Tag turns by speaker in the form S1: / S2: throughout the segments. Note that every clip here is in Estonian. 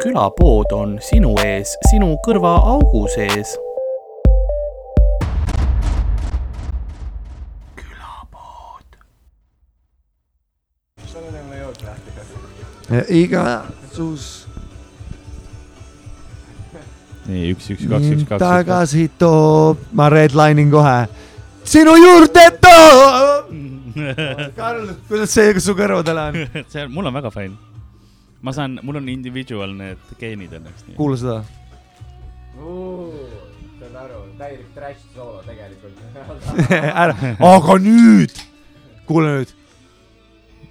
S1: külapood on sinu ees, sinu kõrvaaugu sees
S2: igatsus
S3: nii , üks , üks , kaks , üks , kaks .
S2: tagasi toob , ma redlinin kohe , sinu juurde toob . Karl , kuidas see su kõrvadele on ?
S3: see on , mul on väga fine . ma saan , mul on individual need geenid õnneks .
S2: kuula seda .
S4: saan aru , täielik trash soolo tegelikult .
S2: ära , aga nüüd , kuule nüüd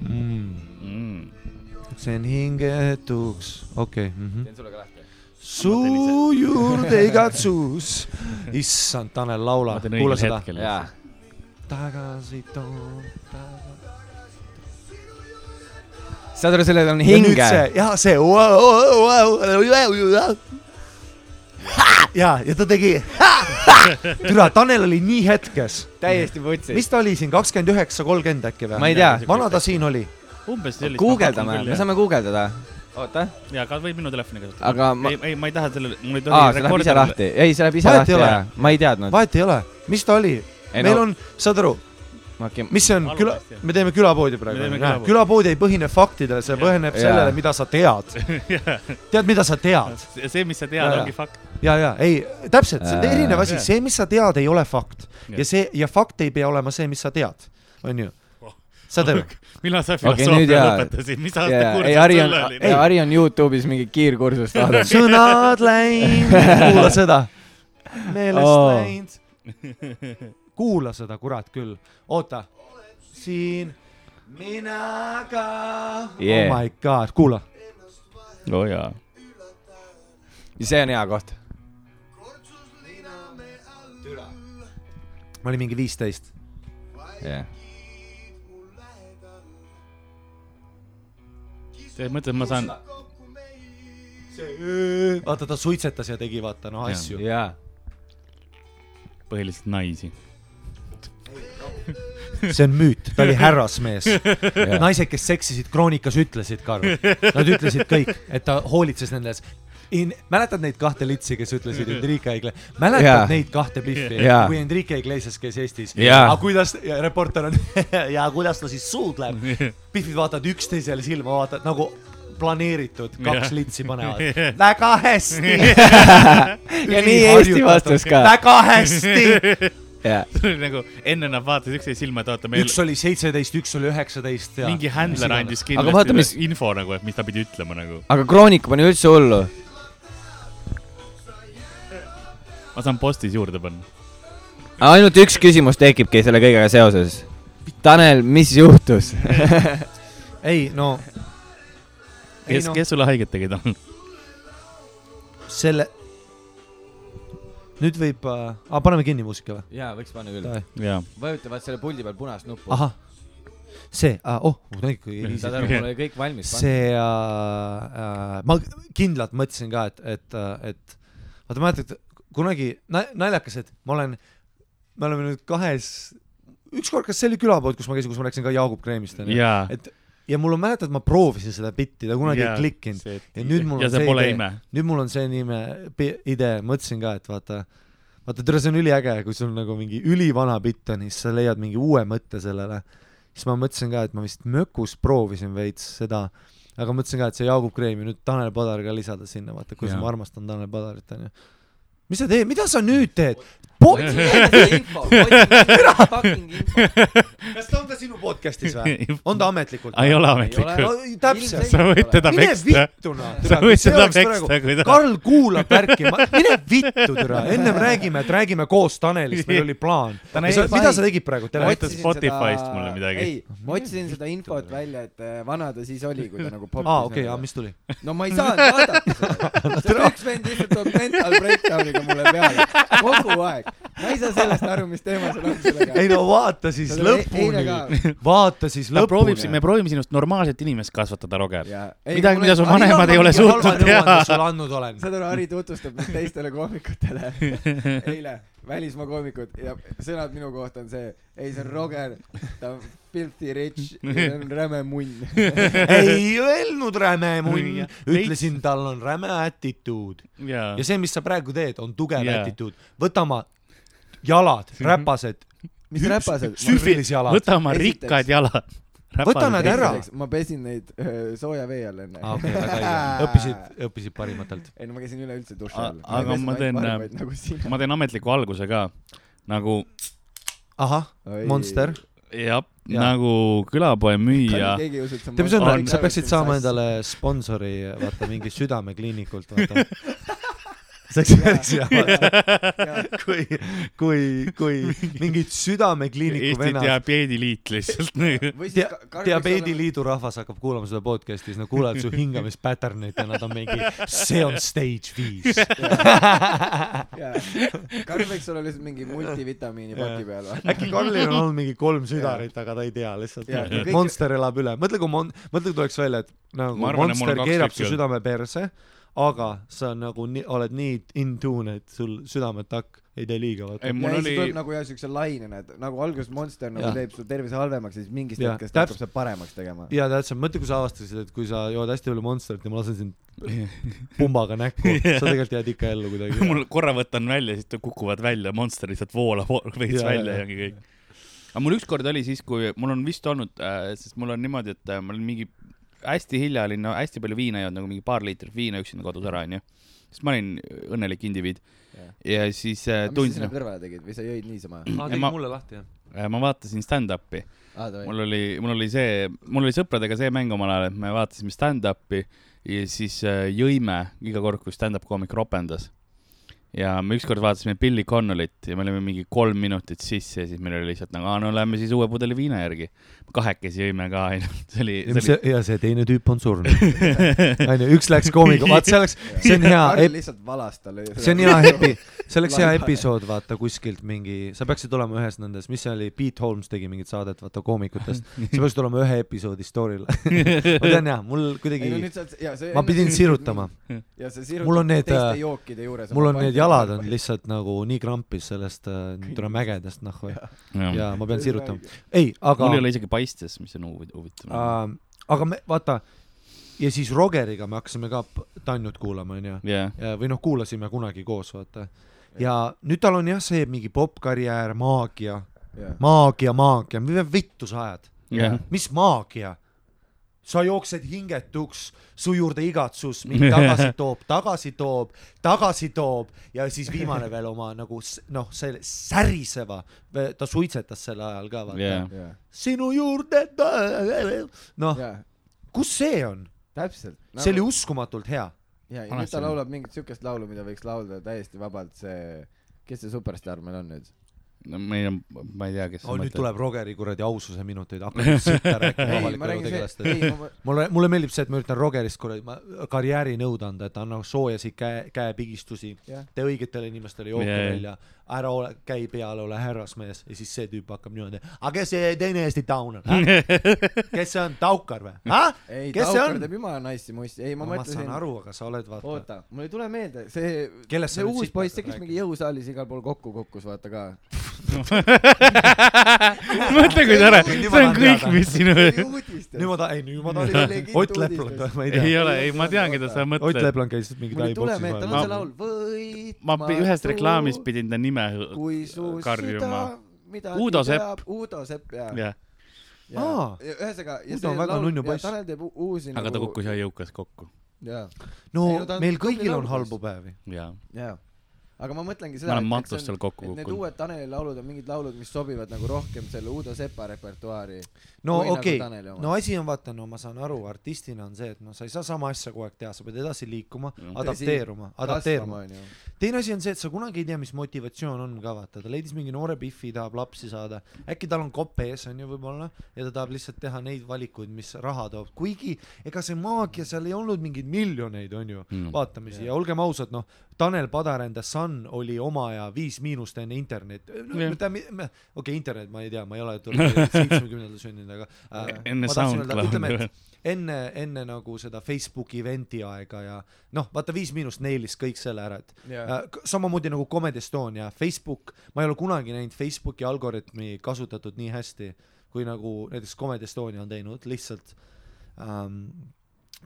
S2: mm. .
S3: mm. .
S2: see on hingetuks , okei okay. mm . -hmm.
S4: teen sulle ka lahti .
S2: su juurde igatsus , issand , Tanel
S3: ma
S2: laulab ,
S3: teen
S2: kuula
S3: õigel
S2: seda .
S3: hetkel .
S4: jaa .
S2: tagasi toob , tagasi .
S4: saad aru , sellel on
S2: ja . see , ja see wow, wow, wow, wow, wow. . ja , ja ta tegi , türa , Tanel oli nii hetkes ,
S4: täiesti võtsis .
S2: mis ta oli siin kakskümmend üheksa , kolmkümmend äkki
S4: ma
S2: või ?
S4: ei tea ,
S2: vana ta siin oli ,
S3: umbes sellist .
S4: guugeldame , me . saame guugeldada . oota ,
S3: jaa , aga võib minu telefoni kasutada .
S4: aga ma ,
S3: ei , ei , ma ei taha sellele , mul ei
S4: aa , see
S3: tohi
S4: läheb ise . lahti . ei , see läheb ise
S2: Vahet
S4: lahti
S2: ei ole.
S4: ära . ma ei teadnud .
S2: vahet ei ole , mis ta oli ,
S4: ei
S2: meil
S4: no ,
S2: on , saad aru ,
S4: okei ,
S2: mis see on
S3: Alustest,
S2: küla
S3: jah. ,
S2: me teeme külapoodi praegu
S3: Me teeme , külapoodi.
S2: külapood ei põhine faktidele , see
S3: Jah.
S2: põhineb
S4: Jaa.
S2: sellele , mida sa tead , tead , mida sa tead
S3: see , mis sa
S2: Jaa,
S3: tead ,
S2: jaa.
S3: ongi fakt .
S2: ja , ja ei , täpselt , see on
S4: Äh.
S2: erinev asi ,
S3: Jaa.
S2: see , mis sa tead , ei ole fakt ja
S3: Jah.
S2: see ja fakt ei pea olema see , mis sa tead , onju
S3: Oh. .
S2: saad aru ?
S3: millal sa
S4: Okei,
S3: filosoofia
S4: nüüd
S3: okay,
S4: jaa.
S3: lõpetasid , mis aasta
S4: jaa ,
S3: kursus
S4: ei Ari on
S3: sul oli ?,
S4: Ari on Youtube'is mingi kiirkursust
S2: Oh
S4: vaadanud .
S2: sõnad läinud , kuula seda , meelest
S4: Oo.
S2: oh. läinud . kuula seda , kurat küll , oota , siin mina ka yeah. .
S4: Yeah.
S2: Oh my god , kuula ,
S3: oo jaa .
S4: see on hea koht .
S2: ma olin mingi viisteist ,
S4: jah ,
S3: mõtled , ma saan ,
S2: vaata ta suitsetas ja tegi vaata noh
S3: Jaa.
S2: asju .
S4: jaa .
S3: põhiliselt naisi .
S2: see on müüt , ta oli härrasmees .
S4: Jaa.
S2: naised , kes seksisid kroonikas , ütlesid , Karl , nad ütlesid kõik , et ta hoolitses nendes . In, mäletad neid kahte litsi , kes ütlesid Enrique Igle- , mäletad yeah.
S4: Jaa.
S2: neid kahte pihvi
S4: Jaa.
S2: yeah. , kui Enrique Iglesias käis Eestis
S4: Jaa.
S2: aga kuidas , ja reporter on ja kuidas ta siis suudleb , pihvid vaatavad üksteisele silma , vaatavad nagu planeeritud , kaks
S3: Jah.
S2: yeah. litsi panevad
S3: Jah. ,
S2: väga hästi .
S4: ja nii Eesti vastus ka .
S2: väga hästi ,
S4: jaa ,
S3: see oli nagu , enne nad vaatasid üksteise silma , et oota , meil
S2: üks oli seitseteist , üks oli üheksateist ja
S3: mingi händler andis
S4: Aga vaata,
S3: kindlasti
S4: mis-
S3: mis... info nagu , et mis ta pidi ütlema nagu .
S4: aga Kroonika pani üldse hullu .
S3: ma saan postis juurde panna .
S4: ainult üks küsimus tekibki selle kõigega seoses . Tanel , mis juhtus ?
S2: ei no , Ei
S3: kes
S2: noh. ,
S3: kes sulle haiget tegid on ?
S2: selle . nüüd võib äh... , ah, paneme kinni muusika või ?
S4: jaa , võiks panna
S2: Davai.
S4: küll .
S3: jaa .
S4: vajutavad selle puldi peal punast nuppu .
S2: ahah , see ah, , oh , ta on ikkagi easy .
S4: saad aru , mul oli kõik valmis .
S2: see äh, , äh, ma kindlalt mõtlesin ka , et , et , et vaata , mäletad kunagi na- naljakas , et ma olen , me oleme nüüd kahes , ükskord , kas see oli külapood , kus ma käisin , kus ma rääkisin ka Jaagup Kreemist onju ja.
S3: jaa .
S2: et ja mul on , mäletad , ma proovisin seda bitti , ta kunagi ja. ei klikkinud . Ja nüüd mul
S3: ja
S2: on
S3: see
S2: see
S3: pole
S2: idee.
S3: ime .
S2: nüüd mul on see nime , idee , mõtlesin ka , et vaata , vaata tere , see on üliäge , kui sul nagu mingi ülivana bitt on ja siis sa leiad mingi uue mõtte sellele . siis ma mõtlesin ka , et ma vist mökus proovisin veits seda , aga mõtlesin ka , et see Jaagup Kreem ja nüüd Tanel Padar ka lisada sinna , vaata , kuidas
S3: Jaa.
S2: ma armastan Tanel Padarit , onju . mis sa teed , mida sa nüüd teed ? kas ta on ka sinu podcast'is või ? on ta ametlikult ?
S3: ei ole ametlikult .
S2: no täpselt .
S3: sa võid teda
S2: mine
S3: peksta .
S2: vittu noh .
S3: sa võid seda peksta , kui ta .
S2: Karl kuulab värki , mine vittu türa , ennem räägime , et räägime koos Tanelist , meil oli plaan .
S3: Ta näitas-
S2: mida sa tegid praegu , tere ?
S3: näitas Spotify'st mulle midagi.
S5: ei , ma otsisin seda infot välja , et äh, vana ta siis oli , kui ta nagu popis .
S2: aa , okei , aga . mis tuli ?
S5: no ma ei saanud vaadata seda . see on üks vend lihtsalt toob mental breakdown'iga mulle peale , kogu aeg . ma ei saa sellest aru , mis teema seal on sellega .
S2: ei no vaata siis lõpuni , vaata siis
S3: ta proovib , me
S2: lõpuni .
S3: proovime sinust normaalset inimest kasvatada , Roger . midagi ,
S5: midagi ,
S3: mida su vanemad ei ole suutnud teha .
S2: sulle andnud olen .
S5: saad aru , Harri tutvustab mind teistele kohvikutele eile välismaa koomikud ja sõnad minu kohta on see , ei see on Roger , ta on filthy rich , ta on räme munn .
S2: ei öelnud räme munn
S3: Jah. ,
S2: ütlesin , tal on räme atituud .
S3: jaa
S2: ja . see , mis sa praegu teed , on tugev
S3: Jaa.
S2: atituud . võta oma jalad , räpased ,
S5: mis räpased ?
S2: süüfilisjalad .
S3: võta oma
S5: Esiteks-
S3: rikkad jalad .
S2: Võta nad ära. .
S5: ma pesin neid öö, sooja vee all enne
S2: aa ,
S3: Ah,
S2: Ah, okei , väga õige . õppisid , õppisid parimatelt .
S5: ei no ma käisin üleüldse duši
S3: A-
S5: all .
S3: aga ma teen, äh,
S5: nagu sina .
S3: ma teen ametliku alguse ka . nagu ,
S2: ahah , Monster . Jaa.
S3: jah , nagu külapoe müüja .
S5: keegi ei usu , et see on
S2: tead , mis on
S3: On- ,
S2: sa peaksid saama endale sponsori , vaata mingi südamekliinikult , vaata . see oleks päris hea , kui , kui , kui mingid südamekliiniku
S3: Eesti
S2: vennad
S3: Diabeediliit lihtsalt .
S5: või siis
S2: Dia-
S5: ka- Karl
S2: diabeedi
S5: võiks olla-
S2: liidu rahvas hakkab kuulama seda podcast'i , siis nad kuulevad su hingamispattern'it ja nad on mingi , see on stage viis .
S5: jaa. Karl võiks olla lihtsalt mingi multivitamiini paki peal või ?
S2: äkki Karlil on olnud mingi kolm südarit , aga ta ei tea lihtsalt
S5: Jaa, ja . kõik-
S2: Monster elab üle , mõtle kui Mon- , mõtle kui tuleks välja , et nagu
S3: Ma arvan, et mul on
S2: Monster
S3: kaks
S2: keerab
S3: tükki
S2: su südame perse , aga sa nagu nii , oled nii in tune , et sul südametakk ei tee liiga ,
S3: ei ,
S2: vaata .
S5: ja
S3: mul
S5: siis tuleb
S3: oli ,
S5: nagu jah siukse lainena , et nagu alguses Monster nagu
S2: Jaa.
S5: teeb su tervise halvemaks , siis mingist
S2: Jaa,
S5: hetkest
S2: täpselt.
S5: hakkab see paremaks tegema .
S2: ja täpselt , mõtle , kui sa avastasid , et kui sa jood hästi palju Monsterit ja ma lasen sind pumbaga näkku , sa tegelikult jääd ikka ellu kuidagi .
S3: mul korra võtan välja , siis ta kukuvad välja , Monster lihtsalt voolab vo- veits
S2: Jaa,
S3: välja
S2: jaa.
S3: ja ongi kõik . aga mul ükskord oli siis , kui mul on vist olnud äh, , sest mul on niimoodi , et äh, ma olin mingi hästi hilja olin no, hästi palju viina joonud , nagu mingi paar liitrit viina üksinda kodus ära onju . sest ma olin õnnelik indiviid ja
S5: mis
S3: siis äh,
S5: sa sinna
S3: tundsin ,
S5: kõrvale tegid või sa jõid niisama ?
S2: aa ,
S3: Ja ma-
S2: mulle lahti , jah ?
S3: ma vaatasin stand-up'i
S5: aa , davai .
S3: mul oli , mul oli see , mul oli sõpradega see mäng omal ajal , et me vaatasime stand-up'i ja siis äh, jõime iga kord , kui stand-up koomik ropendas . ja me ükskord vaatasime Billy Connolit ja me olime mingi kolm minutit sisse ja siis meil oli lihtsalt nagu , aa no lähme siis uue pudeli viina järgi . kahekesi jõime ka ainult , see oli ,
S2: ja mis
S3: see
S2: see , ja see teine tüüp on surnud . onju , üks läks koomiga , vaat see oleks , see on hea
S5: Karl
S2: ep- ,
S5: lihtsalt valas talle .
S2: see on hea epi- , see oleks hea
S5: Laimane.
S2: episood , vaata kuskilt mingi , sa peaksid olema ühes nendes , mis see oli , Pete Holmes tegi mingit saadet , vaata koomikutest , sa peaksid olema ühe episoodi story'l . ma tean jah , mul
S5: ei no nüüd
S2: kuidagi ,
S5: sa oled , jaa , see
S2: ma pidin sirutama ,,
S5: ja sa sirutad
S2: Mul on need, äh,
S5: teiste jookide juures .
S2: mul on need jalad on lihtsalt nagu nii krampis sellest äh, tule mägedest nahku ja
S3: oli ,
S2: ma pean sirutama .. ei , aga
S3: mul ei ole isegi paistes , mis on huvi- huvitav uh, .
S2: äh, , aga me vaata ja siis Rogeriga me hakkasime ka p- Tanjut kuulama , onju .
S3: jah ,
S2: Ja- või noh , kuulasime kunagi koos , vaata . ja nüüd tal on jah , see mingi popkarjäär , maagia , maagia , maagia , mida vittu sa ajad ?
S3: jah ,
S2: mis maagia ? sa jooksed hingetuks , su juurde igatsus mind tagasi toob , tagasi toob , tagasi toob ja siis viimane veel oma nagu s- noh , selle säriseva , ta suitsetas sel ajal ka vaata
S3: jah
S2: yeah. .. sinu juurde , noh ,
S5: jaa ,
S2: kus see on ?
S5: täpselt .
S2: see oli uskumatult hea .
S5: ja , ja nüüd
S3: Vanasti
S5: ta
S3: oli-
S5: laulab mingit siukest laulu , mida võiks laulda täiesti vabalt see , kes see superstaar meil on nüüd ?
S3: no meil on , ma ei tea , kes
S2: oh , nüüd tuleb Rogeri kuradi aususe minuteid , hakkab sõtta rääkima
S5: ei , ma
S2: avalikule
S5: räägin see ,
S2: tegelastele .
S5: ei ma ,
S2: mulle , mulle meeldib see , et ma üritan Rogerist kuradi , ma karjääri nõud anda , et anna soojasid käe , käepigistusi ,
S5: jah ,
S2: tee õigetele inimestele jooke
S3: Jajah.
S2: yeah. välja , ära ole , käi peal , ole härrasmees ja siis see tüüp hakkab niimoodi , aga kes see teine Eesti taun on , kes see on , Taukar või , ah ?
S5: ei
S2: Kes see
S5: Taukar
S2: on?
S5: teeb jumala naissi muisti , ei ma
S2: ma, ma saan
S5: mõtlesin ,
S2: aru , aga sa oled vaata ,
S5: oota , mul ei tule meelde , see ,
S2: Kellest sa
S5: see
S2: nüüd
S5: uus
S2: siit
S5: poiss , see
S2: hakkad
S5: kes mingi jõusaalis igal pool kokku kukkus , vaata ka .
S3: mõtle , kui tore ,
S2: Nüüd
S3: see
S2: ma
S3: on
S2: tahan
S3: kõik ,
S2: teada.
S3: mis sinu
S5: uudistes .
S2: nüüd ma ta- , ei nüüd ma
S5: See oli
S2: tahan
S5: legit ,
S2: Ott Lepland
S5: uudistes. ,
S2: ma ei
S3: ei
S2: tea ,
S3: ole , ei ma tean , keda sa
S2: Ott
S3: mõtled .
S2: Lepland käis mingi
S5: mul ei tule
S2: taiboksis
S5: meelde , tal
S2: vahel
S5: on
S3: Ma-
S5: see laul , võit .
S3: ma pi- ühes reklaamis . pidin ta nime hõ-
S5: kui su süda
S3: äh, karjuma .,
S5: mida
S3: Uudo
S5: nii
S3: Sepp.
S5: peab- Uudo Sepp , jaa .
S3: jah ,
S5: jaa
S2: Aa. ,
S5: ühesõnaga .
S2: Uudo on väga nunnu poiss.
S5: Tanel teeb u- uusi nagu-
S3: aga ta kukkus jah jõukas kokku .
S5: jaa ,
S2: no
S5: Ei, no ta on
S2: meil
S5: tubli
S2: kõigil on
S5: laulupoolt.
S2: halbu päevi ,
S3: jaa ,
S5: jaa . aga ma mõtlengi
S3: ma
S5: seda .
S3: olen mantust seal kokku
S5: et need
S3: kukkunud .
S5: uued Taneli laulud on mingid laulud , mis sobivad nagu rohkem selle Uudo Sepa repertuaari .
S2: no
S5: nagu
S2: okei okay. , no . asi on vaata , no ma saan aru , artistina on see , et noh , sa ei saa sama asja kogu aeg teha , sa pead edasi liikuma
S3: Tõsi. ,
S5: Mm.
S2: adapteeruma , adapteeruma .
S5: onju .
S2: teine asi on see , et sa kunagi ei tea , mis motivatsioon on ka vaata , ta leidis mingi noore Biffi , tahab lapsi saada , äkki tal on kopp ees onju võib-olla ja ta tahab lihtsalt teha neid valikuid , mis raha toob , kuigi ega see maagia seal ei olnud mingeid miljoneid onju mm.
S3: Mm.
S2: vaatamisi
S5: Jah.
S2: ja olgem ausad , noh , Tanel Padar and the Sun oli oma aja Viis Miinust enne internet no,
S3: Jah. .
S2: okei okay, , internet ma ei tea , ma ei ole tulnud seitsmekümnendal sündinud , aga äh,
S3: Enne
S2: ma tahtsin öelda,
S3: SoundCloudi.
S2: ütleme , et enne , enne nagu seda Facebooki event'i aega ja noh , vaata Viis Miinust nailis kõik selle ära , et
S5: jah ,
S2: Äh, k- samamoodi nagu Comedy Estonia , Facebook , ma ei ole kunagi näinud Facebooki algoritmi kasutatud nii hästi , kui nagu näiteks Comedy Estonia on teinud , lihtsalt ähm,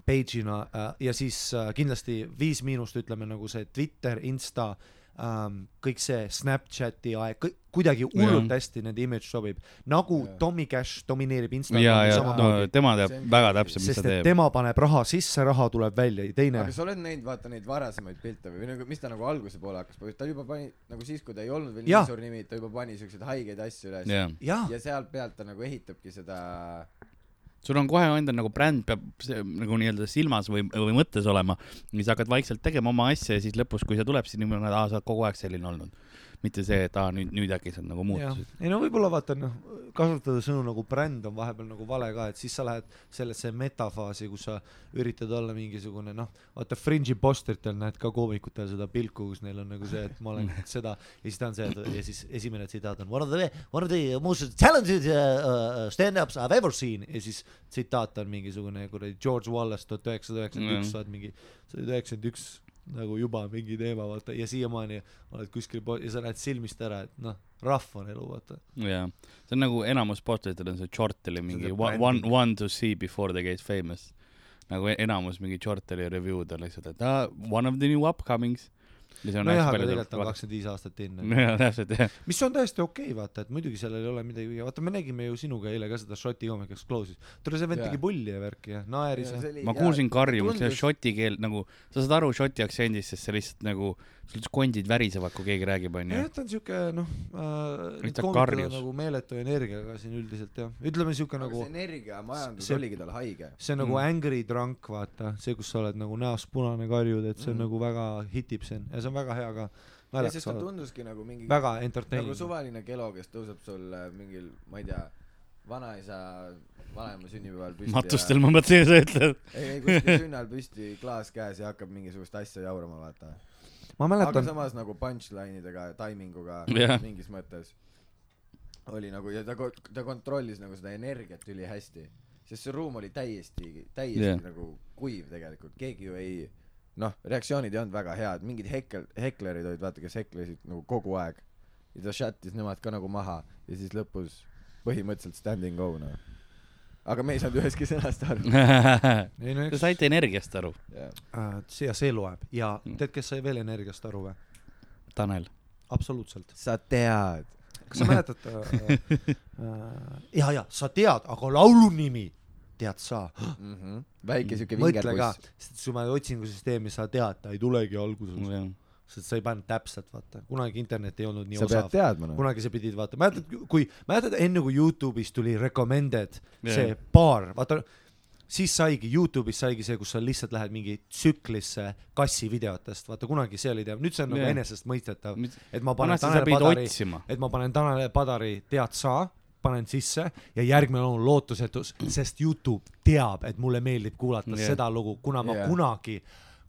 S2: page'ina äh, ja siis äh, kindlasti Viis Miinust , ütleme nagu see Twitter , Insta ähm, , kõik see Snapchati aeg , kuidagi hullult
S3: Jah.
S2: hästi nende image sobib , nagu
S5: Jah.
S2: Tommy Cash domineerib
S3: ja ,
S2: Instagrami
S3: ja no,
S2: samamoodi no, ,
S3: tema teab
S5: See on-
S3: väga täpselt , mis
S2: sest
S3: ta
S2: et
S3: teeb .
S2: tema paneb raha sisse , raha tuleb välja , teine
S5: aga sa oled näinud , vaata neid varasemaid pilte või , või nagu , mis ta nagu alguse poole hakkas , ta juba pani nagu siis , kui ta ei olnud veel
S2: Jah.
S5: nii suur nimi , ta juba pani siukseid haigeid asju üles
S3: jah ,
S2: jaa ,
S5: ja sealt pealt ta nagu ehitabki seda
S3: sul on kohe endal nagu bränd peab see, nagu nii-öelda silmas või , või mõttes olema , siis hakkad vaikselt tegema oma asja ja siis lõpus , kui see tuleb , siis niimoodi , et aa , sa oled kogu aeg selline olnud . mitte see , et aa , nüüd , nüüd äkki sa nagu
S2: Jah.
S3: muutusid .
S2: ei no võib-olla vaata noh , kasutada sõnu nagu bränd on vahepeal nagu vale ka , et siis sa lähed sellesse metafaasi , kus sa üritad olla mingisugune noh , vaata fringe'i posteritel näed ka koomikutel seda pilku , kus neil on nagu see , et ma olen seda ja siis ta on see et, ja siis esimene tsitaat on one of the , one of the most talented uh, uh, stand-ups I have ever seen ja siis tsitaat on mingisugune kuradi George Wallace tuhat üheksasada üheksakümmend
S3: Mhm.
S2: üks , sa oled mingi , sa oled üheksakümmend üks nagu juba mingi teema vaata ja siiamaani oled kuskil po- ja sa näed silmist ära , et noh , rahv on elu vaata .
S3: jaa , see on nagu enamus sportlastel on see Chorteli mingi
S2: See on see
S3: one , one
S2: branding. ,
S3: one to see before they get famous . nagu e- enamus mingi Chorteli review'd on lihtsalt , et aa , one of the new upcomings .
S2: nojah , aga tegelikult on . kakskümmend viis aastat enne .
S3: jaa , täpselt jah ,
S2: mis on täiesti okei okay, , vaata , et muidugi seal ei ole midagi , vaata me nägime ju sinuga eile ka seda Šoti Comic Explosionis . tule , see vend
S5: Jaa.
S2: tegi pulli ja värki ja naeris ja .
S3: ma kuulsin karjumist , see on šoti keel nagu , sa saad aru šoti aktsendist , sest see lihtsalt nagu , sul kondid värisevad , kui keegi räägib , onju
S2: jah , ta on siuke noh äh, ,
S3: Ta karjus.
S2: nagu meeletu energiaga siin üldiselt jah , ütleme siuke
S5: nagu
S2: nagu
S5: see energiamajandus
S2: see-
S5: oligi tal haige
S2: see on nagu
S3: Mm.
S2: mm. angry drunk , vaata , see , kus sa oled nagu näost punane karjud , et see on
S5: Mm.
S2: mm. nagu väga hitib see on ja see on väga hea ka .
S5: ja siis
S2: naljakas
S5: ta
S2: olla ,
S5: tunduski nagu mingi
S2: väga
S5: nagu
S2: entertaining .
S5: suvaline kelo , kes tõuseb sul äh, mingil , ma ei tea , vanaisa , vanaema sünnipäeval püsti
S3: matustel ma mõtlesin , sa ütled .
S5: ja , ei , ei kuskil sünna all püsti , klaas käes ja hakkab mingisugust asja jaurama , vaata .
S2: ma
S5: aga
S2: mäletan ,
S5: samas nagu punchline idega , timinguga
S3: Jah.
S5: mingis mõttes oli nagu ja ta , ta kontrollis nagu seda energiat ülihästi , sest see ruum oli täiesti , täiesti
S3: Jah.
S5: yeah. nagu kuiv tegelikult , keegi ju ei noh , reaktsioonid ei olnud väga head , mingid hekkel- , heklerid olid vaata , kes heklesid nagu kogu aeg ja ta šattis nemad ka nagu maha ja siis lõpus põhimõtteliselt standing go noh . aga me ei saanud ühestki sõnast aru .
S2: ei no
S3: Te
S2: eks ,
S3: saite energiast aru ,
S2: ja see loeb ja
S3: Mm.
S2: tead , kes sai veel energiast aru või ?
S3: Tanel .
S2: absoluutselt .
S5: sa tead .
S2: kas sa mäletad äh, ? Äh, ja , ja sa tead , aga laulu nimi tead sa .
S5: mm . -hmm. väike siuke
S2: mõtle ka
S5: vingerpuss .,
S2: sest kui ma otsingusüsteemi sa tead , ta ei tulegi alguses , sest sa ei pannud täpselt , vaata , kunagi internet ei olnud nii
S5: sa pead
S2: osav .
S5: teadma noh .
S2: kunagi sa pidid vaata , mäletad , kui , mäletad enne kui Youtube'is tuli recommended
S3: Jah.
S2: yeah. see baar , vaata siis saigi , Youtube'is saigi see , kus sa lihtsalt lähed mingi tsüklisse kassivideotest , vaata kunagi see oli teab , nüüd see on nagu
S3: Jah.
S2: yeah. enesestmõistetav ,
S3: vanasti
S2: et ma panen
S3: sa
S2: Tanel
S3: pidid
S2: Padari ,
S3: otsima .
S2: et ma panen Tanel Padari Tead sa , panen sisse ja järgmine on lootusetus , sest Youtube teab , et mulle meeldib kuulata
S3: Jah.
S2: yeah. seda lugu , kuna ma
S5: Jah.
S2: yeah. kunagi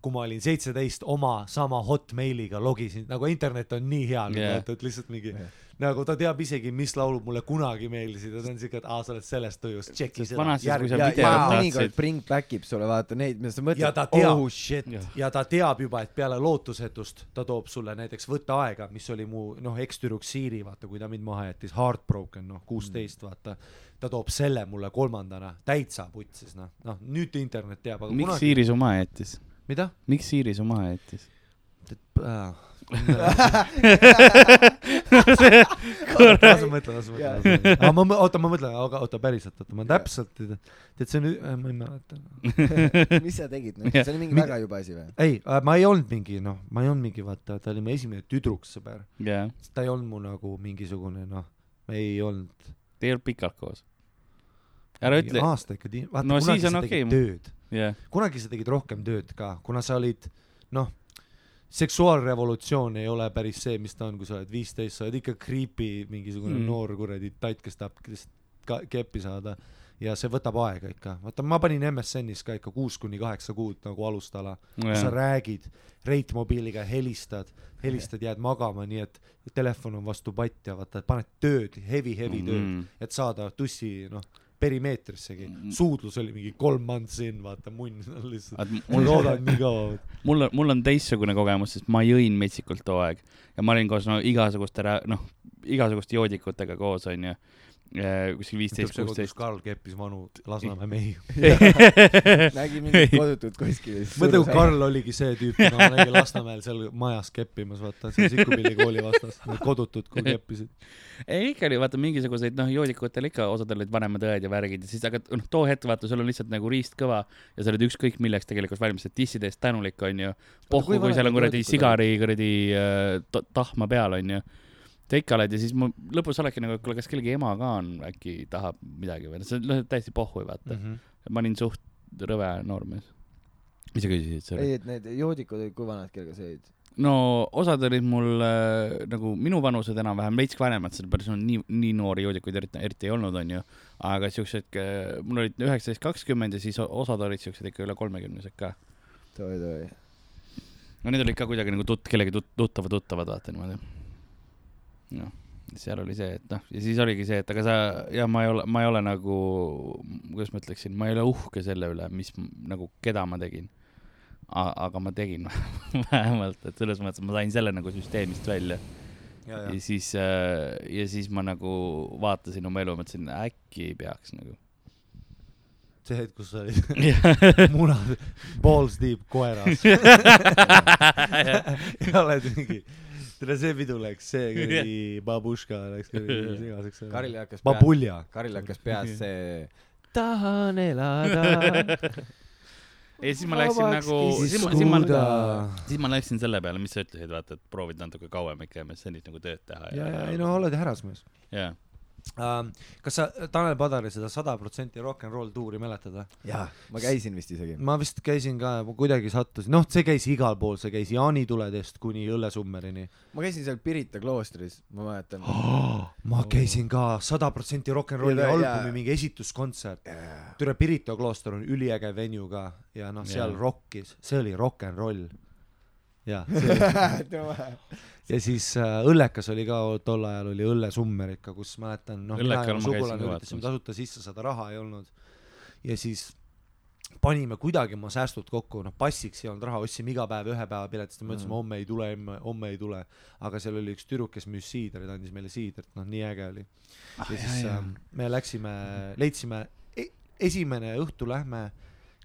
S2: kui ma olin seitseteist , oma sama Hotmailiga logisin , nagu internet on nii hea
S3: Jah.
S2: yeah. , et , et lihtsalt mingi
S5: Jah.
S2: nagu ta teab isegi , mis laulud mulle kunagi meeldisid ja ta on siuke , et aa , sa oled sellest tujust , tšeki
S3: Sest
S2: seda
S3: vanasti, kui sa
S2: järgmine
S5: ja ,
S3: videot
S5: ja
S3: tahtsid.
S5: mõnikord Bring back ib sulle vaata neid , millest sa
S2: ja
S5: mõtled
S2: ta , teab
S5: oh ,
S2: shit
S3: Jah.
S2: ja ta teab juba , et peale lootusetust ta toob sulle näiteks Võta aega , mis oli mu noh , ekstüdruk Siiri , vaata , kui ta mind maha jättis , Heartbroken , noh , kuusteist , vaata . ta toob selle mulle kolmandana , täitsa putsis , noh , noh nüüd internet teab , aga
S3: miks ? Siiri su maha jättis ?
S2: mida ?
S3: miks Siiri su maha jättis ?
S2: las ma mõtlen , las ma
S5: Jaa.
S2: mõtlen . aga ma , oota , ma mõtlen , aga oota , päriselt , oota , ma
S5: Jaa.
S2: täpselt , tead , see on , ma ei mäleta .
S5: "Oh, mis sa tegid nüüd , see oli mingi
S2: Mida-
S5: väga jube asi või ?
S2: ei , ma ei olnud mingi , noh , ma ei olnud mingi , vaata , ta oli mu esimene tüdruksõber .
S3: jah ,
S2: ta ei olnud mu nagu mingisugune , noh , ei olnud .
S3: te ei olnud pikalt koos . ära ütle ,
S2: aasta ikka ti- , vaata
S3: No
S2: no, , kunagi
S3: siis
S2: sa
S3: on
S2: okay. tegid
S3: okei.
S2: tööd ,
S3: jah ,
S2: kunagi sa tegid rohkem tööd ka , kuna sa olid , noh , seksuaalrevolutsioon ei ole päris see , mis ta on , kui sa oled viisteist , sa oled ikka creepy mingisugune
S3: Mm.
S2: mm. noor kuradi tatt , kes tahab lihtsalt ka- keppi saada ja see võtab aega ikka , vaata ma panin MSN-is ka ikka kuus kuni kaheksa kuud nagu alustala , sa räägid , reitmobiiliga helistad , helistad , jääd magama , nii et telefon on vastu patja , vaata , et paned tööd , heavy , heavy mm -hmm.
S3: Mm.
S2: tööd , et saada tussi , noh , perimeetrissegi ,
S3: Mm-hmm.
S2: suudlus oli mingi kolm months in , vaata , munn on lihtsalt , ma
S3: mul ,
S2: loodan nii kaua ,
S3: mul on , mul on teistsugune kogemus , sest ma jõin metsikult too aeg ja ma olin koos no igasuguste , noh , igasuguste joodikutega koos , onju . kuskil viisteist ,
S2: see kodus
S3: kuusteist .
S2: Karl keppis vanu Lasnamäe mehi .
S5: nägi mingit kodutut kuskil .
S2: Eh. mõtle , kui . Karl oligi see tüüp , keda ma nägin Lasnamäel seal majas keppimas , vaata , seal Sikkupilli kooli vastas , need kodutud , kui keppisid .
S3: ei , ikka oli vaata mingisuguseid , noh , joodikutel ikka osadel olid vanemad õed ja värgid ja siis , aga noh , too hetk vaata , sul on lihtsalt nagu riist kõva ja sa oled ükskõik milleks tegelikult valmis , et tisside eest tänulik onju .
S5: kui
S3: pohhu , kui
S5: vanemad
S3: seal on kuradi
S5: joodikud
S3: sigari kuradi äh, ta- tahma peal onju . sa ikka oled ja siis ma lõpus oledki nagu , et kuule , kas kellegi ema ka on , äkki tahab midagi või noh , see on lihtsalt täiesti pohhu vaata mm .
S2: Mhm.
S3: -hmm. ma olin suht rõve noormees . mis sa küsisid , sorry ?
S5: ei , et need joodikud olid , kui vanad kellega sa olid ?
S3: no osad olid mul äh, nagu minuvanused enam-vähem , veits vanemad , sellepärast mul nii , nii noori joodikuid eriti , eriti ei olnud , onju . aga siuksed , mul olid üheksateist , kakskümmend ja siis o- osad olid siuksed ikka üle kolmekümnesed ka .
S5: oi-oi .
S3: no need olid ka kuidagi nagu tut- , kellegi tut- , tuttava tuttavad , vaata niimoodi . noh , seal oli see , et noh , ja siis oligi see , et aga sa ja ma ei ole , ma ei ole nagu , kuidas ma ütleksin , ma ei ole uhke selle üle , mis m- nagu , keda ma tegin . aga ma tegin vähemalt , et selles mõttes ma sain selle nagu süsteemist välja ja, ja siis äh, , ja siis ma nagu vaatasin oma elu , mõtlesin , äkki ei peaks nagu .
S2: see hetk , kus sa olid munad , balls deep koeras . ja oled mingi , tere see pidu läks , see kuradi babuška läks kuradi segaseks .
S5: Karil hakkas peas ,
S2: babulja .
S5: Karil hakkas peas see ,
S4: tahan elada .
S3: ja siis ma läksin nagu , siis ma , siis ma , siis ma läksin selle peale , mis sa ütlesid , vaata , et proovid natuke kauem ikka MSN-is nagu tööd teha .
S2: ja , ja ei no . oled härrasmees .
S3: jaa ,
S2: Äh, kas sa Tanel Padari seda sada protsenti rock n roll tuuri mäletad või ?
S5: jaa , ma käisin vist isegi .
S2: ma vist käisin ka , ma kuidagi sattusin , noh , see käis igal pool , see käis jaanituledest kuni Õllesummerini .
S5: ma käisin seal Pirita kloostris , ma mäletan .
S2: ma käisin ka sada protsenti rock n rolli
S5: Oh. Ja- ja-
S2: albumi mingi esituskontsert . türa Pirita klooster on üliäge venue ka ja noh , seal
S3: Jaa.
S2: rokkis , see oli rock n roll . ja ,
S5: see
S2: ja siis äh, Õllekas oli ka , tol ajal oli Õllesummer ikka , kus mäletan , noh , mina
S3: Õllekal
S2: ja mu
S3: ma käisin
S2: sugulane
S3: ka
S2: üritasime
S3: vaatamas.
S2: tasuta sisse saada , raha ei olnud . ja siis panime kuidagi oma säästud kokku , noh , passiks ei olnud raha , ostsime iga päev ühe päeva piletist ja mõtlesime mm. , homme ei tule , homme , homme ei tule . aga seal oli üks tüdruk , kes müüs siidrit , andis meile siidrit , noh , nii äge oli . ja ah, siis jah, jah. me läksime , leidsime e , esimene õhtu lähme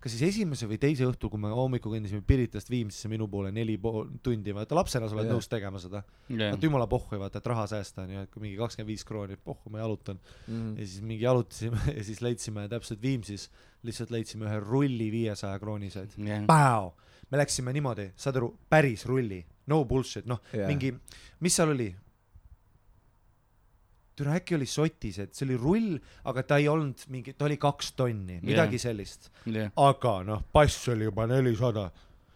S2: kas siis esimese või teise õhtul , kui me hommikul kõndisime Piritast Viimsisse minu poole neli pool tundi , vaata lapsena sa oled
S5: Jaa.
S2: nõus tegema seda .
S3: jaa
S2: vaata . jumala pohhu , vaata , et raha säästa onju , et kui mingi kakskümmend viis krooni , pohhu , ma jalutan .
S5: Mm.
S2: ja siis mingi jalutasime ja siis leidsime täpselt Viimsis , lihtsalt leidsime ühe rulli viiesaja krooniseid . Päo! me läksime niimoodi , saad aru , päris rulli , no bullshit , noh yeah. ,
S5: Jaa.
S2: mingi , mis seal oli ? türa äkki oli sotis , et see oli rull , aga ta ei olnud mingi , ta oli kaks tonni , midagi yeah. sellist .
S3: jah ,
S2: aga noh , pass oli juba nelisada ,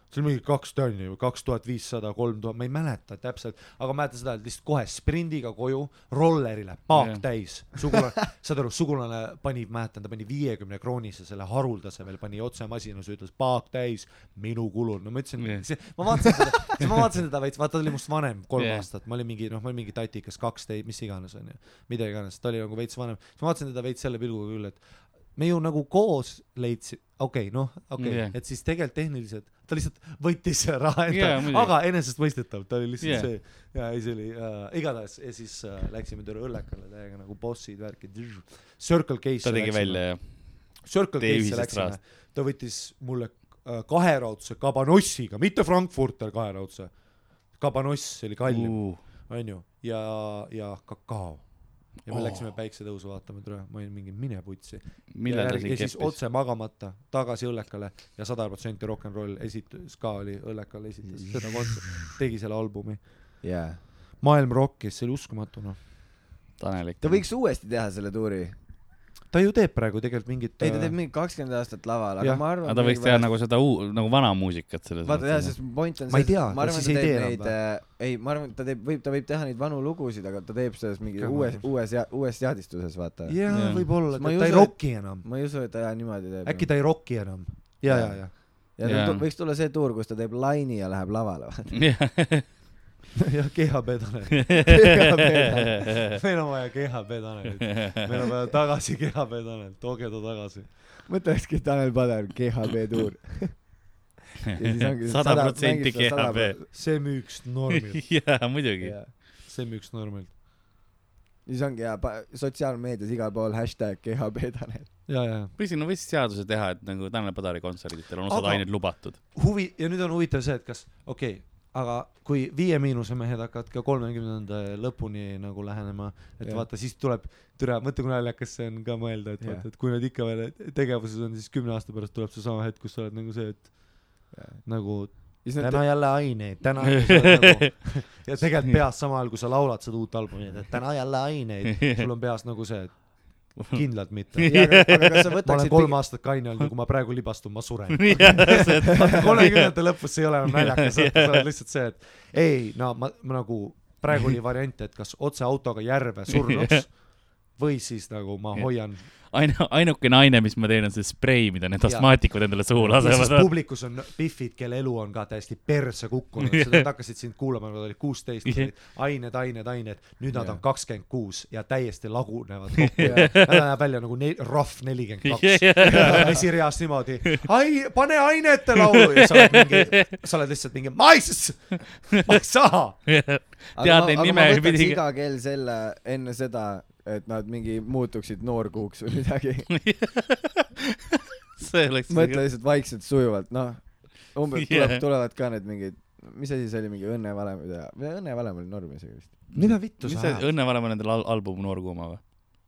S2: see oli mingi kaks tonni või kaks tuhat viissada , kolm tuhat , ma ei mäleta täpselt , aga ma mäletan seda , et lihtsalt kohe sprindiga koju , rollerile , paak
S3: Jah.
S2: yeah. täis , sugulane , saad aru , sugulane pani , mäletan , ta pani viiekümne kroonise selle haruldase veel , pani otse masinasse , ütles paak täis , minu kulul , no ma ütlesin
S3: Jah.
S2: yeah. , see , ma vaatasin seda , siis ma vaatasin teda veits , vaata ta oli must vanem kolm
S3: Jah.
S2: yeah. aastat , ma olin mingi , noh , ma olin mingi tatikas kaksteist , mis iganes onju , mida iganes , ta oli nagu veits vanem , siis ma vaatasin teda veits selle pilguga küll , et me ju nagu koos leidsime , okei okay, , noh , okei okay.
S3: Jah.
S2: yeah. , et siis tegelikult tehniliselt ta lihtsalt võttis selle raha endale
S3: Jaa,
S2: yeah, ,
S3: muidugi.
S2: aga enesestmõistetav , ta oli lihtsalt
S3: Jah.
S2: yeah. see ja ei , see oli äh, igatahes ja siis äh, läksime terve õllekale täiega nagu bossid , värkid . Circle K-sse .
S3: ta tegi välja jah .
S2: Circle
S3: Teie
S2: K-sse
S3: ühisest
S2: läksime
S3: rahast. ,
S2: ta võttis mulle äh, kaheraudse kabanossiga , mitte Frankfurter kaheraudse , kabanoss see oli kallim uh. , onju , ja , ja kakao ja me
S3: Oh.
S2: oh. läksime päiksetõusu vaatama , tule , ma olin mingi mine putsi . ja,
S3: millal ta
S2: järgi-
S3: siin
S2: ja siis
S3: keppis ?
S2: otse magamata tagasi Õllekale ja sada protsenti rock n roll esitus , ka oli Õllekal esitas seda kontserti , tegi selle albumi .
S5: jaa .
S2: maailm rockis , see oli uskumatu noh .
S3: Tanelik .
S5: ta võiks uuesti teha selle tuuri .
S2: ta ju teeb praegu tegelikult mingit äh,
S5: ei , ta teeb mingi kakskümmend aastat laval , aga
S2: Jah.
S5: ma arvan .
S3: aga ta võiks teha nagu seda uu- , nagu vana muusikat selles
S5: vaata jah , sest point on
S2: Ma ei
S5: see, et
S2: tea,
S5: ma arvan ,
S2: siis ei
S5: ta teeb
S2: tee enam
S5: neid , ei , ma arvan , ta teeb , võib , ta võib teha neid vanu lugusid , aga ta teeb selles mingi
S2: Kõva.
S5: uues , uues , uues jaadistuses , vaata .
S2: jaa
S3: Jah.
S2: yeah. , võib-olla ,
S5: Ma
S2: ta ei
S5: ei usu, et-
S2: roki enam ,
S5: ma ei usu , et ta jah, niimoodi teeb .
S2: äkki ta ei roki enam ja , ja , ja
S5: ja tal
S3: Jaa.
S5: tu- võiks tulla see tuur , kus ta teeb laini ja läheb lavale , vaata .
S3: noh.
S2: jah , GHB Tanel ,
S3: suunas .
S2: meil on vaja GHB Tanelit , meil on vaja tagasi GHB Tanel , tooge ta tagasi .
S5: mõtlekski Tanel Padar , GHB tuur .
S3: sada protsenti GHB .
S2: see müüks normilt ,
S3: jaa , muidugi .
S2: see müüks normilt
S5: siis ongi jaa , sotsiaalmeedias igal pool hashtag GHB Tanel .
S2: ja , ja
S3: või sinna võiks seaduse teha , et nagu Tanel Padari kontserditel on osad
S2: Aga-
S3: ained lubatud .
S2: huvi ja nüüd on huvitav see , et kas okei okay, , aga kui Viie Miinuse mehed hakkavad ka kolmekümnenda lõpuni nagu lähenema , et
S5: Jah.
S2: ja. vaata , siis tuleb , türa , mõtle kui naljakas see on ka mõelda , et
S5: Jah.
S2: vaata , et kui nad ikka veel tegevuses on , siis kümne aasta pärast tuleb seesama hetk , kus sa oled nagu see , et nagu
S5: siis nad
S2: täna jälle aineid , täna jälle nagu ja tegelikult peas samal ajal , kui sa laulad seda uut albumi , et täna jälle aineid , sul on peas nagu see , et kindlalt mitte .
S5: ja, aga, aga kas sa
S2: ma olen
S5: võtaksid
S2: kolm aastat kaine olnud ja kui ma praegu libastun , ma suren .
S3: kolmekümnendad .
S2: kolmekümnendate lõpus see ei ole enam naljakas , see on lihtsalt see , et ei , no ma, ma nagu praegu oli variant , et kas otse autoga järve surnuks või siis nagu ma hoian ,
S3: ainu- , ainuke naine , mis ma teen , on see sprei , mida need
S2: Jaa.
S3: astmaatikud endale suhu
S2: siis
S3: lasevad .
S2: publikus on pihvid , kelle elu on ka täiesti perse kukkunud , seda nad hakkasid sind kuulama , nad olid kuusteist , olid ained , ained , ained , nüüd nad on kakskümmend kuus ja täiesti lagunevad kokku ja nad näevad välja nagu ne- , rohv nelikümmend kaks . esireas niimoodi , ai , pane ainete laulu ja sa oled mingi , sa oled lihtsalt mingi , ma ei s- , ma ei saa
S3: tead neid nimepidi .
S5: iga kell selle enne seda , et nad mingi muutuksid noorkuuks või midagi .
S3: see oleks .
S5: mõtle lihtsalt vaikselt sujuvalt , noh . umbes
S3: Jah.
S5: tuleb , tulevad ka need mingid , mis asi see oli , mingi õnnevalem või mida , õnnevalem oli norm isegi vist .
S2: mida vittu
S3: mis
S2: sa
S3: see
S2: ajad ?
S3: Õnne Valem on endal al- album Noor kuuma või ?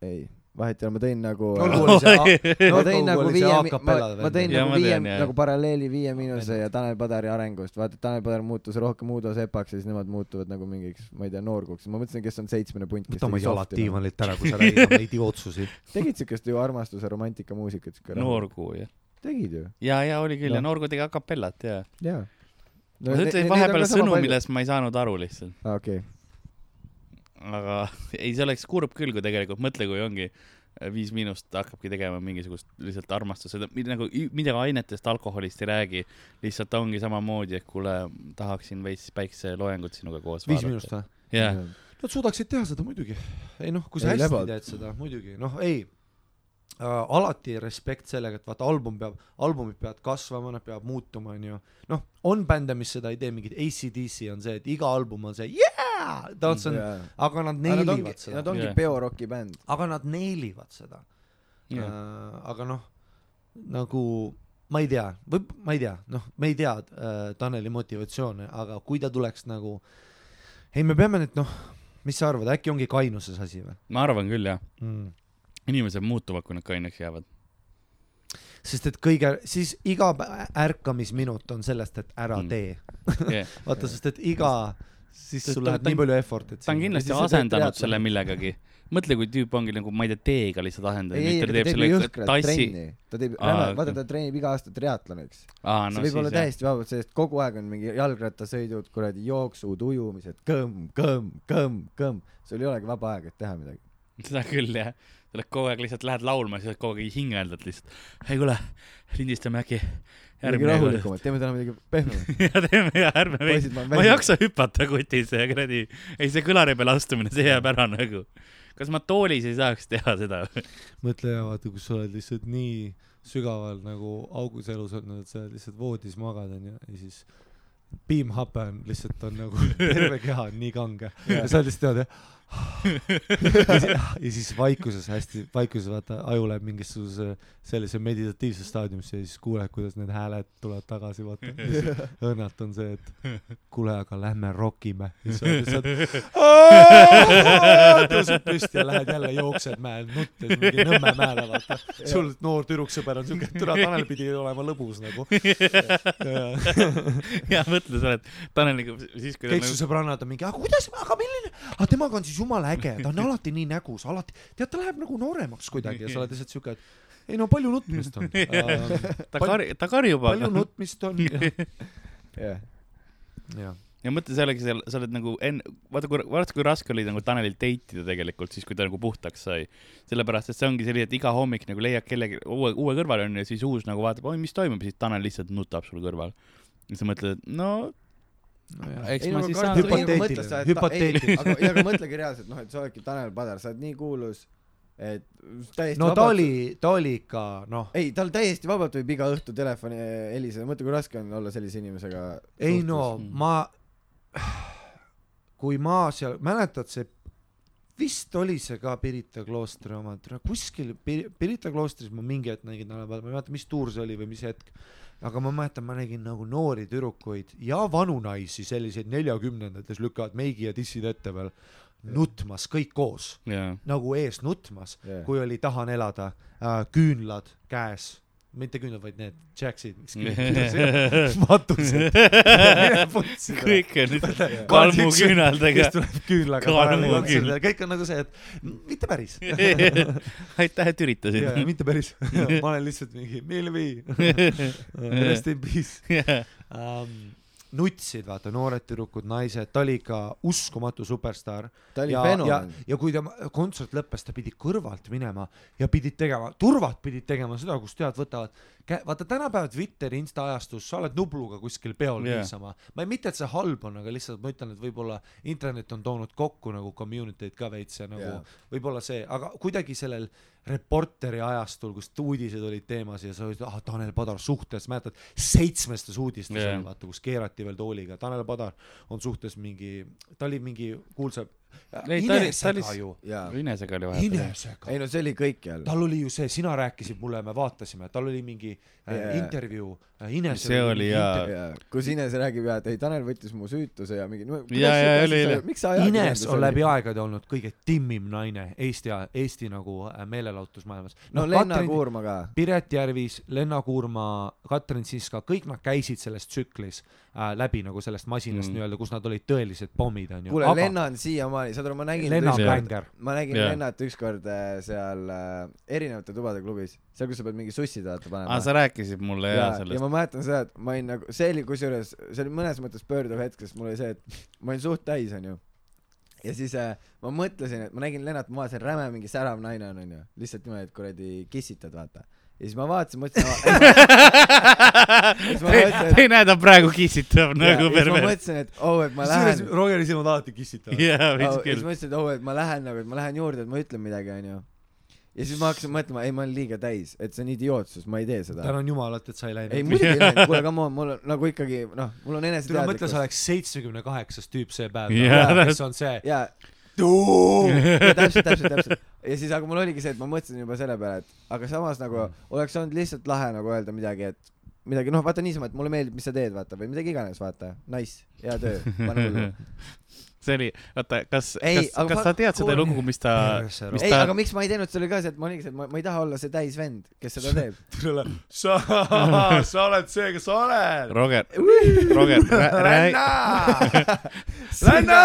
S5: ei , vahet ei ole , ma tõin nagu .
S2: Olgu, oli see a-
S5: ma
S2: no
S5: tõin
S2: olgu,
S5: nagu
S2: oli see
S5: viie ,
S2: a
S5: ma,
S2: cappella
S5: ma tõin
S2: vend.
S3: Jaa,
S5: nagu
S3: ma
S5: viie
S3: tean, , jah.
S5: nagu paralleeli Viie Miinuse ja Tanel Padari arengust , vaata Tanel Padar muutus rohkem Uudo Sepaks ja siis nemad muutuvad nagu mingiks , ma ei tea , noorkuks , ma mõtlesin , kes on seitsmene punt , kes
S2: võta oma
S5: tegi
S2: jalad
S5: softi, noh.
S2: diivanilt ära , kui sa räägid neid idiootsusi .
S5: tegid siukest ju armastuse romantika muusikat siuke
S3: Noor kuu , jah .
S5: tegid ju
S3: ja , ja oli küll ja
S5: Jah.
S3: Noor kuu tegi akapellat ja .
S5: jaa no,
S3: sa ütlesid vahepeal sõnu , millest ma ei saanud aru lihtsalt .
S5: aa okei okay.
S3: aga ei , see oleks kurb küll , kui tegelikult mõtle , kui ongi äh, Viis Miinust hakkabki tegema mingisugust lihtsalt armastust , nagu ü- midagi ainetest , alkoholist ei räägi , lihtsalt ongi samamoodi , et kuule , tahaksin veits päikseloojangut sinuga koos
S2: viis miinust . või ?
S3: jah ,
S2: Nad suudaksid teha seda muidugi . ei noh , kui sa
S5: Ei,
S2: hästi
S5: lebad.
S2: teed seda muidugi , noh ei äh, . alati respekt sellega , et vaata album peab , albumid peavad kasvama , nad peavad muutuma , onju . noh , on bände , mis seda ei tee , mingid ACDC on see , et iga album on see yeah! , tants on ,
S5: jaa
S2: aga nad
S5: Aga nad ongi
S2: neilivad seda
S5: nad . ongi
S3: Jah.
S5: peoroki bänd
S2: aga nad neelivad seda yeah. .
S3: jah ,
S2: Äh, aga noh , nagu ma ei tea , või ma ei tea , noh , me ei tea äh, Taneli motivatsioone , aga kui ta tuleks nagu , ei , me peame nüüd noh , mis sa arvad , äkki ongi kainuses asi või
S3: ma arvan küll , jah .
S2: mm. ?
S3: inimesed muutuvad , kui nad kaineks jäävad .
S2: sest et kõige , siis iga pä- ärkamisminut on sellest , et ära
S3: Mm.
S2: mm. tee .
S3: Yeah.
S2: vaata , sest et iga , siis
S3: Ta-
S2: sul
S3: ta-
S2: läheb
S3: ta-
S2: nii palju effort'it .
S3: ta on kindlasti
S5: siis sa teed
S3: asendanud
S5: triatloni.
S3: selle millegagi . mõtle , kui tüüp ongi nagu , ma ei tea , teega lihtsalt asendanud .
S5: ei ei
S3: ta
S5: ta
S3: teeb
S5: teeb ju
S3: selle
S5: jõhkralt
S3: tassi .
S5: trenni ta teeb
S3: Aa,
S5: räme-
S3: okei.
S5: vaata ta treenib iga aasta triatloniks
S3: aa ,
S5: see
S3: no
S5: võib olla
S3: siis jah .
S5: täiesti vabalt sellest kogu aeg on mingi jalgrattasõidud kuradi jooksud ujumised kõmm kõmm kõmm kõmm sul ei olegi vaba aega et teha midagi
S3: seda küll , jah . sa oled kogu aeg lihtsalt , lähed laulma , siis oled kogu aeg hingeldad lihtsalt . ei kuule , lindistame äkki
S5: midagi
S3: järgmine kord .
S5: rahulikumalt teeme täna midagi pehmemat
S3: ja teeme ja ärme veidi
S5: Poisid, ma . olen
S3: ma ei
S5: väsinud.
S3: jaksa hüpata kutis ja kuradi , ei see kõlari peale astumine , see jääb ära nagu . kas ma toolis ei saaks teha seda ?
S2: mõtle ja vaata , kus sa oled lihtsalt nii sügaval nagu augus elus olnud , et sa lihtsalt voodis magad onju ja siis piimhape on lihtsalt on nagu terve keha on nii kange ja sa oled lihtsalt niimoodi ja siis vaikuses hästi vaikuses vaata aju läheb mingisuguse sellise meditatiivse staadiumisse ja siis kuuled kuidas need hääled tulevad tagasi vaata ja siis õnnalt on see et kuule aga lähme rokime ja siis sa oled lihtsalt tõuseb püsti ja lähed jälle jooksed mäel nutt ja siis mingi Nõmme mäele vaata sul noor tüdruksõber on siuke et türa Tanel pidi olema lõbus nagu kõik
S3: ja mõtle , sa oled Taneliga siis , kui ta
S2: su
S3: nagu
S2: sõbrannad on mingi aga kuidas aga milline aga temaga on siis jumala äge , ta on alati nii nägus , alati , tead , ta läheb nagu nooremaks kuidagi ja sa oled lihtsalt siuke , et ei no palju nutmist on uh, ,
S3: ta
S2: Pal-
S3: kar- , ta karjub ,
S2: palju
S3: aga .
S2: nutmist on ja,
S5: jah .
S2: ja. .
S3: ja mõtle , sa oledki seal , sa oled nagu enne , vaata kui , vaata kui raske oli nagu Tanelil date ida tegelikult siis , kui ta nagu puhtaks sai . sellepärast , et see ongi selline , et iga hommik nagu leiad kellegi uue , uue kõrvale on ja siis uus nagu vaatab , oi , mis toimub , siis Tanel lihtsalt nutab sul kõrval . ja sa mõtled , et no
S2: nojah ,
S3: eks
S5: Ei,
S3: ma
S5: no
S3: siis
S5: aga
S3: saan
S5: Karl- ei,
S2: Hüpoteetiline,
S5: aga mõtle sa, et ta- ei,
S2: hüpoteetiline.
S5: aga , ei , aga mõtlegi reaalselt , noh , et sa oledki Tanel Padar , sa oled nii kuulus , et täiesti
S2: no ta
S5: vabalt-
S2: oli , ta oli ikka noh ,
S5: ei , tal täiesti vabalt võib iga õhtu telefoni heliseda , mõtle , kui raske on olla sellise inimesega .
S2: ei no ma , kui ma seal , mäletad see , vist oli see ka Pirita kloostri oma , kuskil Pir- Pirita kloostris ma mingi hetk nägin tänaval , ma ei mäleta , mis tuur see oli või mis hetk , aga ma mäletan , ma nägin nagu noori tüdrukuid ja vanu naisi , selliseid neljakümnendates lükkavad meigi ja tissid ette veel , nutmas kõik koos ,
S3: jaa ,
S2: nagu ees nutmas
S5: Jah.
S2: kui oli Tahan elada äh, , küünlad käes , mitte küünlad , vaid need jacksid , mis küünlad , matused .
S3: kõik on nüüd kalmuküünaldega
S2: kes . tuleb küünlaga
S3: Kalmu
S2: paremini
S3: küünl.
S2: katsele , kõik on nagu see , et m- mitte päris .
S3: aitäh , et üritasid .
S2: mitte päris , ma olen lihtsalt mingi Milvi , rest in peace um, . nutsid , vaata , noored tüdrukud , naised , ta oli ikka uskumatu superstaar
S5: ta oli
S2: ja , ja
S5: fenomen .,
S2: ja kui ta kontsert lõppes , ta pidi kõrvalt minema ja pidid tegema , turvad pidid tegema seda , kus tead , võtavad , vaata tänapäeval Twitteri Insta ajastus , sa oled nubluga kuskil peol
S3: Jaa.
S2: yeah. niisama . ma ei , mitte et see halb on , aga lihtsalt ma ütlen , et võib-olla internet on toonud kokku nagu community'd ka veits ja nagu
S5: Jaa.
S2: yeah. võib-olla see , aga kuidagi sellel reporteri ajastul , kus uudised olid teemas ja sa olid , ah , Tanel Padar suhtes , mäletad , seitsmestes uudistes
S3: Jaa.
S2: yeah. oli , vaata , kus keerati veel tooliga , Tanel Padar on suhtes mingi , ta oli mingi kuulsa
S3: Ei, ta oli- ta oli-
S2: Inesega ju ,
S5: jaa .
S3: Inesega oli vahepeal .
S2: Inesega
S5: ei . no see oli kõikjal .
S2: tal oli ju see , sina rääkisid mulle , me vaatasime , tal oli mingi
S5: Jaa.
S2: äh, intervjuu äh, Inesega .
S3: see oli jaa .
S5: jaa , kus Ines räägib ja et ei , Tanel võttis mu süütuse ja mingi .
S3: Jaa, jaa, oli, oli.
S5: miks sa
S2: Ines on läbi aegade olnud kõige timmim naine Eesti , Eesti nagu äh, meelelahutusmaailmas .
S5: no Lenna . Kuurma ka .
S2: Piret Järvis , Lenna Kuurma , Katrin Siska , kõik nad käisid selles tsüklis äh, läbi nagu sellest masinast
S3: Mm.
S2: mm. nii-öelda , kus nad olid tõelised pommid onju .
S5: kuule , Lenna on siiamaani , saad aru , ma nägin .
S2: Lenna
S3: Tõsi.
S2: on bänger .
S5: ma nägin
S3: Jaa.
S5: yeah. Lennart ükskord äh, seal äh, erinevate tubade klubis , seal , kus sa pead mingi sussid vaata panema
S3: aa , Ah, sa rääkisid mulle
S5: ja
S3: jaa ,
S5: ja
S3: sellest .
S5: ma mäletan seda , et ma olin nagu , see oli kusjuures , see oli mõnes mõttes pöörduv hetk , sest mul oli see , et ma olin suht täis , onju . ja siis äh, ma mõtlesin , et ma nägin Lennart , ma vaatasin , räme mingi särav naine on , onju . lihtsalt niimoodi , et kuradi kissitad , vaata . ja siis ma vaatasin , mõtlesin ,
S3: Te te ei näe , ta praegu kissitab nagu
S5: ja siis ma
S3: pervert .
S5: mõtlesin , et oo , et ma lähen .
S2: Rogeri silmad alati kissitavad .
S3: jaa ,
S5: ja
S3: vist
S5: siis
S3: küll .
S5: ma ütlesin , et oo , et ma lähen nagu , et ma lähen juurde , et ma ütlen midagi , onju . ja siis ma hakkasin mõtlema , ei , ma olen liiga täis , et see on idiootsus , ma ei tee seda .
S2: tänan jumalat , et sa ei läinud .
S5: ei muidugi ei läinud , kuule , come on , mul on nagu ikkagi noh , mul on
S2: tule mõtle , sa
S5: eneseteadlikkus .
S2: oleks seitsmekümne kaheksas tüüp see päev
S3: Jaa. ,
S2: kes on see .
S5: ja, ja täpselt , täpselt , täpselt . ja siis , aga mul oligi see , et ma mõtlesin juba selle peale , et aga samas nagu
S2: Mm.
S5: oleks olnud lihtsalt lahe nagu öelda midagi , et midagi noh , vaata niisama , et mulle meeldib , mis sa teed , vaata või midagi iganes , vaata , nice , hea töö , pane hullu .
S3: see oli , oota , kas ,
S5: Ei,
S3: kas ,
S5: aga
S3: kas
S5: fuck,
S3: sa tead seda
S2: kuule.
S3: lugu , mis ta ,
S2: Perse
S3: mis
S5: ei ,
S3: ta
S5: aga , miks ma ei teinud , see oli ka see , et ma oligi see , et ma , ma ei taha olla see täis vend , kes seda teeb .
S2: tule , sa , sa oled see , kes sa oled .
S3: Roger , Roger , räägi .
S2: Lenna ,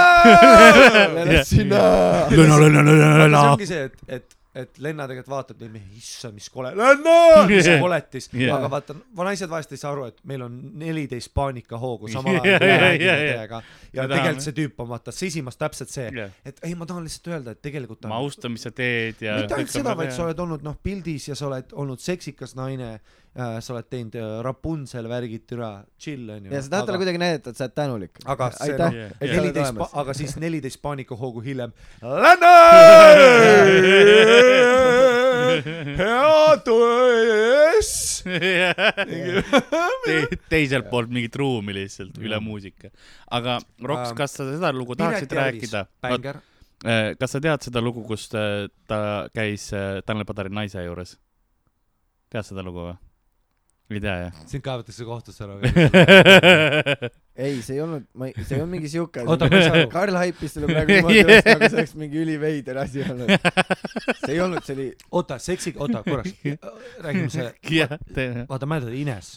S5: Lenna sina .
S1: Lenna , Lenna , Lenna ,
S2: see
S1: Lenna .
S2: ongi see , et , et , et Lenna tegelikult vaatab neid mehi , issand , mis kole , Lenna , mis see koletis
S3: Jah.
S2: yeah. , aga vaata , naised vahest ei saa aru , et meil on neliteist paanikahoogu samal
S3: Jah,
S2: ajal kui me
S3: jah,
S2: räägime
S3: jah, jah.
S2: teiega
S3: Me
S2: ja
S3: tahame.
S2: tegelikult see tüüp on vaata sisimas täpselt see , et ei , ma tahan lihtsalt öelda , et tegelikult ta
S3: ma
S2: on
S3: austan , mis sa teed ja .
S2: mitte ainult seda , vaid sa oled olnud noh pildis ja sa oled olnud seksikas naine äh, , sa oled teinud äh, Rapunzel värgid türa , chill onju .
S5: ja sa tahad talle kuidagi näidata , et sa oled tänulik .
S2: aga see
S5: aitäh
S2: noh , et
S3: Jah,
S5: et sa oled
S2: neliteist ,
S5: olemas .
S2: aga siis neliteist paanikahoogu hiljem . hea töös .
S3: Te, teiselt poolt mingit ruumi lihtsalt üle muusika . aga Roks ,
S2: Ähm,
S3: kas sa seda lugu tahaksid rääkida ?
S2: bänger ,
S3: Äh, kas sa tead seda lugu , kus äh, ta käis äh, Tanel Padari naise juures ? tead seda lugu või ? ei tea jah ?
S2: sind kaevatakse kohtusse ära .
S5: ei , see ei olnud , ma ei , see ei olnud mingi siuke .
S2: oota , ma ei saa aru ,
S5: Karl haipis selle praegu niimoodi üles , nagu see oleks mingi üliveider asi olnud . see ei olnud , see oli
S2: oota , seksi , oota korraks , räägime see ,
S3: jah , tee .
S2: vaata mäletad Ines ,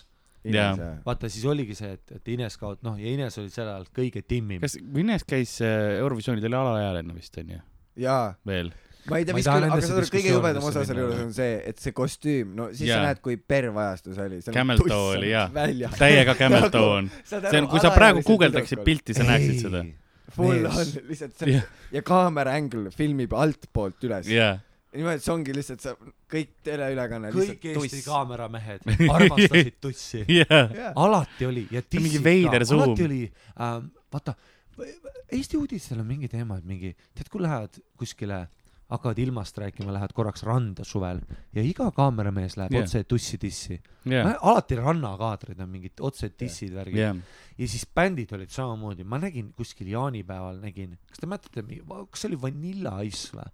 S5: Ines
S3: Jaa.
S5: jah .
S2: vaata , siis oligi see , et , et Ines kaot- , noh , ja Ines oli sel ajal kõige timmim .
S3: kas Ines käis äh, Eurovisioonil , ta oli alaealine vist onju ,
S5: jaa ,
S3: veel .
S5: ma ei tea ,
S2: Ma ei
S5: mis
S2: taha
S5: küll , aga
S2: nendesse
S5: saad aru , kõige
S2: diskussioonidesse
S5: jubedam osa selle
S2: minna,
S5: juures on see , et see kostüüm , no siis
S3: Jaa.
S5: sa näed , kui pervajastus oli . Nagu
S3: Camel toe oli, jaa. täiega camel toe on . see on , kui sa praegu guugeldaksid . pilti , sa näeksid seda .
S5: Full
S2: mees.
S5: on lihtsalt see
S3: Jah.
S5: ja kaamera angle filmib altpoolt üles .
S3: jaa .
S5: niimoodi , et see ongi lihtsalt sa , kõik teleülekanne
S2: kõik
S5: lihtsalt
S2: Eesti
S5: tuss .
S2: kaameramehed armastasid tussi .
S3: jaa .
S2: alati oli ja
S3: on mingi
S2: dissid
S3: veider
S2: ka ,
S3: suum.
S2: alati oli ähm, , vaata , Eesti uudistel on mingi teema , et mingi , tead , kui lähed kuskile , hakkavad ilmast rääkima , lähed korraks randa suvel ja iga kaameramees läheb
S3: Jah.
S2: yeah. otse tussi-tissi
S3: jaa .
S2: yeah. . alati rannakaadrid on mingid otse tissid yeah. värgid yeah.
S3: jaa .
S2: ja siis bändid olid samamoodi , ma nägin kuskil jaanipäeval nägin , kas te mäletate , kas see oli Vanilla Ice või ?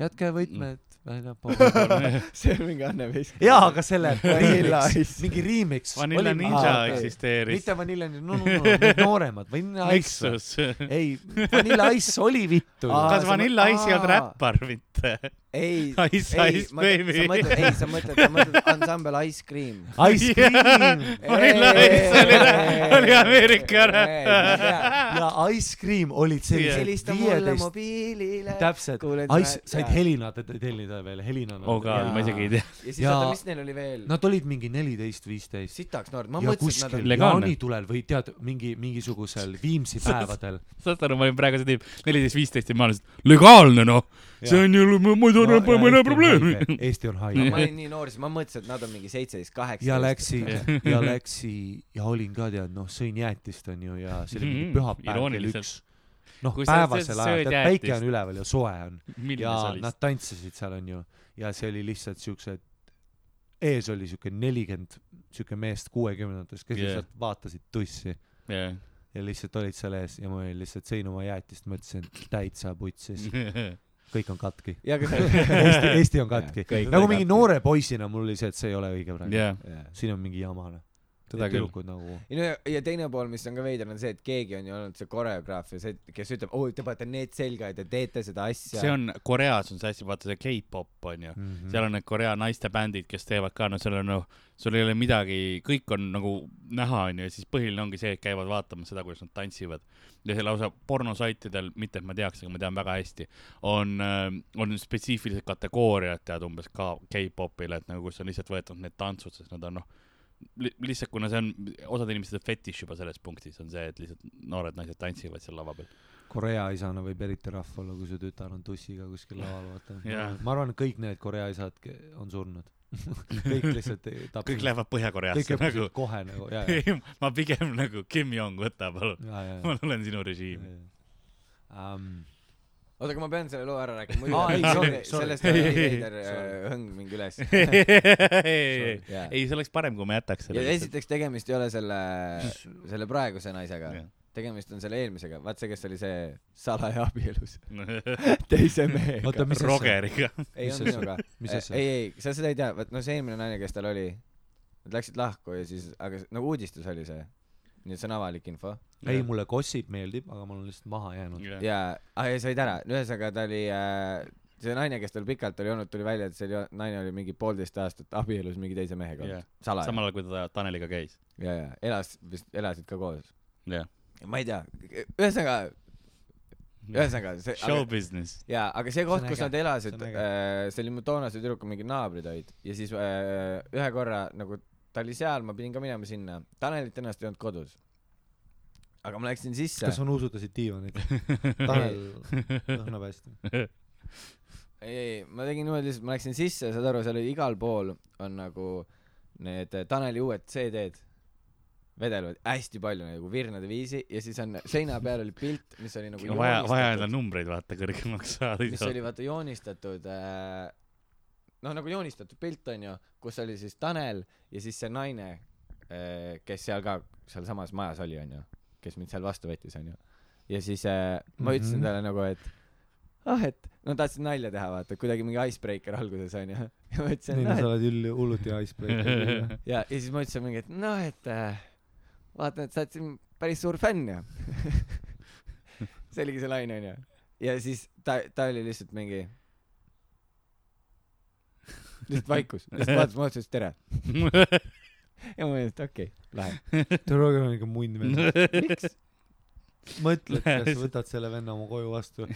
S2: jätke võtmed väljapoole .
S5: see on mingi Anne Vesk .
S2: jaa , aga selle
S5: Vanilla
S2: remix
S5: Ice. ,
S2: mingi remix .
S3: Vanilla Ninja
S5: aa, okei.
S3: eksisteeris .
S2: mitte Vanilla Ninja , no , no , no , need nooremad , Vanilla Ice .
S3: miksus .
S2: ei , Vanilla Ice oli vittu .
S5: Aa,
S3: kas
S5: see-
S3: Vanilla Ice ei olnud
S5: aa.
S3: räppar mitte ?
S5: ei ,
S3: Ice
S5: ei
S3: Ice , Baby.
S5: sa mõtled , ei , sa mõtled , sa mõtled ansambel Ice Cream .
S2: Ice Cream
S3: Vanilla Ice oli , oli Ameerika räppar .
S2: ja Ice Cream olid
S3: Jah.
S2: sellised
S5: helista mulle
S2: viieteist ,
S5: mobiilile .
S2: täpselt ,
S5: Kuulen
S2: Ice ,
S5: sina-
S2: said
S5: jaa.
S2: helina te- te- tellida veel , helina .
S3: oh god , ma isegi ei tea .
S5: ja siis
S2: Ja-
S5: oota , mis neil oli veel ?
S2: Nad olid mingi neliteist , viisteist
S5: sitaks noored , ma
S2: ja
S5: mõtlesin , et
S2: kuskil
S5: nad on .
S3: Legaalne.
S2: jaanitulel või tead , mingi , mingisugusel Viimsi päevadel .
S3: saad aru , ma olin praegu see tiim neliteist , viisteist ja ma olen lihtsalt legaalne noh , see on ju , ma ei tea , pole mõne probleemi .
S2: Eesti on
S5: Aga ma
S2: haige .
S5: olin nii noor , siis ma mõtlesin , et nad on mingi seitseteist , kaheksateist .
S2: ja läksi , ja läksi ja olin ka tead , noh , sõin jäätist onju ja see oli mingi
S3: Mhm,
S2: pühapäev kell
S3: irooniliselt.
S2: üks . noh ,
S3: Kui sa-
S2: päevasel
S3: sa
S2: ajal ,
S3: sööd
S2: tead päike
S3: jäätist.
S2: on üleval ja soe on
S3: milline
S2: ja
S3: sa olid ?
S2: nad tantsisid seal onju ja see oli lihtsalt siuksed , ees oli siuke nelikümmend siuke meest kuuekümnendates , kes
S3: Jah.
S2: lihtsalt vaatasid tussi
S3: jah .
S2: ja lihtsalt olid seal ees ja ma olin lihtsalt sõin oma jäätist , mõtlesin , et täitsa putsis ,
S3: Mhm.
S2: kõik on katki .
S5: ja aga
S2: Eesti , Eesti on katki .
S5: kõik
S2: nagu
S5: on
S2: mingi
S5: katki.
S2: noore poisina mul oli see , et see ei ole õige praegu .
S3: jah ,
S5: see .
S2: siin on mingi jama , noh .
S3: seda küll .
S2: tüdrukud nagu .
S5: ei no ja, ja teine pool , mis on ka veider , on see , et keegi on ju olnud see koreograaf ja see , kes ütleb , oo , te panete need selga ja te teete seda asja .
S3: see on , Koreas on see asi , vaata see K-pop on ju .
S2: Mhm.
S3: seal on need Korea naistebändid , kes teevad ka , no seal on noh , sul ei ole midagi , kõik on nagu näha , onju , ja siis põhiline ongi see , et käivad vaatamas seda , kuidas nad tantsivad . ja see lausa pornosaitidel , mitte et ma teaks , aga ma tean väga hästi , on , on spetsiifilised kategooriad , tead umbes ka K-popile , et nagu kus on lihtsalt võetud need tantsud , sest nad on noh , lihtsalt kuna see on , osad inimesed on fetiš juba selles punktis , on see , et lihtsalt noored naised tantsivad seal lava peal .
S2: Korea isana võib eriti rahva olla , kui su tütar on tussiga kuskil laval , vaata
S3: Jaa. .
S2: ma arvan , et kõik need Korea isad ke- on surnud . kõik lihtsalt ei- tapsid .
S3: kõik lähevad
S2: kõik
S3: Põhja-Koreasse
S2: õppisid
S3: nagu
S2: nagu... . kohe nagu , jaa , jaa ,
S3: ma pigem nagu Kim Jong , võta palun ,
S2: jaa , jaa ,
S3: ma olen sinu režiim .
S2: jaa . Um,
S5: oota , aga ma pean selle loo ära rääkima ,
S2: Aa, ei,
S5: muidu
S2: sorry,
S5: sellest-
S2: sorry.
S5: sellest on nii veider äh,
S2: Sorry.
S5: hõng mingi üles .
S3: ei ,
S5: ja
S3: see oleks parem , kui ma jätaks selle
S5: ja . esiteks tegemist ei ole selle , selle praeguse naisega
S3: Jah. .
S5: tegemist on selle eelmisega , vaat see , kes oli see salaja abielus teise mehega .
S2: oota , mis asja ,
S3: Rogeriga .
S5: ei
S2: Mis
S5: olnud
S2: asja?
S5: minuga .
S2: mis
S5: ei ,
S2: asja ?
S5: ei , sa seda ei tea , vot no see eelmine naine , kes tal oli , nad läksid lahku ja siis , aga s- nagu uudistus oli see , nii et see on avalik info
S2: ei , mulle gossip meeldib , aga ma olen lihtsalt maha jäänud .
S5: ja , aa ja said ära , ühesõnaga ta oli äh, , see naine , kes tal pikalt oli olnud , tuli välja , et see oli, naine oli mingi poolteist aastat abielus mingi teise mehega
S3: Jah.
S5: yeah. , salaja Samal...
S3: samal ajal , kui ta Taneliga käis .
S5: ja , ja elas vist , elasid ka koos .
S3: jah .
S5: ma ei tea , ühesõnaga , ühesõnaga see ,
S3: show business .
S5: jaa , aga see
S2: See
S5: koht
S2: on ,
S5: kus
S2: äge.
S5: nad elasid ,
S2: See on äge.
S5: äh, see oli mu toonase tüdruku mingi naabrid olid ja siis äh, ühe korra nagu ta oli seal , ma pidin ka minema sinna , Tanelit ennast ei olnud kodus . aga ma läksin sisse
S2: kas , sa nuusutasid diivanit ? Tanel lõhnab hästi .
S5: ei , ei , ma tegin niimoodi lihtsalt , ma läksin sisse , saad aru , seal oli igal pool on nagu need äh, Taneli uued CD-d vedelevad hästi palju nagu virnade viisi ja siis on seina peal oli pilt , mis oli nagu
S3: vaja , vaja enda
S5: joonistatud.
S3: numbreid vaata kõrgemaks
S5: mis oli
S3: saada .
S5: vaata joonistatud äh, noh nagu joonistatud pilt onju kus oli siis Tanel ja siis see naine äh, kes seal ka sealsamas majas oli onju kes mind seal vastu võttis onju ja siis äh, ma
S2: Mhm.
S5: ütlesin talle nagu et ah et no tahtsin nalja teha vaata kuidagi mingi icebreaker alguses onju ja ma ütlesin
S2: nii ,
S5: noh
S2: sa
S5: et
S2: oled üll- , hullult hea icebreaker .
S5: ja ja siis ma ütlesin mingi et noh et äh, vaatan et sa oled siin päris suur fänn ja see oligi see laine onju ja siis ta ta oli lihtsalt mingi lihtsalt vaikus lihtsalt vaatas mulle otsa ütles tere ja ma mõtlesin , et okei okay, , lähen .
S2: Joe Rogan on ikka mund veel . mõtled , kas
S3: Lähes.
S2: võtad selle venna oma koju vastu .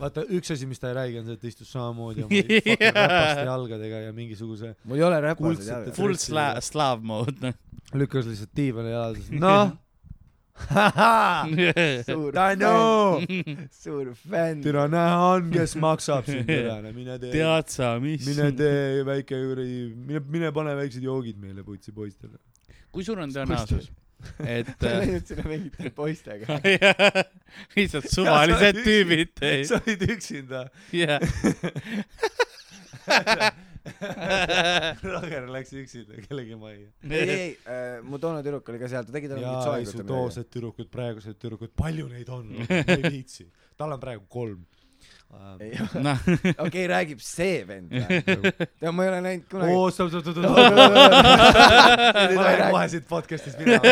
S2: vaata , üks asi , mis ta ei räägi , on see , et ta istus samamoodi oma fucking räpaste jalgadega ja mingisuguse ,
S5: mul ei ole räpased
S2: Kuldsete
S5: jalad .
S3: Full sla- , slav mode ,
S2: lükkas lihtsalt diivani jalad , noh ,
S3: noh .
S5: suur
S2: Tanu !
S5: fänn , suur fänn .
S2: türa näha on , kes maksab sind , türa , mine tee ,
S3: tead sa , mis ,
S2: mine tee väike kuradi , mine , mine pane väiksed joogid meile putsi poistele .
S3: kui suur on tõenäosus , et äh,
S5: sa lähed sinna mingite poistega .
S3: lihtsalt suvalised tüübid teid ,
S2: sa olid üksinda .
S3: jah .
S2: Roger läks üksinda kellegi majja .
S5: ei , ei , ei , mu toona tüdruk oli ka seal , ta tegi talle mingit
S2: jaa , ei su
S5: soengut
S2: toosed tüdrukud , praegused tüdrukud , palju neid on ? ei viitsi . tal on praegu kolm .
S5: midagi .
S3: noh ,
S5: okei , räägib see vend . tead , ma ei ole näinud kunagi .
S2: oo , stopp , stopp , stopp , stopp . ma lähen
S5: ma
S2: kohe siit podcast'ist minema .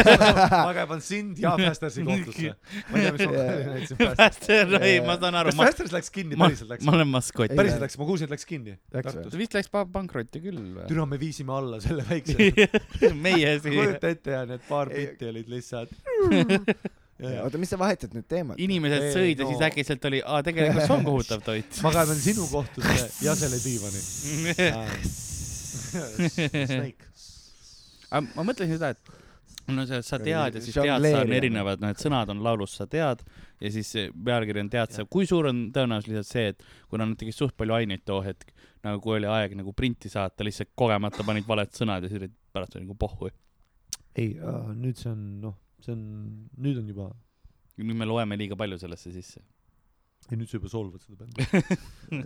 S2: ma kaeban sind ja Fästersi kohtusse . ma ei tea , mis ma välja näitasin Fästersi .
S3: ei , ma saan aru ,
S2: kas
S3: ma ,
S2: Fästers läks kinni ,
S3: ma
S2: päriselt , läks
S3: ma ? olen maskott .
S5: Ei,
S2: päriselt läks , ma kuulsin , et läks kinni .
S5: Läks või?
S2: Tartus .
S3: vist läks pa- pankrotti küll või ?
S2: türa , me viisime alla selle väikse .
S3: meie siin ,
S2: kujuta ette ja need paar
S5: Ei.
S2: bitti olid lihtsalt .
S5: oota , mis sa vahetad nüüd teemat ?
S3: inimesed
S2: Ei,
S3: sõid ja
S2: no.
S3: siis äkki sealt oli , aa , tegelikult see on kohutav toit .
S2: ma kaeban sinu kohtusse ja selle diivani . Snake .
S3: aga ma mõtlesin seda , et no see sa tead ja siis tead ,
S5: Žongleerida.
S3: sa on erinevad , noh , et sõnad on laulus sa tead ja siis see pealkiri on tead sa , kui suur on tõenäosus lihtsalt see , et kuna nad tegid suht palju aineid too hetk , nagu kui oli aeg nagu printi saata , lihtsalt kogemata panid valed sõnad ja siis olid pärast oli nagu pohhu .
S2: ei , nüüd see on , noh , see on , nüüd on juba ,
S3: nüüd me loeme liiga palju sellesse sisse .
S2: ei nüüd sa juba solvad seda bändi .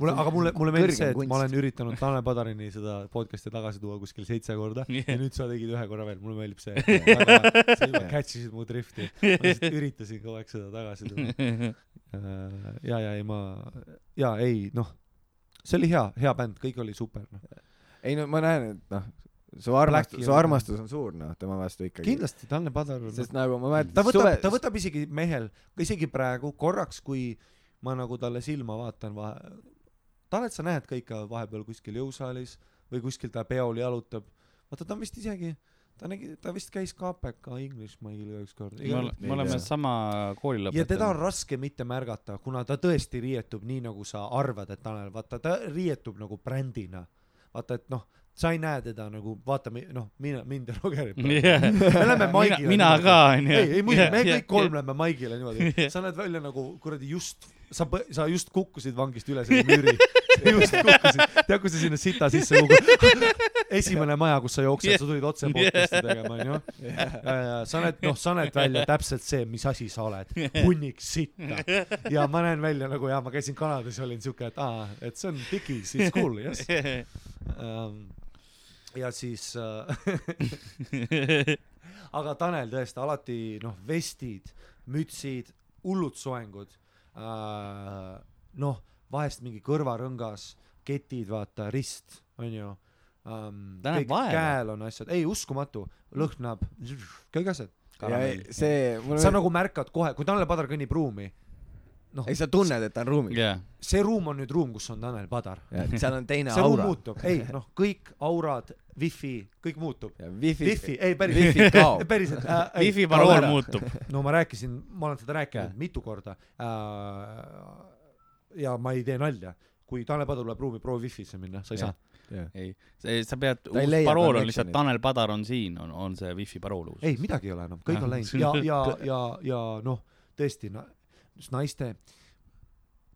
S2: mulle , aga mulle , mulle meeldis see ,
S5: Kõrgem
S2: et
S5: kunst.
S2: ma olen üritanud Tanel Padarini seda podcast'i tagasi tuua kuskil seitse korda ja nüüd sa tegid ühe korra veel , mulle meeldib see . sa juba catch isid mu drifti . ma lihtsalt üritasin kogu aeg seda tagasi tuua . Äh, ja , ja ei ma , ja ei noh , see oli hea , hea bänd , kõik oli super noh .
S5: ei no ma näen , et noh , su armastus ,
S2: Blacki
S5: su
S2: on-
S5: armastus on suur noh , tema vastu ikkagi .
S2: kindlasti Tanel Padar on
S5: sest nagu ma mäletan ,
S2: ta võtab , ta võtab isegi mehel , isegi praegu korraks , kui ma nagu talle silma vaatan vahe , Tanet sa näed ka ikka vahepeal kuskil jõusaalis või kuskil ta peol jalutab , vaata ta on vist isegi , ta nägi , ta vist käis KPK Inglismail ka ükskord .
S3: me oleme sama kooli
S2: ja teda on
S3: lõpetanud .
S2: raske mitte märgata , kuna ta tõesti riietub nii , nagu sa arvad , et Tanel , vaata ta riietub nagu brändina . vaata , et noh , sa ei näe teda nagu , vaata mi- noh , mina , mind ja Rogerit . me läheme
S3: mina
S2: Maigile .
S3: mina ka onju .
S2: ei , ei muidugi , me kõik kolm läheme Maigile niimoodi . sa näed välja nagu kuradi just , sa , sa just kukkusid vangist üle selle müüri . just kukkusid , tead , kui sa sinna sita sisse kukud . esimene maja , kus sa jooksed , sa tulid otse podcast'i tegema , onju . sa näed , noh , sa näed välja täpselt see , mis asi sa oled . hunnik sitta . ja ma näen välja nagu ja ma käisin Kanadas ja olin siuke , et aa , et see on digis , it's cool , yes . Ehm, ja siis äh, aga Tanel tõesti alati noh , vestid , mütsid , hullud soengud äh, . noh , vahest mingi kõrvarõngas , ketid , vaata , rist , onju um, .
S3: Ta näeb vaeva.
S2: käel on asjad , ei uskumatu , lõhnab , kõik asjad .
S5: võtab . see , mul
S2: sa
S5: on ,
S2: nagu märkad kohe , kui Tanel Padar kõnnib ruumi , noh ,
S5: ei sa tunned , et ta on ruumis .
S3: jah ,
S2: see ruum on nüüd ruum , kus on Tanel Padar .
S5: seal on teine
S2: see ruum
S5: aura .
S2: muutub , ei noh , kõik aurad , wifi , kõik muutub .
S5: Wifi,
S2: Wifi , ei päriselt
S5: Wifi , kaob .
S2: päriselt äh, .
S3: wifi parool muutub .
S2: no ma rääkisin , ma olen seda rääkinud mitu korda äh, . ja ma ei tee nalja , kui Tanel Padu läheb ruumi , proovi wifi'sse minna , sa ei
S5: Jah.
S2: saa .
S3: ei , sa pead ,
S5: ei
S3: uus
S5: leia
S3: parool on
S5: connection'it.
S3: lihtsalt Tanel Padar on siin , on , on see wifi parool uus .
S2: ei , midagi ei ole enam , kõik on läinud ja , ja , ja , ja noh , tõesti na, , naiste ,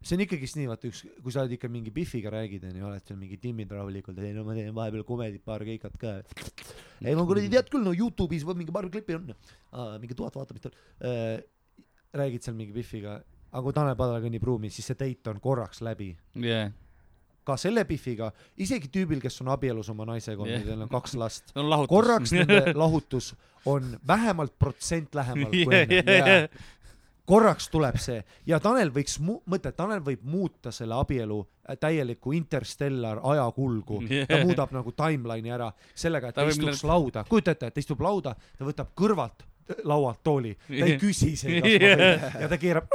S2: see on ikkagist nii , vaata üks , kui sa oled ikka mingi Biffiga räägid , onju , oled seal mingi timmid rahulikult , ei no ma teen vahepeal komedit , paar keikat ka . ei ma kuradi tead küll , no Youtube'is või mingi paar klippi on , mingi tuhat vaatamist on . räägid seal mingi Biffiga , aga kui Tanel Padar kõnnib ruumi , siis see date on korraks läbi
S3: jah ,
S2: ka selle Biffiga , isegi tüübil , kes on abielus oma naisega olnud yeah. ,
S3: Jah.
S2: neil on kaks last ,
S3: see on lahutus .
S2: korraks nende lahutus on vähemalt protsent lähemal kui
S3: Jah, jah,
S2: enne .
S3: jah.
S2: korraks tuleb see ja Tanel võiks mu- , mõtle , Tanel võib muuta selle abielu äh, täieliku interstellar ajakulgu , ta
S3: Jah.
S2: muudab nagu timeline'i ära sellega , et
S3: Ta
S2: ta
S3: võib
S2: istuks
S3: millal-
S2: lauda , kujuta ette , ta istub lauda , ta võtab kõrvalt laualt tooli , ta ei
S3: Jah.
S2: küsi seda , kas ma võin ja ta keerab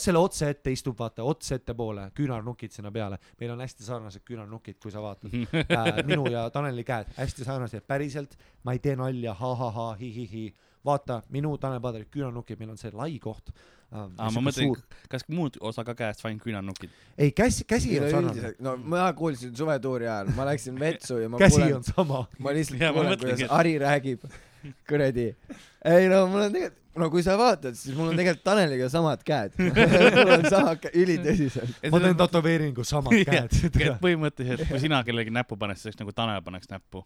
S2: selle otse ette istub , vaata , otse ettepoole , küünarnukid sinna peale . meil on hästi sarnased küünarnukid , kui sa vaatad äh, . minu ja Taneli käed , hästi sarnased , päriselt . ma ei tee nalja ha, , ha-ha-ha , hi-hi-hi . vaata , minu Tanel Padari küünarnukid , meil on see lai koht äh, .
S3: aa , ma mõtlen ,. kas muud osa ka käest , vaid küünarnukid .
S2: ei , käsi , käsi on sarnane .
S5: üleüldiselt , no ma kuulsin suvetuuri ajal , ma läksin vetsu ja ma
S2: käsi
S5: kuulen
S2: on , sama .
S5: ma lihtsalt
S3: Jaa, ma
S5: kuulen ,
S3: mõtlengi,
S5: kuidas
S3: et-
S5: Ari räägib , kuradi . ei no mul on tegelikult , no kui sa vaatad , siis mul on tegelikult Taneliga samad käed . mul on samad käed , ülitõsiselt .
S2: ma teen tätoveeringu , samad käed .
S3: nagu põhimõtteliselt , kui sina kellegi näppu paned , siis oleks nagu Tanel paneks näppu .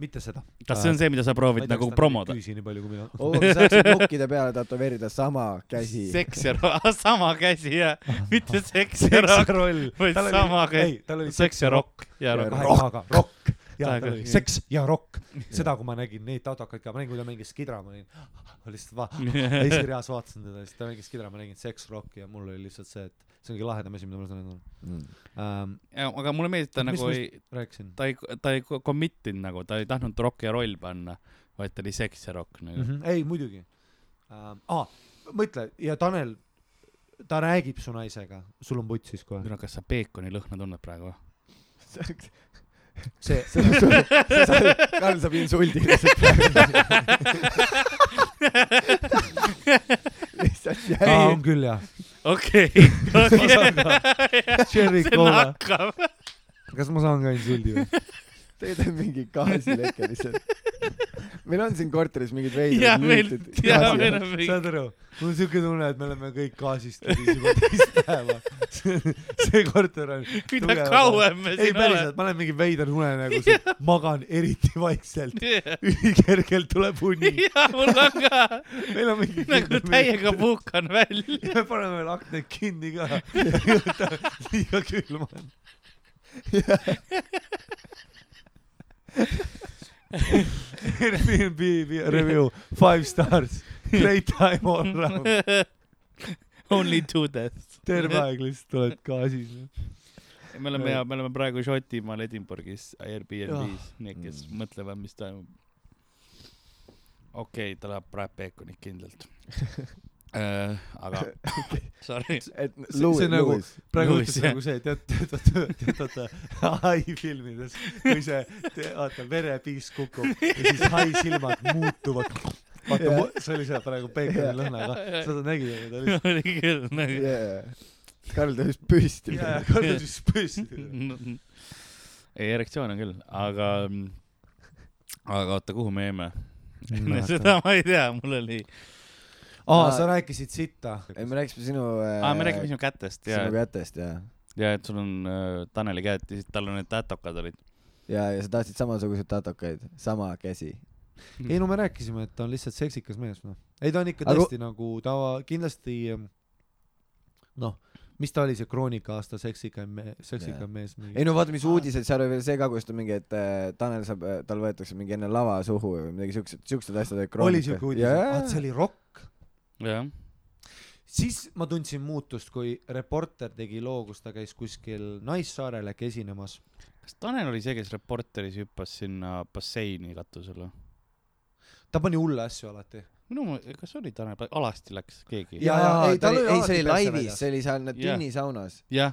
S2: mitte seda .
S3: kas
S2: Äh,
S3: see on see , mida sa proovid nagu promoda ? Oh,
S2: küüsi nii palju kui mina .
S5: oo , sa saaksid nukkide peale tätoveerida sama käsi .
S3: seks ja rock , sama käsi ja mitte seks ja rock ,
S2: seksroll .
S3: vaid sama käsi .
S2: ei , tal oli
S3: seks ja rock ja
S5: rock.
S3: rock .
S2: kahe K-ga , rokk . ja
S3: Kahe K-ga.
S2: seks ja rokk . seda , kui ma nägin neid tadakaid ka , ma nägin , kui ta mängis kidra , ma olin lihtsalt va- , Eesti reas vaatasin teda , siis ta mängis kidra , ma nägin seks , rokk ja mul oli lihtsalt see , et see on kõige lahedam asi , mida ma olen näinud
S5: Mm.
S2: ähm, .
S3: aga mulle meeldib , ta
S2: Mis-
S3: nagu
S2: mis-
S3: ei ,
S2: rääkisin
S3: ta ei , ta ei ko- commit inud nagu , ta ei tahtnud rock ja roll panna , vaid ta oli seks ja rock
S2: mm .
S3: nagu .
S2: -hmm. ei , muidugi ähm, . aa , mõtle ja Tanel , ta räägib su naisega , sul on putsis kohe .
S3: kuule , kas sa peekoni lõhna tunned praegu või ?
S2: see ,
S5: Karl saab insuldi lihtsalt . lihtsalt
S2: aa
S5: jäi
S2: on . küll jah .
S3: okei ,
S2: Cherry
S3: see on
S2: Cola ,
S3: nakkav .
S2: kas ma saan ka insuldi või ?
S5: teed mingi gaasileke lihtsalt . meil on siin korteris mingid
S3: ja meil
S5: veidrad ,
S3: ja meil on mingi ,
S2: saad aru , mul on siuke tunne , et me oleme kõik gaasist tüdis juba teist päeva . see korter on .
S3: mida kauem me
S2: ei
S3: siin oleme
S2: päriselt ,. ma olen mingi veider unenägu siin , magan eriti vaikselt ,
S3: jaa ,
S2: ülikergelt tuleb uni .
S3: mul on ka
S2: meil on mingi
S3: nagu täiega puukan välja .
S2: ja me paneme veel aknaid kinni ka . liiga külm on . Airbnb review , five stars , great time all round .
S3: Only two deaths .
S2: terve aeg lihtsalt oled gaasis .
S3: me oleme ja me oleme praegu Šotimaal Edinburgh'is
S2: Ah.
S3: Airbnb's , nii et kes
S5: Mm.
S3: mõtlevad , mis toimub . okei okay, , ta läheb praegu peekonit kindlalt äh, . aga sorry ,
S5: et
S2: see
S5: Louis ,
S2: nagu-
S5: Louis .
S2: praegu
S3: Louis,
S2: ütles
S3: jah.
S2: nagu see , tead , tead , tead , tead , tead , hai filmides , kui see , vaata , verepiisk kukub ja siis hai silmad muutuvad . vaata
S5: Jah.
S2: yeah. , see oli see praegu peekoni lõhnaga , seda nägid , aga ta oli
S3: oli küll nagu
S5: Karl tõusis püsti .
S2: ja , ja kord on siis püsti .
S3: ei , erektsioon on küll , aga , aga oota , kuhu me jäime ?
S2: Mäleta.
S3: seda ma ei tea , mul oli ,
S2: aa , sa rääkisid sitta .
S5: ei , Ah, me rääkisime sinu .
S3: aa , ah, me räägime sinu kätest ja
S5: sinu , kätest ja ,
S3: ja et sul on äh, Taneli käed ja siis tal on need tätokad olid .
S5: ja , ja sa tahtsid samasuguseid tatokaid , sama käsi .
S2: ei no me rääkisime , et ta on lihtsalt seksikas mees , noh . ei , ta on ikka
S5: Aga-
S2: tõesti aga... nagu ta kindlasti ähm, noh , mis ta oli , see Kroonika aasta seksikam me- , seksikam
S5: Jaa.
S2: yeah. mees mingi
S5: ei . no vaata , mis uudised , seal oli veel see ka , kus ta mingi , et äh, Tanel saab , tal võetakse mingi enne lava suhu või midagi siukseid , siuksed asjad .
S2: oli siuke uudis , vaat see
S5: jaa ,
S2: oli rokk .
S3: jah ,
S2: siis ma tundsin muutust , kui reporter tegi loo , kus ta käis kuskil Naissaarel äkki esinemas .
S3: kas Tanel oli see , kes Reporteris hüppas sinna basseini katusele ?
S2: ta pani hulle asju alati .
S3: minu meelest , kas oli Tanel , alasti läks keegi ?
S2: Jaa,
S5: jaa ,
S2: jaa,
S5: ei
S2: tal
S5: tal oli ,
S2: oli
S5: ei see
S2: alati
S5: oli
S2: perse
S5: laivis
S2: väljas. ,
S5: see oli seal nad
S3: Jah.
S5: tünnisaunas .
S3: jah ,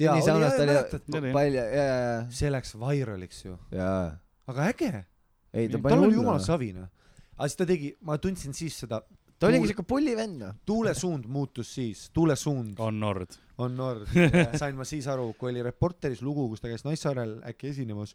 S5: tünnisaunas ta oli
S3: oli-
S5: palja , jaa , jaa ,
S2: see läks vairaliks ju ,
S5: jaa , jaa .
S2: aga äge
S5: ei , ta
S2: tal
S5: pani
S2: oli jumala
S5: hullu .
S2: savine . aga siis ta tegi , ma tundsin siis seda ,
S5: ta
S2: tuul-
S5: oligi siuke pullivenn , noh .
S2: tuulesuund muutus siis , tuulesuund
S3: on Nord .
S2: on nord , sain ma siis aru , kui oli Reporteris lugu , kus ta käis Naissaarel äkki esinemas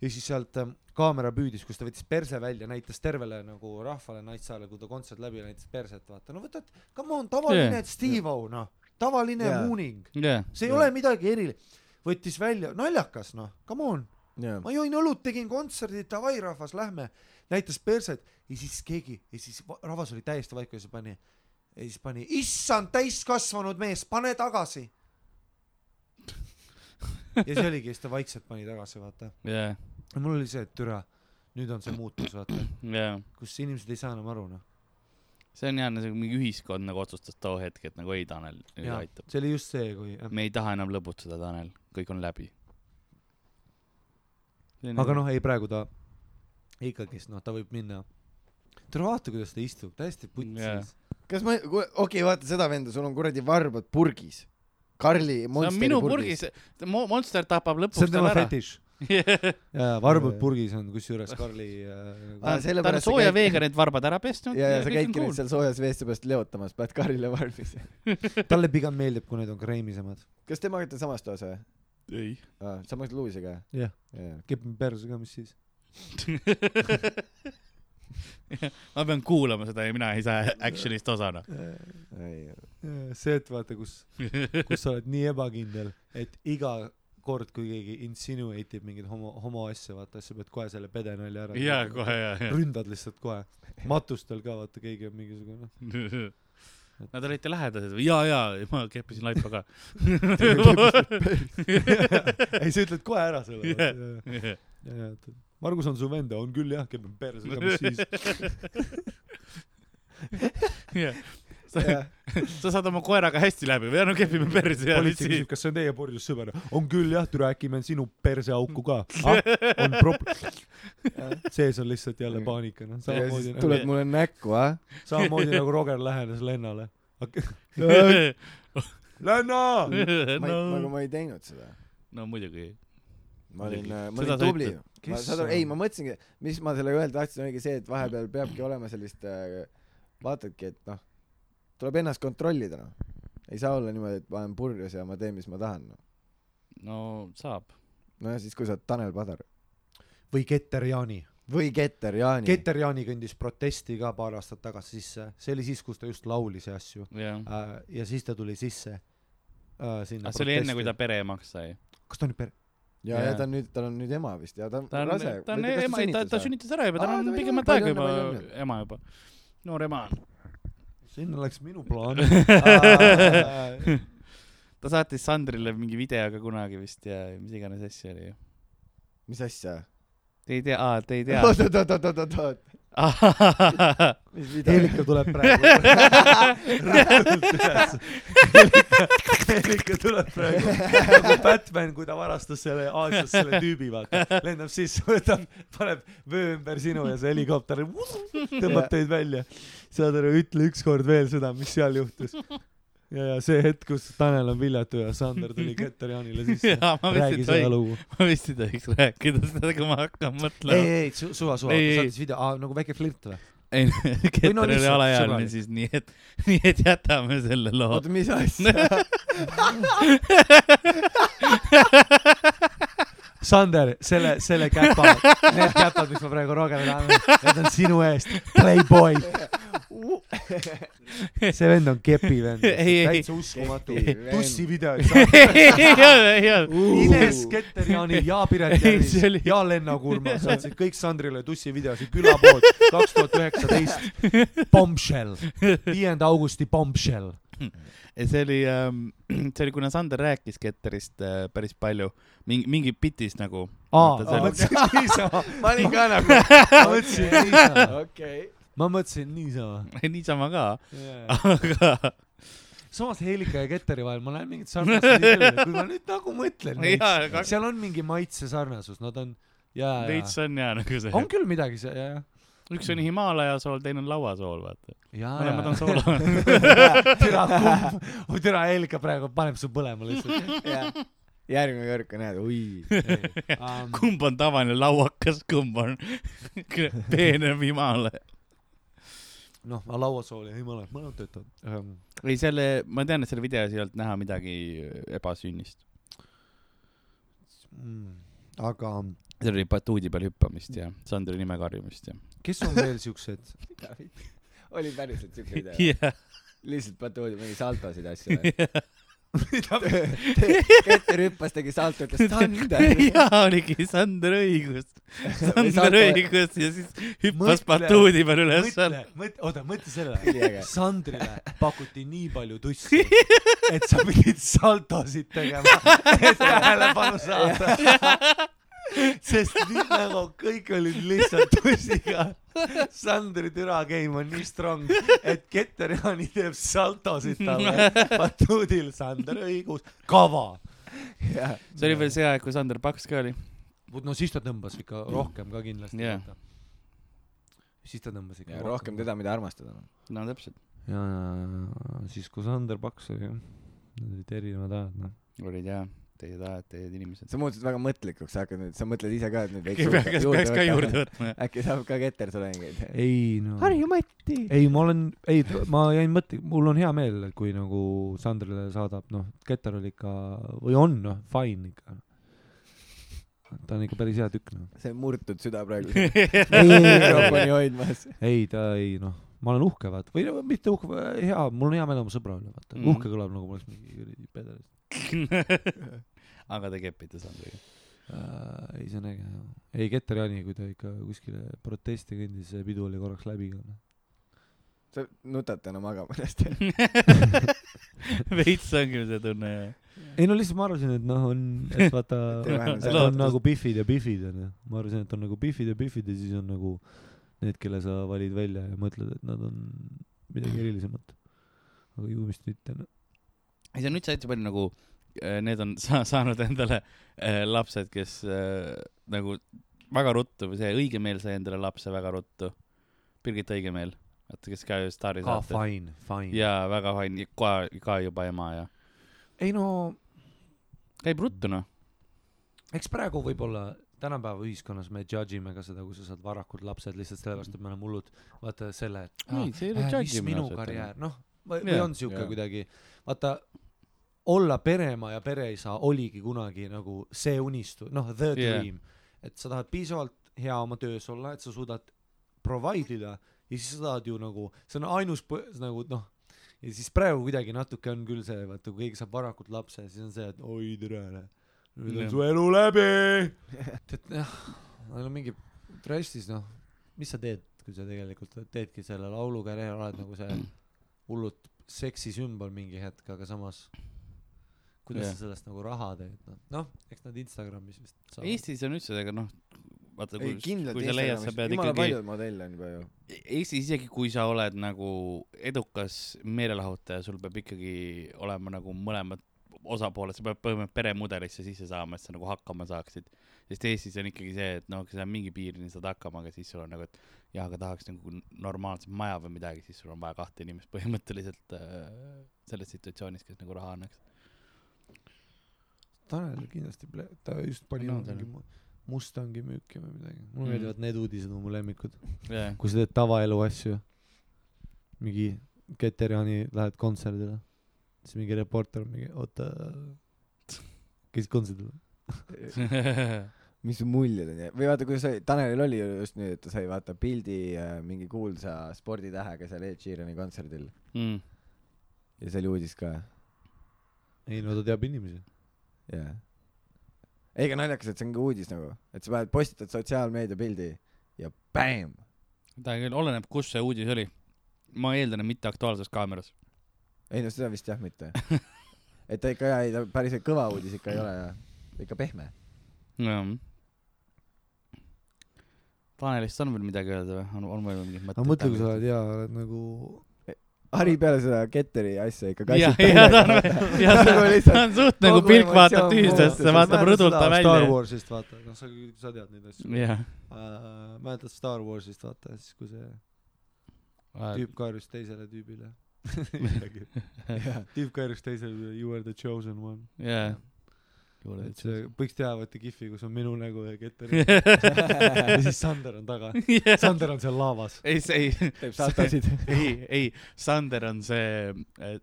S2: ja siis sealt ähm, kaamera püüdis , kus ta võttis perse välja , näitas tervele nagu rahvale Naissaarel , kui ta kontsert läbi oli, näitas perset , vaata , no võtad , come on , tavaline
S3: Jaa.
S2: yeah. Steve-O , noh , tavaline
S5: Jaa.
S2: yeah. muuning ,
S3: jah ,
S2: see ei
S5: Jaa.
S2: yeah. ole midagi erilist , võttis välja , naljakas , noh , come on
S5: jaa
S2: ma jõin õlut , tegin kontserdi , davai rahvas , lähme , näitas perset ja siis keegi ja siis va- rahvas oli täiesti vaik ja siis pani , ja siis pani , issand täiskasvanud mees , pane tagasi . ja siis oligi , siis ta vaikselt pani tagasi , vaata .
S3: jah ,
S2: mul oli see , et türa , nüüd on see muutus , vaata ,
S3: jah .
S2: kus inimesed ei saa enam aru , noh .
S3: see on jah , nagu mingi ühiskond nagu otsustas too hetk , et nagu ei , Tanel , nüüd
S2: Jaa.
S3: aitab .
S2: see oli just see , kui ,
S3: me ei taha enam lõbutseda , Tanel , kõik on läbi .
S2: aga . noh , ei praegu ta ikkagist , noh , ta võib minna . tule vaata , kuidas ta istub , täiesti putsis
S3: Jaa.
S2: yeah. .
S5: kas ma , okei okay, , vaata seda venda , sul on kuradi varbad purgis . Karli
S3: see on
S5: Monsteri
S3: minu
S5: purgis .
S3: purgis , Monster tapab
S2: see
S3: lõpuks
S2: on
S3: tal
S2: tema
S3: ära .
S2: fetiš . jaa , varbad purgis on kusjuures Karli
S3: ta
S2: äh,
S5: Aa,
S3: on- ta on
S5: sellepärast sa
S3: sooja
S5: käid-
S3: veega need varbad ära pesnud
S5: ja , ja sa
S3: kõik on
S5: käidki
S3: cool.
S5: nüüd seal soojas vees seepärast leotamas , paned Karlile varbis .
S2: talle pigem meeldib , kui need on kreemisemad .
S5: kas temaga olete samas toas või ? Ah,
S3: ei .
S5: aa , samas luusiga
S2: jah ,
S5: või ?
S2: kipime perse ka , mis siis .
S3: ma pean kuulama seda ja mina ei saa action'ist osana .
S5: ei ,
S2: Äh, see , et vaata , kus , kus sa oled nii ebakindel , et iga kord , kui keegi insinuate ib mingeid homo , homoasju , vaata , siis sa pead kohe selle pedenalja ära
S3: ja kohe ja , ja .
S2: ründad lihtsalt kohe . matustel ka , vaata , keegi on mingisugune .
S3: Nad olite lähedased või ? ja , ja , ma keppisin laipa ka .
S2: ei , sa ütled kohe ära selle
S3: Jah.
S2: yeah. . jaa , et Margus on su vend , on küll jah , käime perse ka , mis siis .
S3: sa sa saad oma koeraga hästi läbi või ? no kepime perse ja
S2: politsei
S3: siis
S2: küsib ,. kas see on teie purjus sõber ? on küll jah , türa , äkki meil sinu perseauku ka ah, . on prop- , sees on lihtsalt jälle paanika , noh , samamoodi nagu ,
S5: tuled mulle näkku , ah ?
S2: samamoodi nagu Roger lähenes Lennale .
S5: Lenna ! ma ei ,
S3: no,
S5: nagu ma ei teinud seda .
S3: no muidugi .
S5: ma olin , ma
S3: Seda
S5: olin
S3: sa
S5: tubli
S3: ütled. .
S5: ma
S2: Kes
S5: saad aru ,
S2: sa-
S5: ei , ma mõtlesingi , mis ma sellega öelda tahtsin , oligi see , et vahepeal peabki olema sellist , vaatadki , et noh , tuleb ennast kontrollida , noh . ei saa olla niimoodi , et ma olen purjus ja ma teen , mis ma tahan , noh .
S3: no saab .
S5: nojah , siis kui sa oled Tanel Padar
S2: või Keter Jaani .
S5: või Keter Jaani .
S2: Keter Jaani kõndis protesti ka paar aastat tagasi sisse , see oli siis , kus ta just laulis ja asju .
S3: jah .
S2: ja siis ta tuli sisse äh, sinna
S3: aga see oli enne , kui ta . pereemaks sai .
S2: kas ta on nüüd per- ?
S5: ja , ja
S3: jaa.
S5: ta on nüüd , tal on nüüd ema vist ja ta on
S3: ta on ,
S5: rase .
S3: ta on ema , ta , ta . sünnitas ära juba ,
S5: Aa,
S3: tal
S5: ta
S3: on
S5: veel
S3: pikemat
S5: on,
S3: aega
S5: palju
S3: juba
S5: õnne, palju õnne.
S3: ema juba . noor ema on .
S2: sinna läks minu plaan . Äh,
S3: ta saatis Sandrile mingi videoga kunagi vist ja mis iganes asja oli ju .
S5: mis asja ?
S3: Te ei tea , aa , te ei tea .
S5: oot , oot , oot , oot , oot , oot . mis video ?
S2: Helika tuleb praegu . Helika tuleb praegu nagu Batman , kui ta varastas selle Aasias selle tüübi , vaata , lendab sisse , võtab , paneb vöö ümber sinu ja see helikopter tõmbab teid välja . saad aru , ütle ükskord veel seda , mis seal juhtus . ja , ja see hetk , kus Tanel on viljetu ja Sander tuli Keter Jaanile sisse .
S3: jaa , ma vist
S2: räägi
S3: ei
S2: seda
S3: tohiks ,
S2: lugu .
S3: ma vist ei tohiks rääkida seda , kui ma hakkan
S2: ei ,
S3: mõtlema .
S2: ei , ei , suva , suva ,
S3: Ei, ei,
S2: sa
S3: ei.
S2: ütlesid video , nagu väike flirt või ?
S3: ei , Keter
S2: no
S3: oli
S2: lihtsalt
S3: alaealine
S2: sõbralik.
S3: siis , nii et , nii et jätame selle loo .
S5: oota , mis asja ?
S2: Sander , selle , selle käpa , need käpad , mis ma praegu Rogerile annan , need on sinu eest , playboy . see vend on kepi vend ,
S3: Ei, ei,
S2: täitsa uskumatu
S5: Kepi vend. .
S2: tussivideoid ,
S3: ei olnud , ei olnud .
S2: Ines Ketterjani ja Piret
S3: Ei,
S2: Järvis
S3: see oli-
S2: ja Lenna Kurma saatsid kõik Sandrile tussivideosid külapood kaks tuhat üheksateist . Bombshell , viienda augusti Bombshell .
S3: see oli ähm, , see oli , kuna Sander rääkis Keterist äh, päris palju , mingi , mingi bitis nagu .
S2: aa ,
S3: Vaata,
S2: ma
S3: see-
S2: mõtlesin niisama ,
S5: ma olin ka nagu ,
S2: ma mõtlesin niisama ,
S5: okei .
S2: ma mõtlesin niisama .
S3: niisama ka ,
S2: jaa.
S3: aga
S2: samas Helika ja Keteri vahel ma näen mingit sarnasust nii palju , kui ma nüüd nagu mõtlen
S3: jaa ,
S2: veits ,
S3: aga
S2: seal on mingi maitse sarnasus , nad on ja ,
S3: veits
S2: ja
S3: on jaa nagu see
S2: on . küll midagi see ja ,
S3: üks on Himaalaja sool , teine on lauasool , vaata .
S2: ja ,
S3: mõlemad
S2: ja
S3: on . soolad .
S2: türa kumb , türa Helika praegu paneb su põlema lihtsalt .
S5: järgmine kord , kui näed , oi .
S3: kumb on tavaline lauakas , kumb on peenem Himaalaja ?
S2: noh , ma lauasooli ei mõle , mõlemad töötavad . Ehm,
S3: ei , selle , ma tean , et selle videos ei olnud näha midagi ebasünnist .
S2: mm, aga
S3: seal oli batuudi peal hüppamist ja Sandri nime karjumist ja .
S2: kes on veel siuksed ,
S5: oli päriselt siuke video .
S3: jah ,
S5: lihtsalt patuudi mingi saltosid asju . Peeter hüppas , tegi salto , ütles Sander .
S3: oligi Sander õigus . Sander
S5: Sander-
S3: õigus ja siis hüppas
S2: Mõtle-
S3: batuudi peal
S2: mõtle
S3: üles .,
S2: mõtle , oota , mõtle sellele .
S5: üliäge .
S2: Sandrile pakuti nii palju tussi , et sa pidid saltosid tegema , et tähelepanu saada . sest nii nagu kõik olid lihtsalt tussiga . Sandri türa game on nii strong , et Keter Jaani teeb saltosid talle . batuudil Sander õigus , kava .
S3: see oli veel see aeg , kui Sander paks ka oli .
S2: no siis ta tõmbas ikka rohkem ka kindlasti
S3: Jah. .
S2: siis ta tõmbas ikka
S5: ja rohkem . teda , mida armastada . noh.
S3: no täpselt .
S2: ja siis kui Sander Paks oli jah , need olid erinevad ajad noh .
S3: olid jah , teised ajad , teised inimesed .
S5: sa muutusid väga mõtlikuks , sa hakkad nüüd , sa mõtled ise ka , et nüüd
S3: äkki peaks , peaks ka juurde . võtma jah .
S5: äkki saab ka ketertudengeid .
S2: ei no ,
S5: Mati .
S2: ei ma olen , ei ma jäin mõtte , mul on hea meel , kui nagu Sandrile saadab noh , Keter oli ikka või on noh , fine ikka . ta on ikka päris hea tükk noh .
S5: see on murtud süda praegu .
S2: mikrofoni
S5: mikrofoni hoidmas .
S2: ei , ta ei noh , ma olen uhke vaata , või no mitte uhke , hea , mul on hea meel oma sõbra üle vaata mm ,
S3: Mhm.
S2: -hmm. uhke kõlab nagu ma oleks mingi kuradi peder
S3: aga te kepite Sandriga .
S2: äh, . ei , see on äge jah . ei , Keter Jaani , kui ta ikka kuskile protesti kõndis , see pidu oli korraks läbi ka noh .
S5: sa nutad täna magama ennast .
S3: veits on küll see tunne jah .
S2: ei no lihtsalt ma arvasin , et noh , on , et vaata
S5: Et ei vähene
S2: et
S3: lootust.
S2: on nagu Biffid ja Biffid onju . ma arvasin , et on nagu Biffid ja Biffid ja siis on nagu need , kelle sa valid välja ja mõtled , et nad on midagi erilisemat . aga ju vist mitte noh .
S3: ei see on üldse hästi palju nagu , need on sa- saanud endale äh, lapsed , kes äh, nagu väga ruttu või see õigemeel sai endale lapse väga ruttu . Birgit Õigemeel , vaata kes ka ju staari
S2: ka
S3: saates .
S2: fine , fine .
S3: jaa , väga fine , ka , ka juba ema ja .
S2: ei no
S3: käib ruttu noh .
S2: eks praegu võib-olla tänapäeva ühiskonnas me judge ime ka seda , kui sa saad varakult lapsed lihtsalt sellepärast , et me oleme hullud , vaata selle , et ah,
S3: Ei, see ei
S2: äh,
S3: ole
S2: mis
S3: judgimine
S2: minu
S3: ausalt
S2: karjäär , noh , või või
S3: Jaa.
S2: on siuke
S5: Jaa.
S2: kuidagi , vaata , olla pereema ja pereisa oligi kunagi nagu see unistu- , noh , the
S3: Jaa.
S2: dream yeah. , et sa tahad piisavalt hea oma töös olla , et sa suudad provide ida ja siis sa tahad ju nagu , see on ainus põ- nagu noh , ja siis praegu kuidagi natuke on küll see , vaata kui keegi saab varakult lapse , siis on see , et oi tere , nüüd
S3: Jah.
S2: on su elu läbi . et jah , no mingi trassis noh , mis sa teed , kui sa tegelikult teedki selle laulukarjääri , oled nagu see hullult seksisümbol mingi hetk , aga samas kuidas
S3: Jah.
S2: yeah. sa sellest nagu raha teed , noh , noh , eks nad Instagramis vist saavad .
S3: Eestis on üldse , aga noh , vaata
S5: ei
S3: kui ,
S5: kindlalt
S3: kui sa leiad , sa pead
S5: jumala
S3: ikkagi ,
S5: paljud modelle on juba ju .
S3: Eestis isegi kui sa oled nagu edukas meelelahutaja , sul peab ikkagi olema nagu mõlemad osapooled , sa pead põhimõtteliselt peremudelisse sisse saama , et sa nagu hakkama saaksid . sest Eestis on ikkagi see , et noh , kui sa mingi piirini saad hakkama , aga siis sul on nagu , et jah , aga tahaks nagu normaalset maja või midagi , siis sul on vaja kahte inimest põhimõtteliselt äh, selles situatsioonis , kes nagu raha annaks .
S2: Tanel kindlasti , ta just
S3: No,
S2: oma
S3: Tanel.
S2: mu- Mustangi müüki või midagi , Mm.
S3: Mhm.
S2: mulle meeldivad need uudised , on mu lemmikud .
S3: jah ,
S2: kui sa teed tavaelu asju , mingi Keterjani lähed kontserdile , siis mingi reporter on mingi , oota , käisid kontserdil ?
S5: mis su muljed on ja , või vaata , kui sa , Tanelil oli ju just nüüd , et ta sai vaata pildi äh, mingi kuulsa sporditähega seal Ed Sheerani kontserdil
S3: mm.
S5: ja see oli uudis ka ,
S2: ei no ta teab inimesi .
S5: jah . ei , aga naljakas , et see on ka uudis nagu , et sa paned , postitad sotsiaalmeedia pildi ja bäm ,
S3: ta küll oleneb , kus see uudis oli . ma eeldan , et mitte Aktuaalses Kaameras .
S5: ei no seda vist jah mitte . et ta ikka jaa , ei ta päris kõva uudis ikka ei ole ja ikka pehme .
S3: jah . Tanelist on veel midagi öelda või , on , on veel mingid mõtted ?
S2: aga mõtle , kui sa oled hea , oled nagu
S5: hari peale seda Ketteri asja ikka
S3: jah ,
S5: kassid
S3: ja ta on
S5: täiega. ,
S3: ja ta
S5: Nagu
S3: on ,
S5: lihtsalt
S3: ta on suht nagu
S5: kogu
S3: pilk vaatab
S5: emotsioon
S3: tühisesse ,
S5: muutus.
S3: vaatab
S2: mäletad
S3: rõdult ta
S2: seda
S3: välja
S2: Star . Warsist vaata , noh sa , sa tead neid asju .
S3: jah .
S2: mäletad Star Warsist vaata , siis kui see tüüp karjus teisele tüübile tüüp karjus teisele , you are the chosen one .
S3: jah .
S2: et see , võiks teha vaata kihvi , kus on minu nägu ja Keteri ja siis Sander on taga . Sander on seal laavas .
S3: ei , see ei ,
S5: teeb satasid .
S3: ei , ei , Sander on see äh,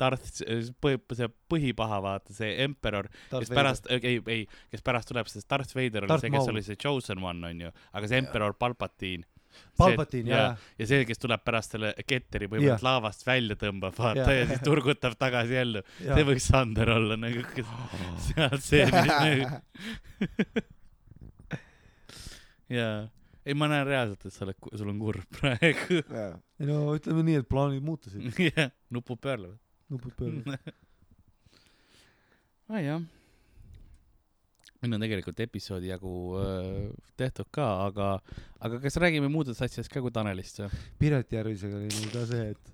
S3: Darth , see põhipaha , vaata , see emperor , kes pärast , ei , ei , kes pärast tuleb , sest Darth Vader oli
S2: Darth
S3: see , kes
S2: Maul.
S3: oli see Chosen One , onju , aga see emperor Palpatine .
S2: Palpatine , jaa .,
S3: ja see , kes tuleb pärast selle Ketteri põhimõtteliselt laevast välja tõmbab , vaata ,
S2: Jaa.
S3: ja siis turgutab tagasi ellu . see
S2: jaa .
S3: võiks Sander olla nagu , kes seal stseenis . jaa , ei , ma näen reaalselt , et sa oled , sul on kurb praegu .
S2: ei no ütleme nii , et plaanid muutusid ,
S3: jah , nupud pöörlevad .
S2: nupud pöördusid .
S3: nojah . meil on tegelikult episoodi jagu öö, tehtud ka , aga , aga kas räägime muudest asjadest ka kui Tanelist või ?
S2: Piret Järvisega oli mul ka see , et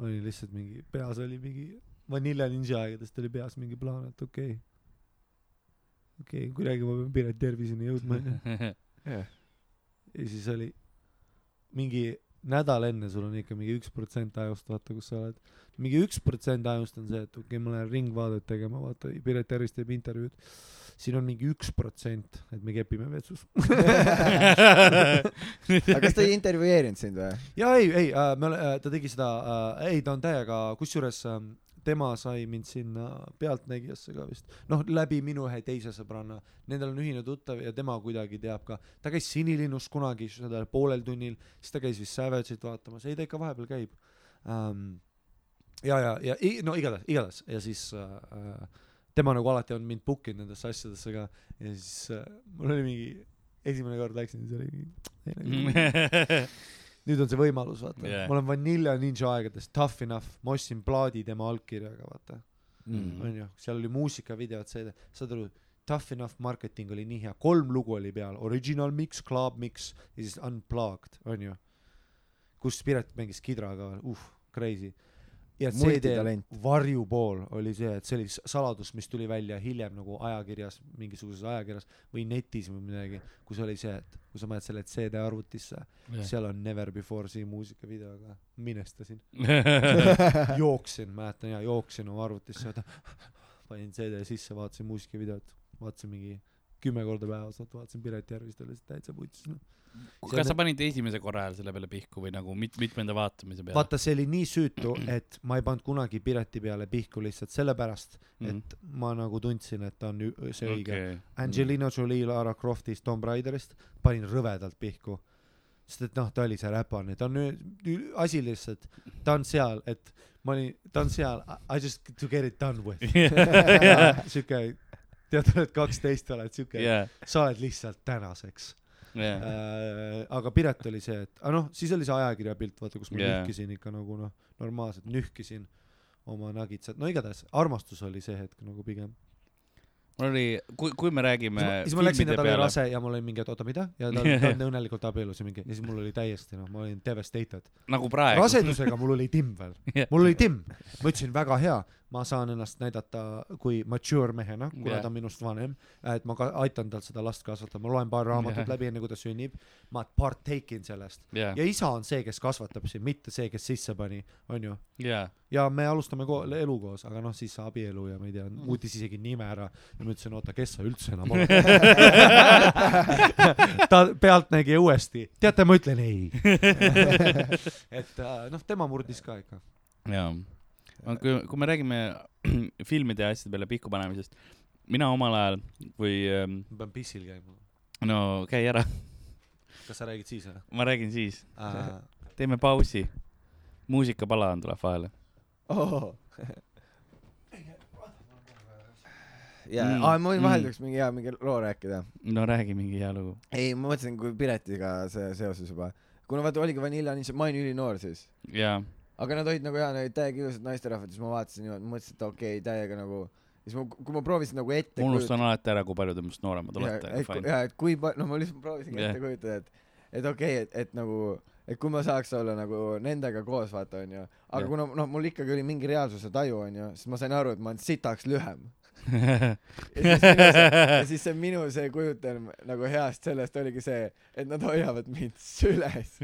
S2: oli lihtsalt mingi , peas oli mingi Vanilla Ninja aegadest oli peas mingi plaan , et okei okay. . okei okay, , kuidagi ma pean Piret Järviseni jõudma onju . ja siis oli mingi nädal enne sul on ikka mingi üks protsent ajust , vaata kus sa oled . mingi üks protsent ajust on see , et okei okay, , ma lähen ringvaadet tegema , vaata Piret Järvist teeb intervjuud . siin on mingi üks protsent , et me kepime vetsus .
S5: aga kas ta ei intervjueerinud sind või ?
S2: ja ei , ei , me ole- , ta tegi seda , ei , ta on täiega , kusjuures äh, tema sai mind sinna Pealtnägijasse ka vist , noh , läbi minu ühe teise sõbranna , nendel on ühine tuttav ja tema kuidagi teab ka , ta käis Sinilinnus kunagi sellel poolel tunnil , siis ta käis vist Savage'it vaatamas , ei ta ikka vahepeal käib ähm, . ja , ja , ja i- no igatahes , igatahes ja siis äh, äh, tema nagu alati on mind book inud nendesse asjadesse ka ja siis äh, mul oli mingi , esimene kord läksin , siis oli mingi , nagu- nüüd on see võimalus , vaata
S3: Yeah.
S2: yeah. . ma olen Vanilla Ninja aegadest Tough Enough , ma ostsin plaadi tema allkirjaga , vaata mm. .
S3: Mhm.
S2: onju , seal oli muusikavideod , see , saad aru , Tough Enough marketing oli nii hea , kolm lugu oli peal , original mix , club mix ja siis unplugged , onju . kus Piret mängis kidraga veel , uh , crazy . ja CD
S5: Multitalent.
S2: varjupool oli see , et see oli s- saladus , mis tuli välja hiljem nagu ajakirjas , mingisuguses ajakirjas või netis või midagi , kus oli see , et kui sa paned selle CD arvutisse , seal on Never Before See muusikavideoga , minestasin . jooksin , mäletan ja jooksin oma arvutisse , panin CD sisse , vaatasin muusikavideot , vaatasin mingi kümme korda päevas , vaata vaatasin Piret Järvist oli see täitsa vutsis noh .
S3: kas sa panid esimese korra ajal selle peale pihku või nagu mit- , mitmenda vaatamise peale ?
S2: vaata , see oli nii süütu , et ma ei pannud kunagi Pireti peale pihku lihtsalt sellepärast , et ma nagu tundsin , et ta on ü- see õige okay. . Angelina Jolie , Lara Croftist , Tomb Raiderist panin rõvedalt pihku . sest et noh , ta oli see räpane , ta on nüüd , asi lihtsalt , ta on seal , et ma olin , ta on seal , I just to get it done with . sihuke , tead , oled kaksteist , oled sihuke yeah. ,
S3: jah ,
S2: sa oled lihtsalt tänaseks
S3: jah .
S2: äh, . aga Piret oli see , et , aga noh , siis oli see ajakirja pilt , vaata , kus ma
S3: Jaa.
S2: yeah. nühkisin ikka nagu noh , normaalselt nühkisin oma nagitsat , no igatahes armastus oli see hetk nagu pigem .
S3: mul oli , kui , kui me räägime
S2: siis ma, siis ma läksin ja
S3: filmide
S2: ta oli
S3: peale ,
S2: rase ja ma olin mingi , et oota , mida ? ja ta, ta on õnnelikult abielus ja mingi , ja siis mul oli täiesti noh , ma olin devastated .
S3: nagu praegu ,
S2: rasedusega mul oli timm veel
S3: Jah. ,
S2: mul oli timm . ma ütlesin , väga hea , ma saan ennast näidata kui mature mehena , kuna
S3: Jah.
S2: ta on minust vanem , et ma ka aitan tal seda last kasvatada , ma loen paar raamatut
S3: Jah.
S2: läbi , enne kui ta sünnib , ma partake in sellest .
S3: jah ,
S2: ja isa on see , kes kasvatab sind , mitte see , kes sisse pani , onju
S3: jah .
S2: ja me alustame ko- elu koos , aga noh , siis see abielu ja ma ei tea , muutis isegi nime ära ja ma ütlesin , oota , kes sa üldse enam oled . ta pealtnägija uuesti , teate , ma ütlen ei . et äh, noh , tema murdis ka ikka .
S3: jaa , aga kui , kui me räägime filmide ja asjade peale pihku panemisest , mina omal ajal , kui ähm,
S2: ma pean pissil käima ,
S3: no käi ära ,
S2: kas sa räägid siis või
S3: ma räägin siis ,
S2: äh, ?
S3: teeme pausi . muusikapala on tuleb vahele .
S5: oo . jaa ,
S3: Mm,
S5: aa , mul
S3: mm.
S5: vahel tuleks mingi hea mingi loo rääkida .
S3: no räägi mingi hea lugu .
S5: ei , ma mõtlesin , kui Piretiga see seoses juba . kuna vaata oligi Vanilla Ninja , ma olin ülinoor siis .
S3: jaa ,
S5: aga nad olid nagu jaa , nad olid täiega ilusad naisterahvad , siis ma vaatasin ja mõtlesin , et okei okay, , täiega nagu . siis ma , kui ma proovisin nagu ette
S3: ma unustan alati ära , kui palju te minust nooremad olete , aga
S5: kujutada .
S3: nagu fine .
S5: jaa , et kui pa- , no ma lihtsalt proovisin
S3: Jah.
S5: ette kujutada , et , et okei okay, , et , et nagu , et kui ma saaks olla nagu nendega koos , vaata , onju . aga
S3: Jah.
S5: yeah. kuna , noh , mul ikkagi oli mingi reaalsuse taju , onju , siis ma sain aru , et ma olen sitaks lühem . ja siis minu see- ja siis see minu see kujutelm nagu heast sellest oligi see , et nad hoiavad mind süles .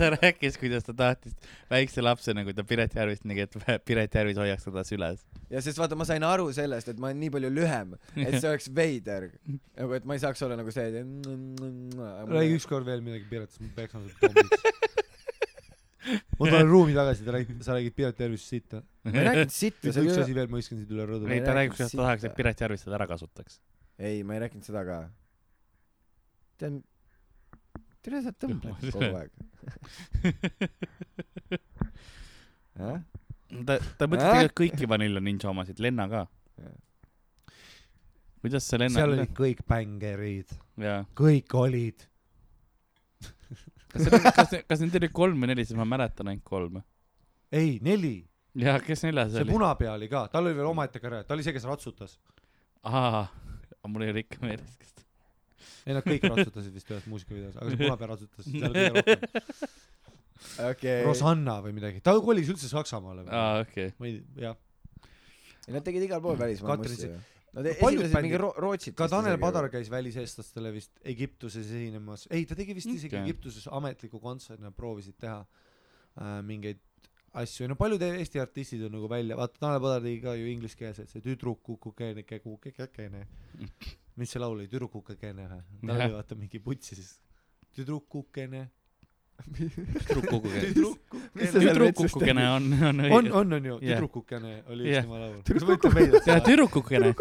S3: ta rääkis , kuidas ta tahtis väikse lapsena , kui ta Piret Järvist nägi , et Piret Järvis hoiaks teda süles .
S5: ja siis vaata , ma sain aru sellest , et ma olen nii palju lühem , et see oleks veider . nagu , et ma ei saaks olla nagu see .
S2: räägi ükskord veel midagi Piret , siis ma peksan sind pommiks . ma tulen ruumi tagasi , ta räägib , sa räägid Piret tervist siit .
S5: ma ei rääkinud sitta , see
S2: üks
S5: oli
S2: asi veel , ma viskan sind üle rõdu .
S3: ei , ta räägib , kuidas ta tahaks ,
S5: sitta.
S3: et Piret Järvis seda ära kasutaks .
S5: ei , ma ei rääkinud seda ka . tead , tere , sa tõmbled kogu aeg . jah ,
S3: ta , ta mõtles
S2: Äh?
S3: tegelikult kõiki Vanilla Ninja omasid , Lenna ka
S5: Jah. .
S3: kuidas see Lenna
S2: seal olid kõik bängerid ,
S3: jaa .
S2: kõik olid .
S3: kas seal , kas , kas neid oli kolm või neli , siis ma mäletan ainult kolme .
S2: ei , neli
S3: jaa , kes neljas
S2: see
S3: oli ?
S2: punapea oli ka , tal oli veel omaette karjäär , ta oli see , kes ratsutas .
S3: aa , mul ei ole ikka meeles , kes ta .
S2: ei nad kõik ratsutasid vist ühes muusikavideos , aga see punapea ratsutas seal oli kõige rohkem .
S5: okei .
S2: Rosanna või midagi , ta kolis üldse Saksamaale või ?
S3: aa , okei .
S2: ma ei , jah .
S5: Nad tegid igal pool välismaal
S2: Katrin
S5: musti
S2: Sik-
S5: ju . Nad e-
S2: Paljud
S5: esinesid mingi
S2: bändid-
S5: Ro- , Rootsit .
S2: ka Tanel Padar käis väliseestlastele vist Egiptuses esinemas , ei , ta tegi vist isegi
S3: Okei.
S2: Egiptuses ametliku kontserdi , nad proovisid teha äh, mingeid asju , no paljud Eesti artistid on nagu välja , vaata Tanel Padar tegi ka ju ingliskeelset , see tüdruk kukukene , kukukene , mis see laul oli , tüdruk kukukene või ? tal oli
S3: Jah.
S2: vaata mingi putsi siis , tüdruk kukene ,
S3: tüdrukukene .
S2: tüdruk
S5: Mis sa
S2: kukene ,
S5: seal
S3: tüdrukukene on , on
S2: on , on , on ju ,
S3: Jah.
S2: tüdruk kukene oli
S3: Jah.
S2: üks tema laul .
S5: Tüdruk
S3: jah , tüdrukukene ,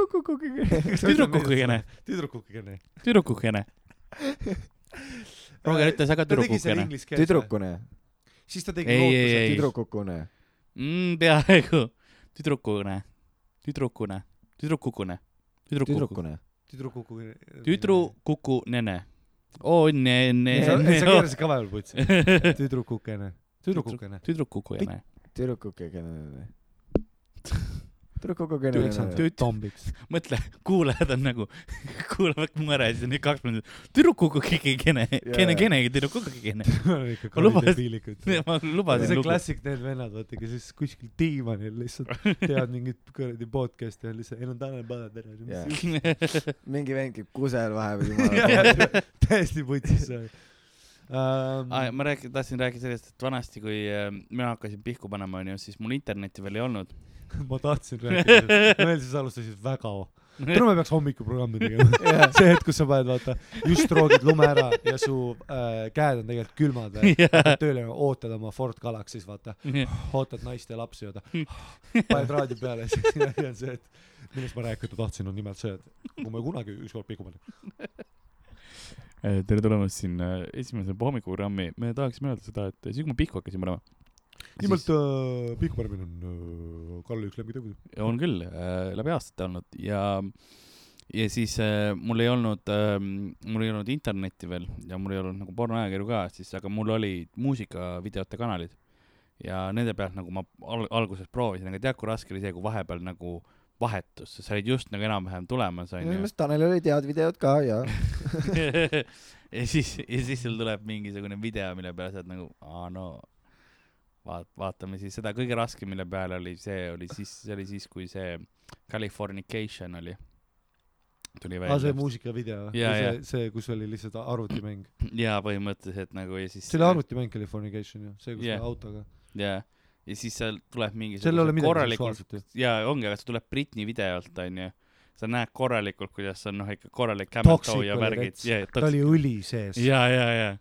S3: tüdrukukene ,.
S2: tüdruk kukene .
S3: tüdrukukene .
S2: Äh,
S3: Roger ütles , aga tüdrukukene .
S5: tüdrukune ,
S2: siis ta tegi
S3: Ei, ei,
S2: lootuse
S3: ei.
S5: tüdrukukune .
S3: mm, . peaaegu , tüdrukune , tüdrukune , tüdrukukune , tüdrukuku ,
S5: tüdrukune .
S2: tüdrukukukene .
S3: tüdrukukunene . oo , õnne , õnne ,
S2: sa sa
S3: õnne .
S2: keerasid ka vahepeal putsi . tüdrukukene , tüdrukukene .
S3: tüdrukukene ,
S5: tüdrukukene . tüdrukukene .
S2: tüüks on
S3: tüüt-
S2: tombiks .
S3: mõtle , kuulajad on nagu , kuulavad mu ära ja siis on nii kaks minutit , tüdrukukukene , kene , kene , tüdrukukene .
S2: ikka
S3: Ma lubasin-
S2: kallidepiilikud .
S3: ma lubasin
S2: see on
S3: lugu .
S2: klassik , need vennad , vaata , kes siis kuskil diivanil lihtsalt teevad mingit kuradi podcast'i ja lihtsalt , ei no Tanel Padar , tere ,
S5: Jaa.
S2: mis
S5: mingi vend käib kusel vahepeal , jumala
S2: jutt . täiesti putsis Ehm, see oli .
S3: ma räägin , tahtsin rääkida sellest , et vanasti , kui äh, mina hakkasin pihku panema , onju , siis mul internetti veel ei olnud .
S2: ma tahtsin rääkida , meil siis alustasid väga täna me peaks hommikuprogrammi tegema . see hetk , kus sa paned , vaata , just roogid lume ära ja su äh, käed on tegelikult külmad veel . hakkad tööle , ootad oma Ford Galaxy's , vaata , ootad naist ja lapsi , vaata . paned raadio peale ja siis ja on see , et millest ma rääkida tahtsin , on nimelt see , et kui me kunagi ükskord pigume .
S3: Eh, tere tulemast siin eh, esimese hommikuprogrammi , me tahaksime öelda seda , et siis kui ma pihku hakkasin panema ,
S2: nimelt äh, pigupärimine on äh, Karl üks lemmitegusid .
S3: on küll äh, läbi aastate olnud ja , ja siis äh, mul ei olnud äh, , mul ei olnud internetti veel ja mul ei olnud nagu pornoajakirju ka , siis aga mul olid muusikavideote kanalid ja nende pealt nagu ma al alguses proovisin , aga tead , kui raske oli see , kui vahepeal nagu vahetus , sa olid just nagu enam-vähem tulemas ,
S5: minu
S3: onju .
S5: meelest Tanel oli head videod ka ja
S3: ja siis , ja siis sul tuleb mingisugune video , mille peale sa oled nagu , aa no , vaat- , vaatame siis seda , kõige raskem , mille peale oli see , oli siis , see oli siis , kui see Californication oli , tuli
S2: aa , Ah, see
S3: välja .
S2: muusikavideo
S3: Jaa,
S2: see
S3: jaa. ,
S2: see , kus oli lihtsalt arvutimäng .
S3: jaa , põhimõtteliselt nagu ja siis .
S2: see oli arvutimäng Californication ju , see , kus
S3: Jah.
S2: yeah. autoga .
S3: jaa , ja siis seal tuleb mingi .
S2: seal ei ole midagi seksuaalset ju .
S3: jaa , ongi , aga see tuleb Britney videolt , onju . sa näed korralikult , kuidas on noh , ikka korralik .
S2: Toxic
S3: ja
S2: oli
S3: värgid
S2: rets. ,
S3: jaa ,
S2: ta oli õli sees .
S3: jaa , jaa , jaa .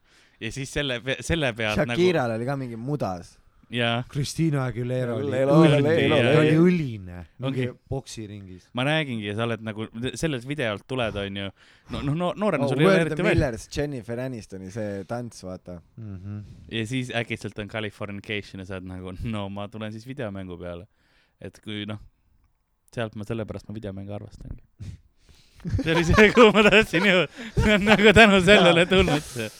S3: ja siis selle , selle pealt nagu ,
S5: Shakiral oli ka mingi mudas .
S3: jaa
S2: Christina Aguilera oli
S5: Leelo-
S2: õline ,
S3: Leelo-
S2: ta oli
S3: Leelo-
S2: õline , mingi
S3: Ongi.
S2: poksiringis .
S3: ma räägingi , sa oled nagu sellelt videolt tuled , onju . no , no , no noorena
S5: Oh,
S3: sul ei ole
S5: Word the
S3: eriti veel .
S5: Millers , Jennifer Anistoni see tants , vaata . Mhm.
S3: ja siis äkitselt on Californication ja sa oled nagu , no ma tulen siis videomängu peale . et kui noh , sealt ma sellepärast ma videomänge arvastangi . see oli see , kuhu ma tahtsin jõuda . see on nagu tänu sellele tulnud see .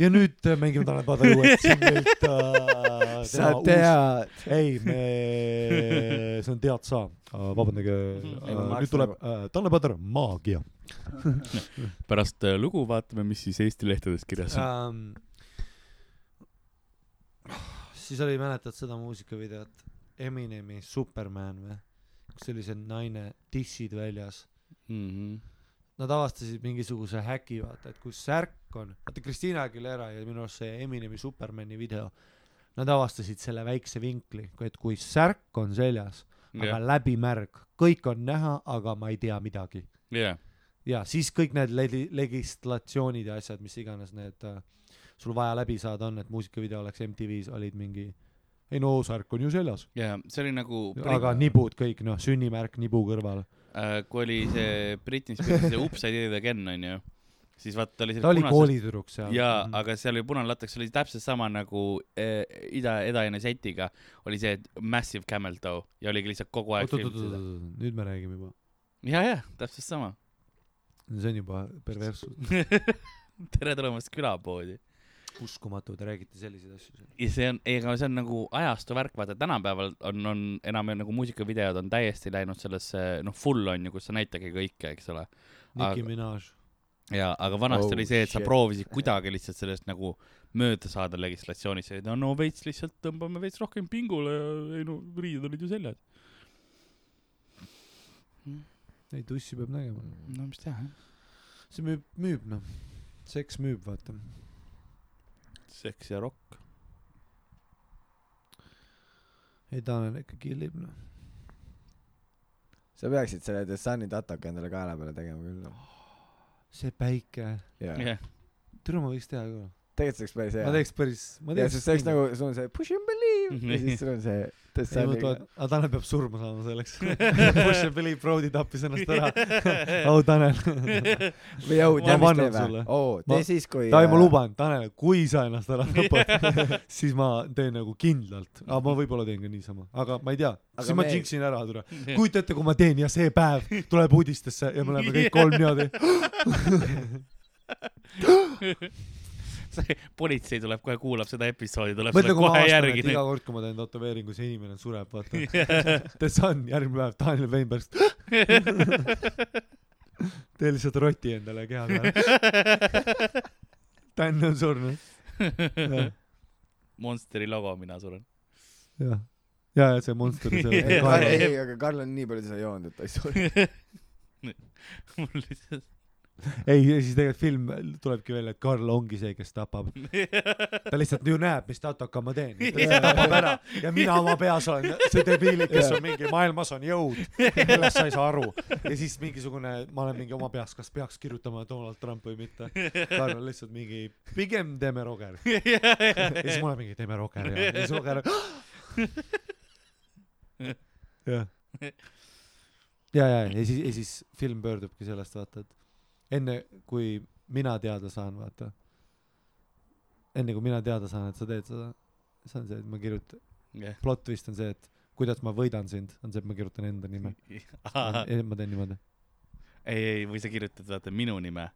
S2: ja nüüd äh, mängime Tanel Padari uued singlilt äh, .
S5: sa . tead .
S2: ei , me , see on Tead sa , vabandage ,
S3: Ei,
S5: ma
S2: nüüd
S5: maksan
S2: tuleb äh, Tanel Padar , maagia .
S3: pärast äh, lugu vaatame , mis siis Eesti lehtedes kirjas on .
S2: Ähm, siis oli , mäletad seda muusikavideot , Eminemi Superman või , kus oli see naine , tissid väljas
S3: Mm -hmm.
S2: nad avastasid mingisuguse häki , vaata , et kus särk on , vaata Christina Aguilera ja minu arust see Eminemi Supermani video , nad avastasid selle väikse vinkli , et kui särk on seljas , aga
S3: jah ,
S2: läbimärg , kõik on näha , aga ma ei tea midagi .
S3: jah ,
S2: ja siis kõik need legi- , legislatsioonid ja asjad , mis iganes need äh, sul vaja läbi saada on , et muusikavideo oleks MTV-s , olid mingi ei no särk on ju seljas ,
S3: jah , see oli nagu .
S2: aga nibud kõik noh , sünnimärk nibu kõrval .
S3: Äh, kui oli see Britney Spearsi see Upside Down Again onju , siis vaata ta oli seal
S2: ta oli . koolitüdruk seal . Mhm.
S3: jaa , aga seal oli punane lateks , oli täpselt sama nagu äh, Ida , Eda-Ene setiga oli see Massive Camel Toe ja oligi lihtsalt kogu aeg
S2: oot , oot ,
S3: film
S2: oot , oot ,
S3: seda .
S2: oot , nüüd me räägime juba .
S3: ja , ja täpselt sama .
S2: no see on juba perverssus .
S3: tere tulemast külapoodi .
S2: uskumatu , te räägite selliseid asju .
S3: ja see on , ega see on nagu ajastu värk , vaata tänapäeval on , on enam nagu muusikavideod on täiesti läinud sellesse , noh , full on ju , kus sa näitadki kõike , eks ole .
S2: Nicki
S3: Aga-
S2: Minaj .
S3: jaa , aga vanasti
S5: Oh,
S3: oh, oli see , et sa
S5: shit.
S3: proovisid kuidagi lihtsalt sellest nagu mööda saada legislatsioonis , et no, no veits lihtsalt tõmbame veits rohkem pingule ja ei no riided olid ju seljas .
S2: neid ussi peab nägema .
S3: no mis teha , jah .
S2: see müüb , müüb noh , seks müüb , vaata .
S3: seks ja rokk .
S2: ei , Tanel ikka killib noh .
S5: sa peaksid selle The Sun'i tataka endale kaela peale tegema küll noh
S2: see päike ,
S5: jaa
S3: jah ,
S2: tule ma võiks teha ka .
S5: tegelikult see
S2: ma
S5: oleks päris hea
S2: teeks päris , ma
S5: jaa sest
S2: teeks .
S5: see oleks nagu sul on see push and believe ja siis sul on see The
S2: ei ma
S5: Sun'i
S2: toetan , aga Tanel peab surma saama selleks . Push and Believe Brody tappis ennast ära . au Tanel .
S5: või jõu
S2: Ma
S5: tead mis
S2: annan
S5: teeme
S2: sulle.
S5: oo
S2: Ma-
S5: tee siis kui äh,
S2: Taivo , ma luban , Tanel , kui sa ennast ära tapad , siis ma teen nagu kindlalt , aga ma võib-olla teen ka niisama , aga ma ei tea ,
S5: Aga
S2: siis ma
S5: me-
S2: jinksin ära , tule . kujuta ette , kui ma teen ja see päev tuleb uudistesse ja me oleme kõik kolm niimoodi .
S3: see politsei tuleb kohe , kuulab seda episoodi , tuleb
S2: mõtle ,
S3: sulle
S2: kui ma
S3: kohe
S2: avastan ,
S3: järgi
S2: et . iga kord , kui ma teen tätoveeringu , see inimene sureb , vaata . The Sun , järgmine päev , Daniel Weinberg . tee lihtsalt roti endale keha peale . Dan on surnud . jah ,
S3: Monsteri logo , mina suren .
S2: jah , ja , ja see monster
S5: ei
S2: seal
S5: Karl- . ei aga Karl on nii palju seda joonud et ta ei sure
S3: mul lihtsalt .
S2: ei , siis tegelikult film tulebki välja , et Karl ongi see , kes tapab . ta lihtsalt ju näeb , mis tatoka ma teen . ta lihtsalt tapab ära ja mina oma peas olen see debiil , kes on mingi maailmas on jõud , millest sa ei saa aru . ja siis mingisugune , ma olen mingi oma peas , kas peaks kirjutama Donald Trump või mitte . Karl on lihtsalt mingi , pigem teeme Roger . ja siis ma olen mingi , teeme Roger ja ja siis Roger . "Ah!" jah . ja , ja , ja siis , ja siis film pöördubki sellest , vaata , et enne kui mina teada saan , vaata , enne kui mina teada saan , et sa teed seda , see on see , et ma kirjutan , plot twist on see , et kuidas ma võidan sind , on see , et ma kirjutan enda nime .
S3: ei ,
S2: ma teen niimoodi .
S3: ei , või sa kirjutad , vaata , minu nime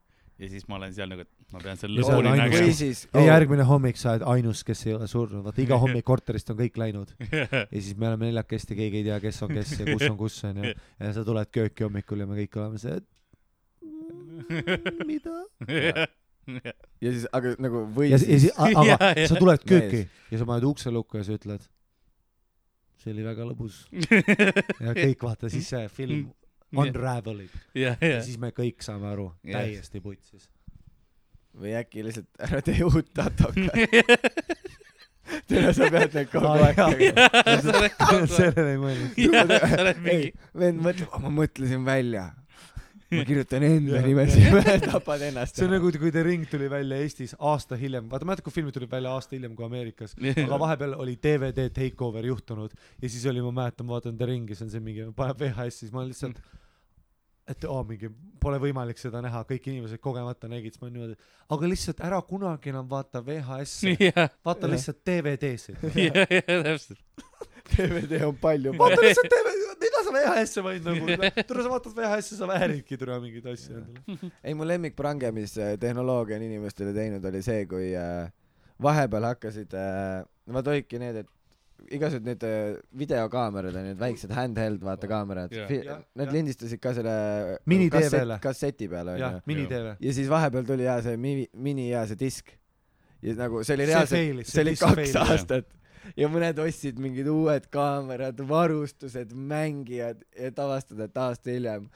S3: ja siis ma olen seal nagu , et ma pean selle
S2: Ja see on
S3: lõpuni
S2: ainus-
S5: või
S3: nägema .
S5: siis
S2: ja järgmine hommik sa oled ainus , kes ei ole surnud , vaata iga hommik korterist on kõik läinud . ja siis me oleme neljakesti , keegi ei tea , kes on kes ja kus on kus onju . ja sa tuled kööki hommikul ja me kõik oleme see , et mida ?
S5: ja siis aga nagu või
S2: ja , ja
S5: siis
S2: siis , aga
S3: Jaa, jaa.
S2: sa tuled kööki ja sa paned ukse lukku ja sa ütled , see oli väga lõbus ja kõik vaata , siis see film
S3: Mm.
S2: unravel ib
S3: jah ,
S2: ja
S3: jah .
S2: siis me kõik saame aru ,
S3: Jah.
S2: täiesti putsis .
S5: või äkki lihtsalt ära tee uut tataka tere sa pead neid kogu aeg tegema
S3: sa oled kogu aeg ,
S2: sellele ei mõelnud .
S3: sa oled
S5: ei
S3: mingi ,
S5: vend mõtleb , ma mõtlesin välja . ma kirjutan enda nime sinna , tapad ennast
S2: see on . nagu , kui The Ring tuli välja Eestis aasta hiljem , vaata mäletad , kui filmid tulid välja aasta hiljem kui Ameerikas , aga vahepeal oli DVD takeover juhtunud ja siis oli , ma mäletan , ma vaatan The Ringi , see on see mingi , paneb VHS-i , siis ma olen lihtsalt , et oo , mingi , pole võimalik seda näha , kõik inimesed kogemata nägid , siis ma olin niimoodi , aga lihtsalt ära kunagi enam vaata VHS-i ,
S3: jah ,
S2: vaata lihtsalt DVD-sid .
S3: jah , jah , täpselt .
S2: nagu-
S5: DVD on palju
S2: vaata lihtsalt TV , mida sa VHS-e panid nagu , tule sa vaatad VHS-e , sa vääridki tule mingeid asju endale .
S5: ei , mu lemmikprange , mis äh, tehnoloogia on inimestele teinud , oli see , kui äh, vahepeal hakkasid , vaat olidki need , et igasugused need äh, videokaamerad on need väiksed handheld vaata kaamerad
S3: Jah.
S5: yeah.
S2: Jah, ,
S5: nad
S2: jah.
S5: lindistasid ka selle
S2: Mini
S5: kassett-
S2: TV-le.
S5: kasseti peale
S2: jah
S5: onju ,.
S2: mini-TV .
S5: ja siis vahepeal tuli jaa see mini , mini jaa see disk . ja nagu see oli
S2: See
S5: reaalselt ,
S2: failis,
S5: see
S2: see
S5: oli
S2: disk
S5: kaks
S2: failis,
S3: jah.
S5: aastat ja mõned ostsid mingid uued kaamerad , varustused , mängijad , et avastada , et aasta hiljem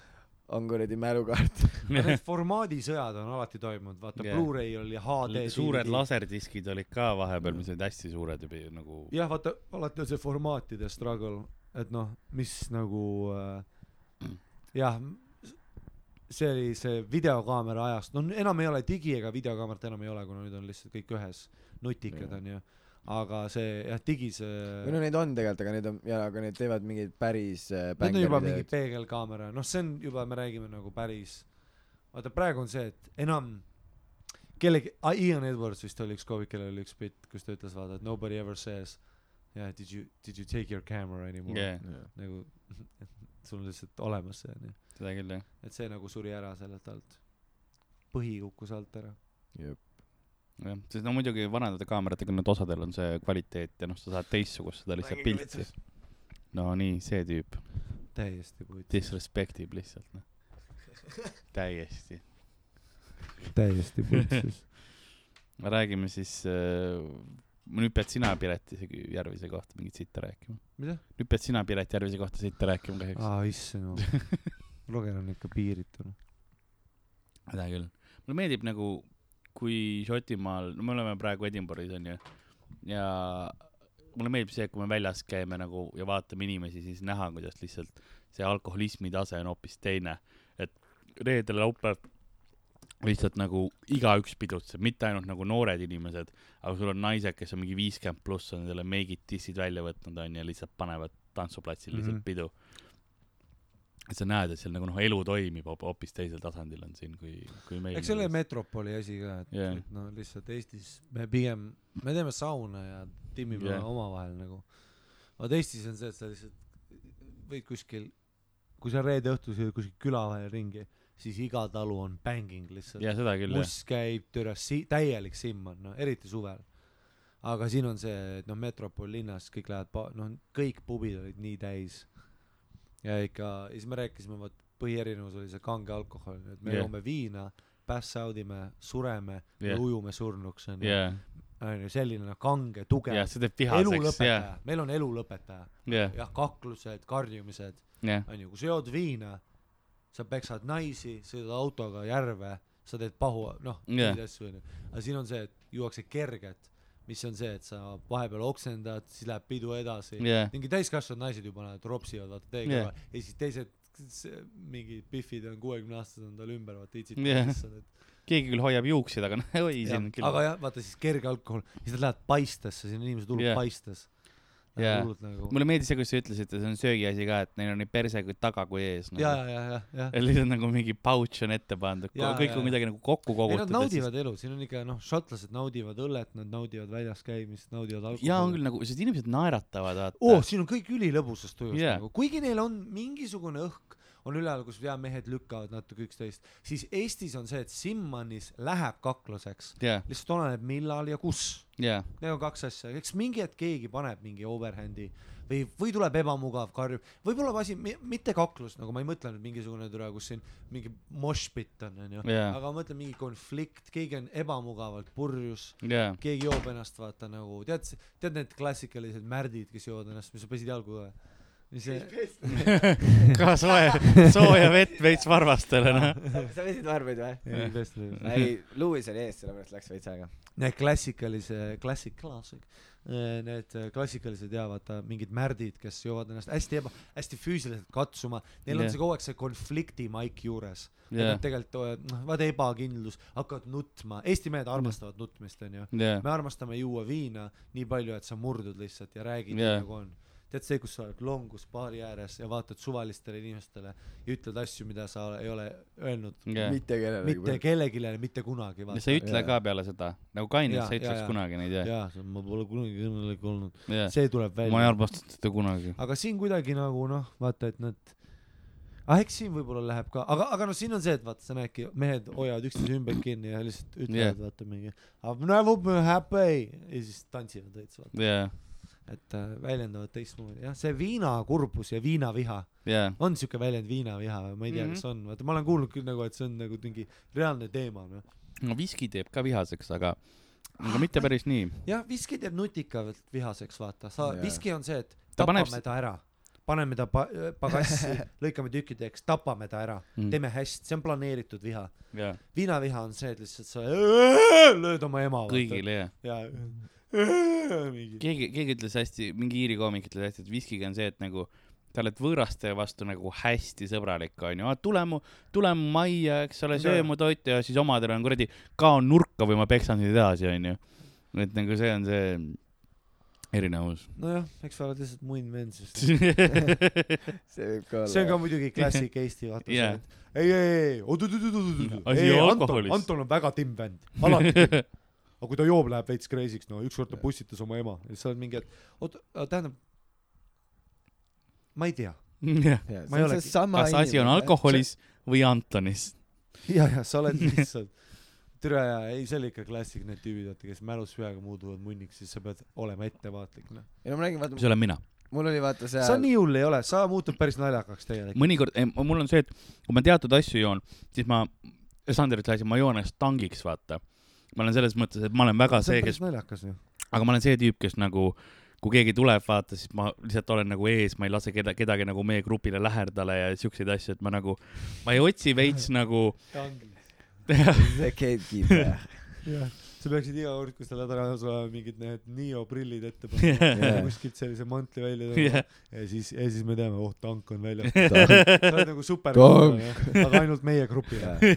S5: on kuradi mälukaart .
S2: aga need formaadisõjad on alati toimunud , vaata
S3: Jah.
S2: yeah. Blu-ray oli HD .
S3: suured . laserdiskid olid ka vahepeal , mis olid hästi suured juba ju nagu .
S2: jah , vaata alati on see formaatide struggle , et noh , mis nagu äh, jah , see oli see videokaamera ajast , no enam ei ole digi ega videokaamerat enam ei ole , kuna nüüd on lihtsalt kõik ühes nutikad
S5: Jah.
S2: onju , aga see jah , digis äh,
S5: või no neid on tegelikult , aga need on jaa , aga need teevad mingeid päris äh,
S2: Need on juba mingi
S5: bängeritööd.
S2: peegelkaamera , noh , see on juba , me räägime nagu päris , vaata praegu on see , et enam kellegi , Ian Edwards vist oli üks koomik , kellel oli üks bitt , kus ta ütles , vaata , et nobody ever says yeah, , did you , did you take your camera anymore yeah. ,
S3: jah ,
S5: Jaa.
S2: nagu sul on lihtsalt olemas see onju ,
S3: seda küll jah .
S2: et see nagu suri ära sellelt alt , põhi kukkus alt ära .
S3: jah , sest no muidugi vanade kaameratega nüüd osadel on see kvaliteet ja noh , sa saad teistsugust seda lihtsalt pilti . no nii , see tüüp
S2: täiesti putis ,
S3: disrespect ib lihtsalt noh . täiesti .
S2: täiesti putsis .
S3: räägime siis äh, , nüüd pead sina Piret isegi Järvise kohta mingit sitta rääkima .
S2: mida ?
S3: nüüd pead sina Piret Järvise kohta sitta rääkima kahjuks .
S2: aa , issand jumal . Roger on ikka piiritu .
S3: seda küll . mulle meeldib nagu , kui Šotimaal , no me oleme praegu Edinburgh'is onju , ja mulle meeldib see , kui me väljas käime nagu ja vaatame inimesi , siis näha , kuidas lihtsalt see alkoholismi tase on hoopis teine . et reedel , laupäev lihtsalt nagu igaüks pidutseb , mitte ainult nagu noored inimesed , aga sul on naised , kes on mingi viiskümmend pluss , on selle meigid , tissid välja võtnud onju , lihtsalt panevad tantsuplatsil lihtsalt
S2: Mhm.
S3: mm -hmm. pidu . et sa näed , et seal nagu noh , elu toimib hoop- hoopis teisel tasandil on siin kui , kui meil . nagu
S2: eks see ole metropoli asi ka , et
S3: Jah.
S2: yeah. no lihtsalt Eestis me pigem , me teeme sauna ja timmime
S3: Jah.
S2: yeah. omavahel nagu . vaat Eestis on see , et sa lihtsalt võid kuskil , kui sa reede õhtul sõidad kuskil küla vahel ringi , siis iga talu on banging lihtsalt .
S3: ja seda küll jah ,
S2: muss käib türa si- , täielik simm on , no eriti suvel . aga siin on see , et noh , metropol linnas kõik lähevad pa- , noh , kõik pubid olid nii täis . ja ikka , ja siis me rääkisime , vot põhierinevus oli see kange alkohol , et me
S3: Jah.
S2: yeah. joome viina , pass out ime , sureme yeah.
S3: Jah.
S2: ja ujume surnuks , on ju .
S3: jah ,
S2: on ju , selline noh, kange , tugev
S3: jah ,
S2: yeah. ,
S3: see teeb
S2: elu
S3: vihaseks , jah ,
S2: lõpetaja , meil on elu lõpetaja .
S3: jah ,
S2: jah , kaklused , karjumised ,
S3: jah ,
S2: onju , kui sa jood viina , sa peksad naisi , sõidad autoga järve , sa teed pahu , noh
S3: Jah.
S2: yeah. , neid asju onju . aga siin on see , et juuakse kerget , mis on see , et sa vahepeal oksendad , siis läheb pidu edasi yeah. .
S3: jah ,
S2: mingi täiskasvanud naised juba nad ropsivad , vaata teega
S3: Jah.
S2: yeah. ja siis teised s- mingid pihvid on kuuekümne aastased on tal ümber , vaata
S3: Jah.
S2: itsitavad lihtsalt , et
S3: keegi küll hoiab juukseid , aga noh , oi ,
S2: jah.
S3: siin
S2: aga
S3: küll ,
S2: jah , vaata siis kerge alkohol , siis nad lähevad paistesse , siin on inimesed hullult
S3: Jah.
S2: yeah. paistes .
S3: Jah.
S2: hullult nagu .
S3: mulle meeldis see , kus te ütlesite , see on söögiasi ka , et neil on nii perse kui taga kui ees
S2: ja ,
S3: nagu. .
S2: ja , ja , ja , ja .
S3: et lihtsalt nagu mingi pouch on ette pandud ,
S2: Jaa,
S3: kõik
S2: jaa,
S3: on
S2: jaa.
S3: kuidagi nagu kokku
S2: ei nad
S3: kogutud .
S2: naudivad elu , siin on ikka noh , šotlased naudivad õllet , nad naudivad väljas käimist , naudivad alkoholi .
S3: ja on küll nagu , sest inimesed naeratavad ,
S2: oh ,
S3: vaata .
S2: siin on kõik ülilõbusas tujus
S3: Jaa.
S2: yeah. nagu , kuigi neil on mingisugune õhk , on üleval , kus ja mehed lükkavad natuke üksteist , siis Eestis on see , et Simmanis läheb kakluseks ,
S3: ja ,
S2: lihtsalt oleneb millal ja kus .
S3: ja ,
S2: Need on kaks asja , eks mingi hetk keegi paneb mingi overhand'i või , või tuleb ebamugav karjub , võib-olla asi , mitte kaklus , nagu ma ei mõtle nüüd mingisugune türa , kus siin mingi moshpit on , onju ,
S3: Jaa.
S2: aga ma mõtlen mingi konflikt , keegi on ebamugavalt purjus
S3: ja ,
S2: keegi joob ennast vaata nagu tead , tead need klassikalised märdid , kes joovad ennast , mis sa pesid jalgu ka ? mis see ,
S3: ka soe , sooja vett veits varvastele , noh .
S5: sa pesid varbaid või ?
S2: ei pesta ju .
S5: ei , Lewis oli ees , sellepärast läks veits aega .
S2: Need klassikalise , klassik , klassik , need eh, klassikalised ja vaata mingid märdid , kes joovad ennast hästi eba- , hästi füüsiliselt katsuma , neil
S3: Jah.
S2: on see kogu aeg see konflikti maik juures .
S3: Jah.
S2: Nad tegelikult eh, noh , vaata ebakindlus , hakkavad nutma , Eesti mehed armastavad nutmist onju .
S3: ja ,
S2: me armastame juua viina nii palju , et sa murdud lihtsalt ja räägid
S3: Jaa.
S2: yeah. nagu on . tead see , kus sa oled longus baari ääres ja vaatad suvalistele inimestele ja ütled asju , mida sa ole, ei ole öelnud
S3: ja .
S5: mitte kellelegi
S2: mitte . kellelegi , mitte kunagi .
S3: sa ei ütle ka peale seda , nagu kainelt
S2: Jaa,
S3: sa ei ütleks
S2: jaa, jaa.
S3: kunagi neid , jah .
S2: jaa , ma pole kunagi kõnelik olnud .
S3: ja ,
S2: see tuleb
S3: ma ei
S2: välja .
S3: armastanud teda kunagi .
S2: aga siin kuidagi nagu noh , vaata , et nad ah eks siin võib-olla läheb ka , aga , aga noh , siin on see , et vaata , sa näedki , mehed hoiavad üksteise ümber kinni ja lihtsalt ütlevad yeah. ,
S3: Jah.
S2: vaata mingi I m never been happy ja siis tantsivad täitsa , vaata .
S3: ja ,
S2: et äh, väljendavad teistmoodi jah see viinakurbus ja viinaviha
S3: ja ,
S2: on siuke väljend viinaviha või ma ei tea mm -hmm.
S3: Mhm.
S2: kas on vaata ma olen kuulnud küll nagu et see on nagu mingi reaalne teema noh
S3: no viski teeb ka vihaseks , aga , aga mitte päris nii .
S2: jah viski teeb nutikalt vihaseks vaata sa
S5: Jaa.
S2: yeah. viski on see et
S3: Ta
S2: tapame
S3: paneb
S2: ta,
S3: s-
S2: ta ära paneme ta pa- pagassi lõikame tükkideks tapame ta ära mm. teeme hästi see on planeeritud viha
S3: ja ,
S2: viinaviha on see et lihtsalt sa lööd oma ema vaata.
S3: kõigile , jah .
S2: ja mingi
S3: keegi , keegi ütles hästi , mingi Iiri koomik ütles hästi , et viskiga on see , et nagu sa oled võõraste vastu nagu hästi sõbralik , onju . tule mu , tule mu majja , eks ole , söö
S2: Jaa.
S3: mu toitu ja siis omadel on kuradi , kao nurka või ma peksan sind edasi , onju . et nagu see on see erinevus .
S2: nojah eks sa oled lihtsalt muin vend sest
S5: see võib ka olla .
S2: see on ka muidugi klassik Eesti vaata
S3: Jah.
S2: yeah. see , et ei , ei , ei , oot-oot-oot-oot-oot ,
S3: Asi
S2: ei
S3: on
S2: Anton
S3: alkoholis. ,
S2: Anton on väga timm vend , alati timm . aga kui ta joob , läheb veits crazy'ks , no ükskord ta pussitas oma ema ja sa oled mingi , et oot , tähendab , ma ei tea . ma ei olegi-
S5: kas
S3: kas asi on ? alkoholis või Antonis ?
S2: ja , ja sa oled lihtsalt , türa ja ei , see oli ikka klassik , need tüübid , vaata , kes mälus peaga muutuvad munniks , siis sa pead olema ettevaatlik , noh .
S5: ei no ma räägin ,
S3: see
S5: vaata ,
S3: olen mina .
S5: mul oli vaata
S2: sa
S5: seal ,
S2: nii hull ei ole , sa muutud päris naljakaks tegelikult .
S3: mõnikord , mul on see , et kui ma teatud asju joon , siis ma , Sander ütles hästi , ma joon ennast tangiks , vaata . ma olen selles mõttes , et ma olen väga
S2: see
S3: see ,
S2: on
S3: kes
S2: päris naljakas ju .
S3: aga ma olen see tüüp , kes nagu kui keegi tuleb , vaata , siis ma lihtsalt olen nagu ees , ma ei lase keda , kedagi nagu meie grupile lähedale ja siukseid asju , et ma nagu , ma ei otsi veits nagu
S5: The gatekeeper .
S2: jah , sa peaksid iga kord , kui sa lähed ära , sul on mingid need neoprillid ette panema yeah. , kuskilt sellise mantli välja tõmbama yeah.
S3: Jah.
S2: ja siis , ja siis me teame , oh , tank on väljas .
S5: Tank.
S2: sa oled nagu super ,
S5: Tank.
S2: aga ainult meie grupile .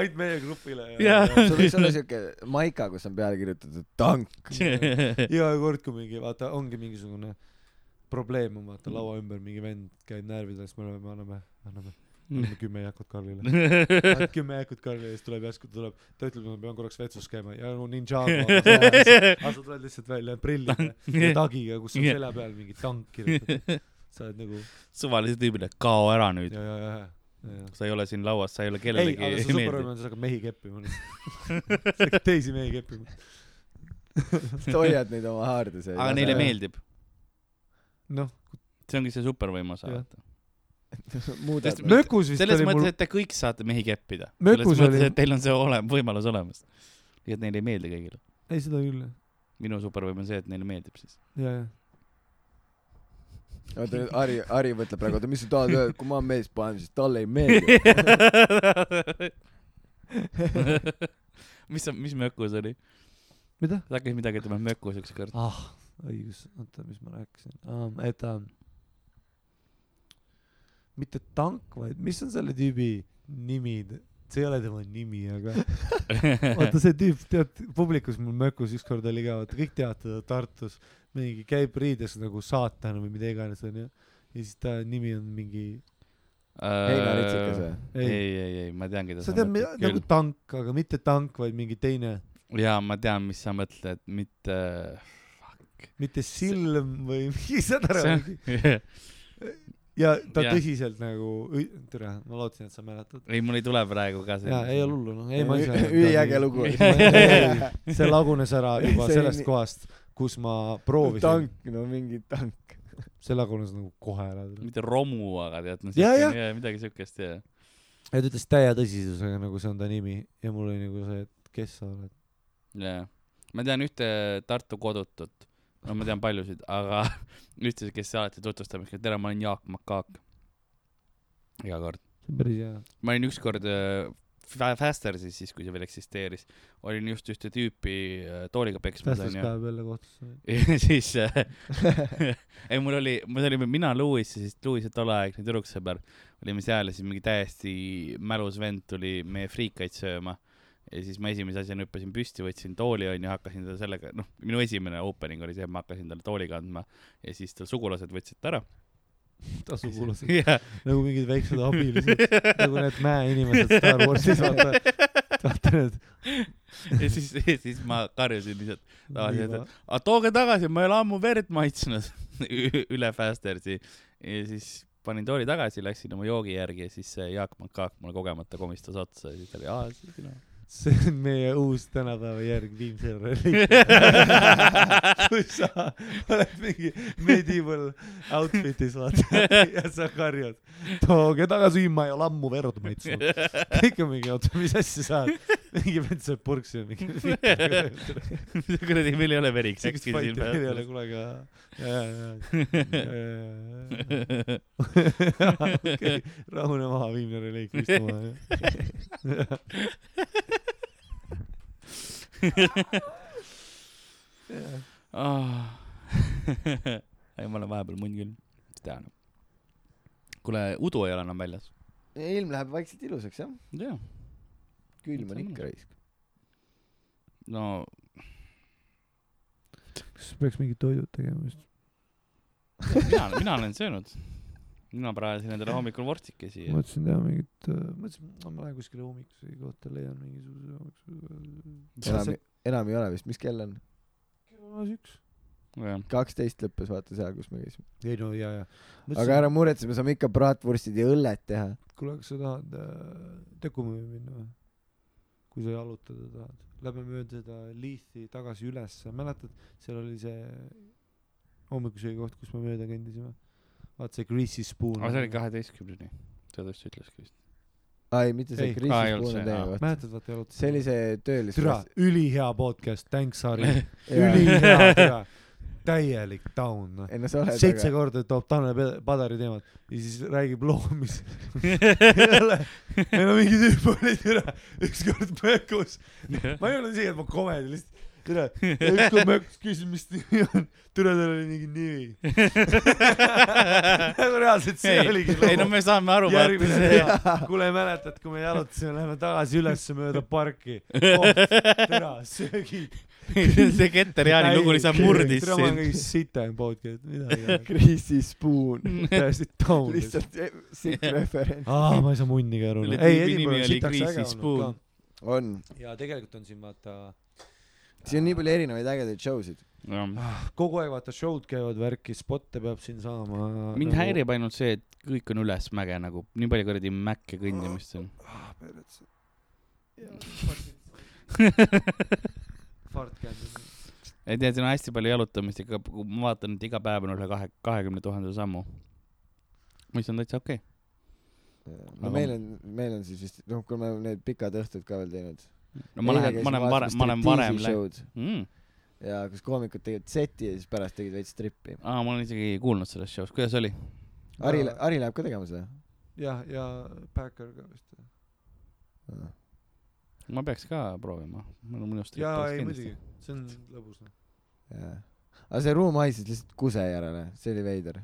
S2: ainult meie grupile .
S3: Jah.
S5: sul võiks olla siuke maika , kus on peale kirjutatud tank .
S2: iga kord , kui mingi , vaata , ongi mingisugune probleem on , vaata , laua ümber mingi vend käib närvidel , siis me oleme , anname , anname , anname kümme jääkut Karlile . Ainult kümme jääkut Karli ja siis tuleb järsku , ta tuleb , ta ütleb , ma pean korraks vetsus käima ja no ninjago . aga sa tuled lihtsalt välja prillide ja tagiga , kus on selja peal mingi tank kirjutatud . sa oled nagu
S3: suvalise tüübile , kao ära nüüd .
S2: ja , ja , ja , ja , ja .
S3: sa ei ole siin lauas , sa ei ole
S2: ei ,
S3: kellelegi
S2: aga see
S3: meeldiv .
S2: superhomme on , sa hakkad mehi keppima . sa hakkad teisi mehi keppima .
S5: sa hoiad neid oma haardes .
S3: aga neile . meeldib .
S2: noh ,
S3: see ongi see supervõime osa
S2: Jah. .
S5: muudad
S3: Sest
S5: nad .
S2: mökus vist
S3: selles
S2: oli mul
S3: mõttes , et te kõik saate mehi keppida . selles
S2: Mökus
S3: mõttes ,
S2: oli-
S3: et teil on see ole- , võimalus olemas . ja et neile ei meeldi kõigile .
S2: ei seda küll ,
S3: minu supervõime on see , et neile meeldib siis .
S2: ja , ja .
S5: oota nüüd Ari , Ari mõtleb praegu , oota , mis sa tahad öelda , kui ma mees panen , siis talle ei meeldi .
S3: mis , mis mökus oli ?
S2: mida ?
S3: ta hakkas midagi ütlema mökus ükskord .
S2: ah , õigus , oota , mis ma rääkisin um, , et um, mitte tank , vaid mis on selle tüübi nimi , see ei ole tema nimi , aga vaata see tüüp , tead , publikus mul mökus ükskord oli ka , vaata kõik teavad teda Tartus , mingi käib riides nagu saatan või mida iganes onju , ja siis ta nimi on mingi ,
S5: heinaritsekas või ??
S3: ei ,
S2: Äh, ei ,
S3: ei , ei , ma tean , keda
S2: sa tead , nagu
S3: küll .
S2: tank , aga mitte tank , vaid mingi teine ,
S3: jaa , ma tean , mis sa mõtled , mitte .
S2: mitte Silm või mingi , saad aru , mingi
S3: ei ,
S2: ja ta ja.
S3: Jah.
S2: tõsiselt nagu , tere , ma lootsin , et sa mäletad .
S3: mul ei tule praegu ka see .
S2: ja ei ole . hullu , noh , ei ma ise .
S5: üliäge . lugu .
S2: see lagunes ära juba
S5: See
S2: sellest
S5: nii-
S2: kohast , kus ma proovisin ,
S5: tank , no mingi tank .
S2: see lagunes nagu kohe ära .
S3: mitte romu , aga tead , noh ,
S2: Jaa, jah.
S3: midagi siukest , jaa .
S2: ja ta ütles täie tõsisusega , nagu see on ta nimi ja mul oli nagu see , et kes sa oled .
S3: jaa , ma tean ühte Tartu kodutut , no ma tean paljusid , aga ühte , kes alati tutvustab , ütleb tere , ma olen Jaak Makaak . iga kord .
S2: see on päris hea .
S3: ma olin ükskord äh, Fa- Fastersis , siis kui see veel eksisteeris , olin just ühte tüüpi äh, tooliga peksmas
S2: päästis
S3: onju .
S2: päev jälle kohtusse .
S3: ja siis äh, , ei mul oli , mul oli mina , Luis ja siis Luis ja tolleaegne tüdruksõber , olime seal ja siis mingi täiesti mälus vend tuli meie friikaid sööma . ja siis ma esimese asjana hüppasin püsti , võtsin tooli onju , hakkasin teda sellega , noh , minu esimene opening oli see , et ma hakkasin talle tooli kandma ja siis tal sugulased võtsid ta ära .
S2: ta sugulased ,
S3: jah ,
S2: nagu mingid väiksed abilised , nagu need mäeinimesed Star Warsis , vaata , vaata need .
S3: ja siis , siis ma karjusin lihtsalt tavaliselt , et aga tooge tagasi , ma ei ole ammu verd maitsnud Ü- üle Fastersi . ja siis panin tooli tagasi , läksin oma joogi järgi ja siis see Jaak Makaak mulle kogemata komistas otsa ja siis ta oli , aa , see sina .
S2: see on meie uus tänapäeva järg Viimse reliik kui sa oled mingi medieval outfit'is vaata ja sa karjud tooge tagasi , ma ei ole ammu verd maitsnud kõik on mingi oota , mis asja sa oled mingi vend sööb purksi ja mingi siukest
S3: kuradi , meil ei ole veri käkki
S2: fighti
S3: siin
S2: meil ei ole
S3: peal .
S2: kunagi okei , rahune maha , viimne reliik istuma jah.
S3: Ah. ei , ma olen vahepeal munn küll , tean . kuule , udu ei ole enam väljas .
S5: ilm läheb vaikselt ilusaks jah ,
S3: jah ,
S5: külm on ikka raisk .
S3: no
S2: kas peaks mingid toidud tegema vist
S3: mina , mina olen söönud . mina praesin endale hommikul vorstikesi ja
S2: mõtlesin teha mingit , mõtlesin , ma lähen kuskile hommikuse kohta , leian mingisuguse
S5: enam
S2: hommikuse ,,
S5: enam ei ole vist , mis kell on ?
S2: üks .
S3: jah.
S5: kaksteist lõppes vaata seal , kus me käisime .
S2: ei no ja , ja .
S5: aga ära . muretse , me saame ikka bratwurstid ja õllet teha .
S2: kuule , kas sa tahad äh, Tekumüüri minna või ? kui sa jalutada tahad , lähme mööda seda liithi tagasi ülesse , mäletad , seal oli see hommikusöögi koht , kus me mööda kõndisime ? vaata see Greasy Spoon .
S3: aga see oli . kaheteistkümneni , ta tõesti ütleski vist .
S5: aa ei , mitte see
S2: Ei,
S3: aa, ei
S5: Kriisi
S3: olnud
S5: Spoon
S3: see,
S5: on teine
S3: aa.
S5: koht .
S2: mäletad , vaata jalutasime .
S5: see oli see töölis-
S2: türa , ülihea podcast , thanks Harri ,
S5: Jaa.
S2: ülihea türa . täielik down , noh .
S5: ei no sa oled
S2: seitse korda toob Tanel Pe- Padari teemat ja siis räägib loo , mis ei ole , meil on mingi tüüp oli türa , ükskord mökus , ma ei ole isegi , et ma komedi lihtsalt , türa , ükskord mökus küsis , mis nimi on , türa tal oli mingi nimi . nagu reaalselt see
S3: ei
S2: oligi ,
S3: ei no
S2: loo .
S3: me saame aru , vaata
S2: järgmine
S3: see .
S2: hea , kuule mäletad , kui me jalutasime , lähme tagasi üles mööda parki oh, , türa söögi .
S3: see Keter Jaani lugu lihtsalt murdis
S2: türa ma olen
S3: sind .
S2: kõige sitem podcast , midagi ei ole .
S5: Kriisi Spoon ,
S2: täiesti taun .
S5: lihtsalt eh, siit referents .
S2: aa , ma ei saa munnigi aru .
S3: Selle
S2: ei ,
S3: tüübi nimi
S2: Edinburgh on sitaks
S3: oli Greasy
S2: äge olnud ka
S3: Spoon. .
S5: on ,
S2: ja tegelikult on siin vaata ,
S5: siin on nii palju erinevaid ägedaid show sid .
S2: kogu aeg vaata show'd käivad värki , spotte peab siin saama .
S3: Ah,
S2: Nagu-
S3: mind . häirib ainult see , et kõik on ülesmäge nagu , nii palju kuradi mäkke kõndimist on .
S2: Ah. Fart käib .
S3: ei tea , siin on hästi palju jalutamist ikka , ma vaatan , et iga päev on üle kahe , kahekümne tuhande sammu . mis on täitsa okei
S5: no meil on , meil on siis vist , noh , kui me need pikad õhtud ka veel teinud .
S3: okay. . no ma lähen , ma olen varem , ma olen varem läinud mm. .
S5: ja kus koomikud tegid seti ja siis pärast tegid veits trippi .
S3: aa , ma olen isegi kuulnud sellest show'st , kuidas oli ?
S5: Ari , Ari läheb ka tegema seda ?
S2: jah , ja Backer ka vist .
S3: ma peaks ka proovima . mul on minu arust .
S2: jaa , ei muidugi , see on lõbus . noh.
S5: jaa . aga see ruum haises lihtsalt kuse järele , see oli veider .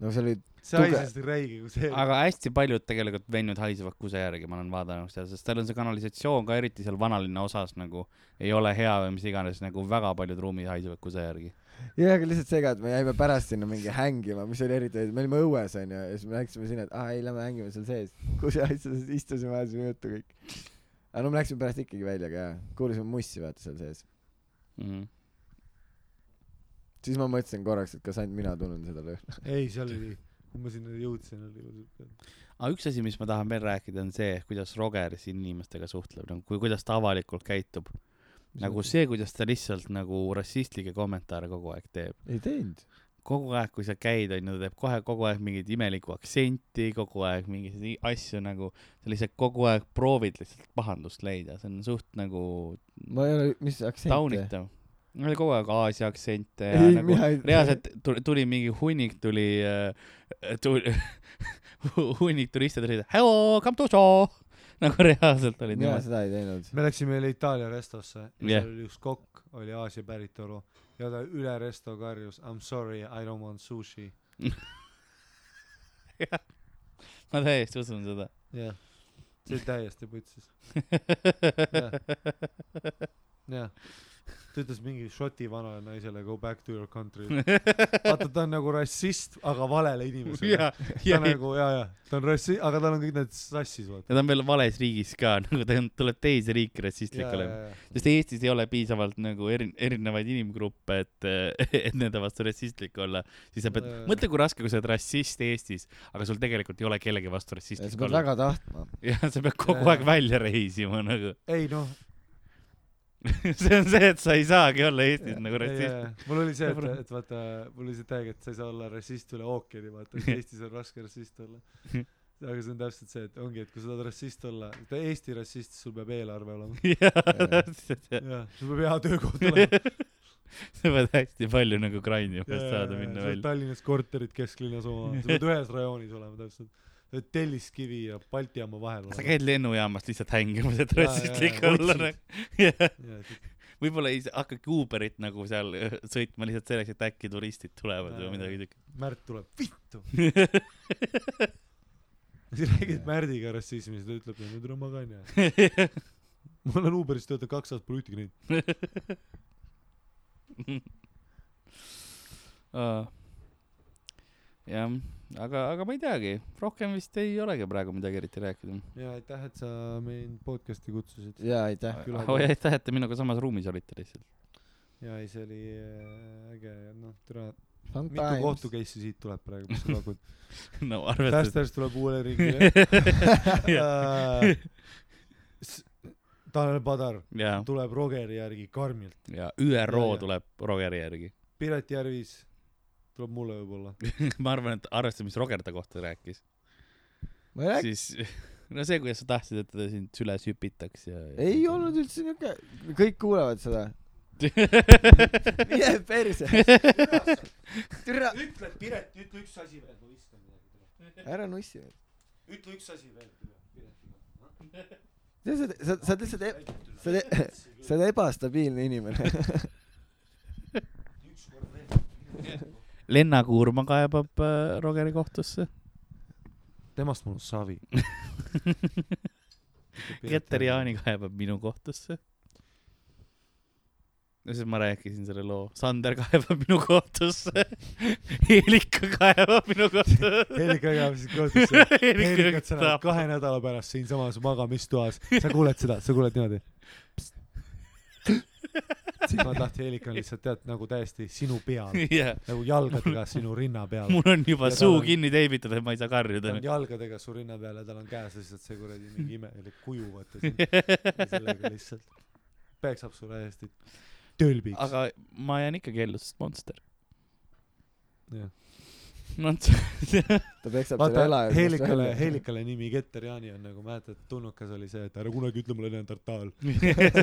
S5: no see oli ,
S2: see
S5: Tuge-
S2: haises räige kui see .
S3: aga hästi paljud tegelikult vennud haisevad kuse järgi , ma olen vaadanud seal , sest tal on see kanalisatsioon ka eriti seal vanalinna osas nagu ei ole hea või mis iganes , nagu väga paljud ruumid haisevad kuse järgi .
S5: jaa , aga lihtsalt see ka , et me jäime pärast sinna mingi hängima , mis oli eriti , me olime õues onju ja siis me läksime sinna , et aa ei , lähme hängime seal sees . kuse haises istusime , ajasime juttu kõik . aga no me läksime pärast ikkagi välja ka , kuulasime mussi vaata seal sees .
S3: Mm.
S5: siis ma mõtlesin korraks , et kas ainult mina tunnen seda lõhna .
S2: ei , seal oli , kui ma sinna jõudsin , oli .
S3: aga üks asi , mis ma tahan veel rääkida , on see , kuidas Roger siin inimestega suhtleb , nagu kui , kuidas ta avalikult käitub . nagu . see , kuidas ta lihtsalt nagu rassistlikke kommentaare kogu aeg teeb .
S5: ei teinud .
S3: kogu aeg , kui sa käid , onju , ta teeb kohe kogu aeg mingit imelikku aktsenti , kogu aeg mingeid i- asju nagu , sa lihtsalt kogu aeg proovid lihtsalt pahandust leida , see on suht nagu
S5: ma ei ole , mis aktsent .
S3: taunitav . mul oli kogu aeg Aasia aktsente ja
S5: ei ,
S3: nagu
S5: mina ei .
S3: reaalselt tuli, tuli mingi hunnik tuli , tuli hunnik turiste tuli , hello , come to show . nagu reaalselt olid
S5: mina
S3: niimoodi .
S5: seda ei teinud .
S2: me läksime jälle Itaalia restosse ja yeah.
S3: Jah.
S2: seal oli üks kokk , oli Aasia päritolu ja ta üle resto karjus I m sorry , I don't want sushi .
S3: ma täiesti usun seda .
S2: jah , see oli täiesti putsis , jah . ta ütles mingi šoti vanale naisele go back to your country . vaata , ta on nagu rassist , aga valele inimesele
S3: ja .,
S2: ta nagu ja , ja ta on rassi- , aga tal on kõik need sassis vaata .
S3: ja ta on veel vales riigis ka , nagu ta on , tuleb teise riiki rassistlik olema . sest Eestis ei ole piisavalt nagu eri- , erinevaid inimgruppe , et , et nende vastu rassistlik olla , siis sa pead
S2: Jaa. ,
S3: mõtle , kui raske , kui sa oled rassist Eestis , aga sul tegelikult ei ole kellegi vastu
S5: sa
S3: rassistlik
S5: pead
S3: olla .
S5: väga tahtma .
S3: jah , sa pead kogu
S2: Jaa.
S3: aeg välja reisima nagu .
S2: ei noh ,
S3: see on see , et sa ei saagi olla Eestis nagu rassist .
S2: mul oli see , et , et vaata , mul oli see tag , et sa ei saa olla rassist üle ookeani , vaata , et Eestis on raske rassist olla . aga see on täpselt see , et ongi , et kui sa tahad rassist olla , Eesti rassist , sul peab eelarve olema .
S3: jah ,
S2: jah , sul peab hea töökoht olema .
S3: sa pead hästi palju nagu grindima , et saada minna välja .
S2: Tallinnas korterid kesklinnas oma , sa pead ühes rajoonis olema täpselt . sa pead Telliskivi ja Balti jaama vahel
S3: sa
S2: olema .
S3: käid lennujaamas lihtsalt hängimas , et
S2: Jaa, jaa,
S3: rassistlik
S2: jaa,
S3: olla
S2: otsid.
S3: nagu . võib-olla ei hakkagi Uberit nagu seal öö, sõitma lihtsalt selleks , et äkki turistid tulevad
S2: Jaa,
S3: või midagi
S2: jaa.
S3: siukest .
S2: Märt tuleb , vittu . sa räägid Märdiga rassismist , ta ütleb , et tule magan ja . ma olen Uberis töötanud kaks aastat , pole ühtegi neid .
S3: jah , aga , aga ma ei teagi , rohkem vist ei olegi praegu midagi eriti rääkida .
S2: ja aitäh , et sa mind podcast'i kutsusid .
S5: jaa , aitäh .
S3: aitäh , et te minuga samas ruumis olite lihtsalt .
S2: ja ei , see oli äh, äge ja noh , tere . mitu kohtu
S5: Sometimes .
S2: case'i siit tuleb praegu , mis sa pakud ?
S3: no arvestades .
S2: Fasters tuleb uuele ringile . Äh, Tanel Padar
S3: ja ,
S2: tuleb Rogeri järgi karmilt .
S3: ja ÜRO
S2: Jaa, jaa.
S3: tuleb Rogeri järgi .
S2: Piret Järvis tuleb mulle võib-olla .
S3: ma arvan , et arvestades , mis Roger ta kohta rääkis ,
S5: ma ei räägi ,
S3: siis no see , kuidas sa tahtsid , et ta sind süles hüpitaks ja .
S5: ei olnud üldse niuke , kõik kuulevad seda . mine perse . türa ,
S2: ütle , Piret , ütle üks asi veel , ma viskan midagi .
S5: ära nussi .
S2: ütle üks asi veel , Piret .
S5: sa , sa , sa oled lihtsalt , sa oled , sa oled ebastabiilne inimene .
S3: Lenna Kuurma kaebab äh, Rogeri kohtusse .
S2: temast mul on savi .
S3: Keter Jaani kaebab minu kohtusse . no siis ma rääkisin selle loo . Sander kaebab minu kohtusse . Helika kaebab minu kohtusse .
S2: Helika jääb siis kohtusse .
S3: Helika
S2: Helikat sa näed
S3: tapab.
S2: kahe nädala pärast siinsamas magamistoas , sa kuuled seda , sa kuuled niimoodi . silmad lahti , Helika on lihtsalt tead nagu täiesti sinu peal ,
S3: jah ,
S2: nagu jalgadega sinu rinna peal .
S3: mul on juba
S2: Ja tal
S3: suu
S2: on-
S3: kinni teibitud , et ma ei saa
S2: ta
S3: karjuda
S2: on . jalgadega su rinna peal ja tal on käes lihtsalt see kuradi mingi imelik kuju , vaata siin ja sellega lihtsalt peksab su täiesti tölbiks .
S3: aga ma jään ikkagi ellu , sest Monster . Noh,
S2: Jah.
S3: Monster ,
S5: ta peksab selle
S2: vaata
S5: elaja .
S2: Helikale ,. Helikale nimi Keter Jaani on nagu mäletad , tunnukas oli see , et ära kunagi ütle mulle , et olen tartaal .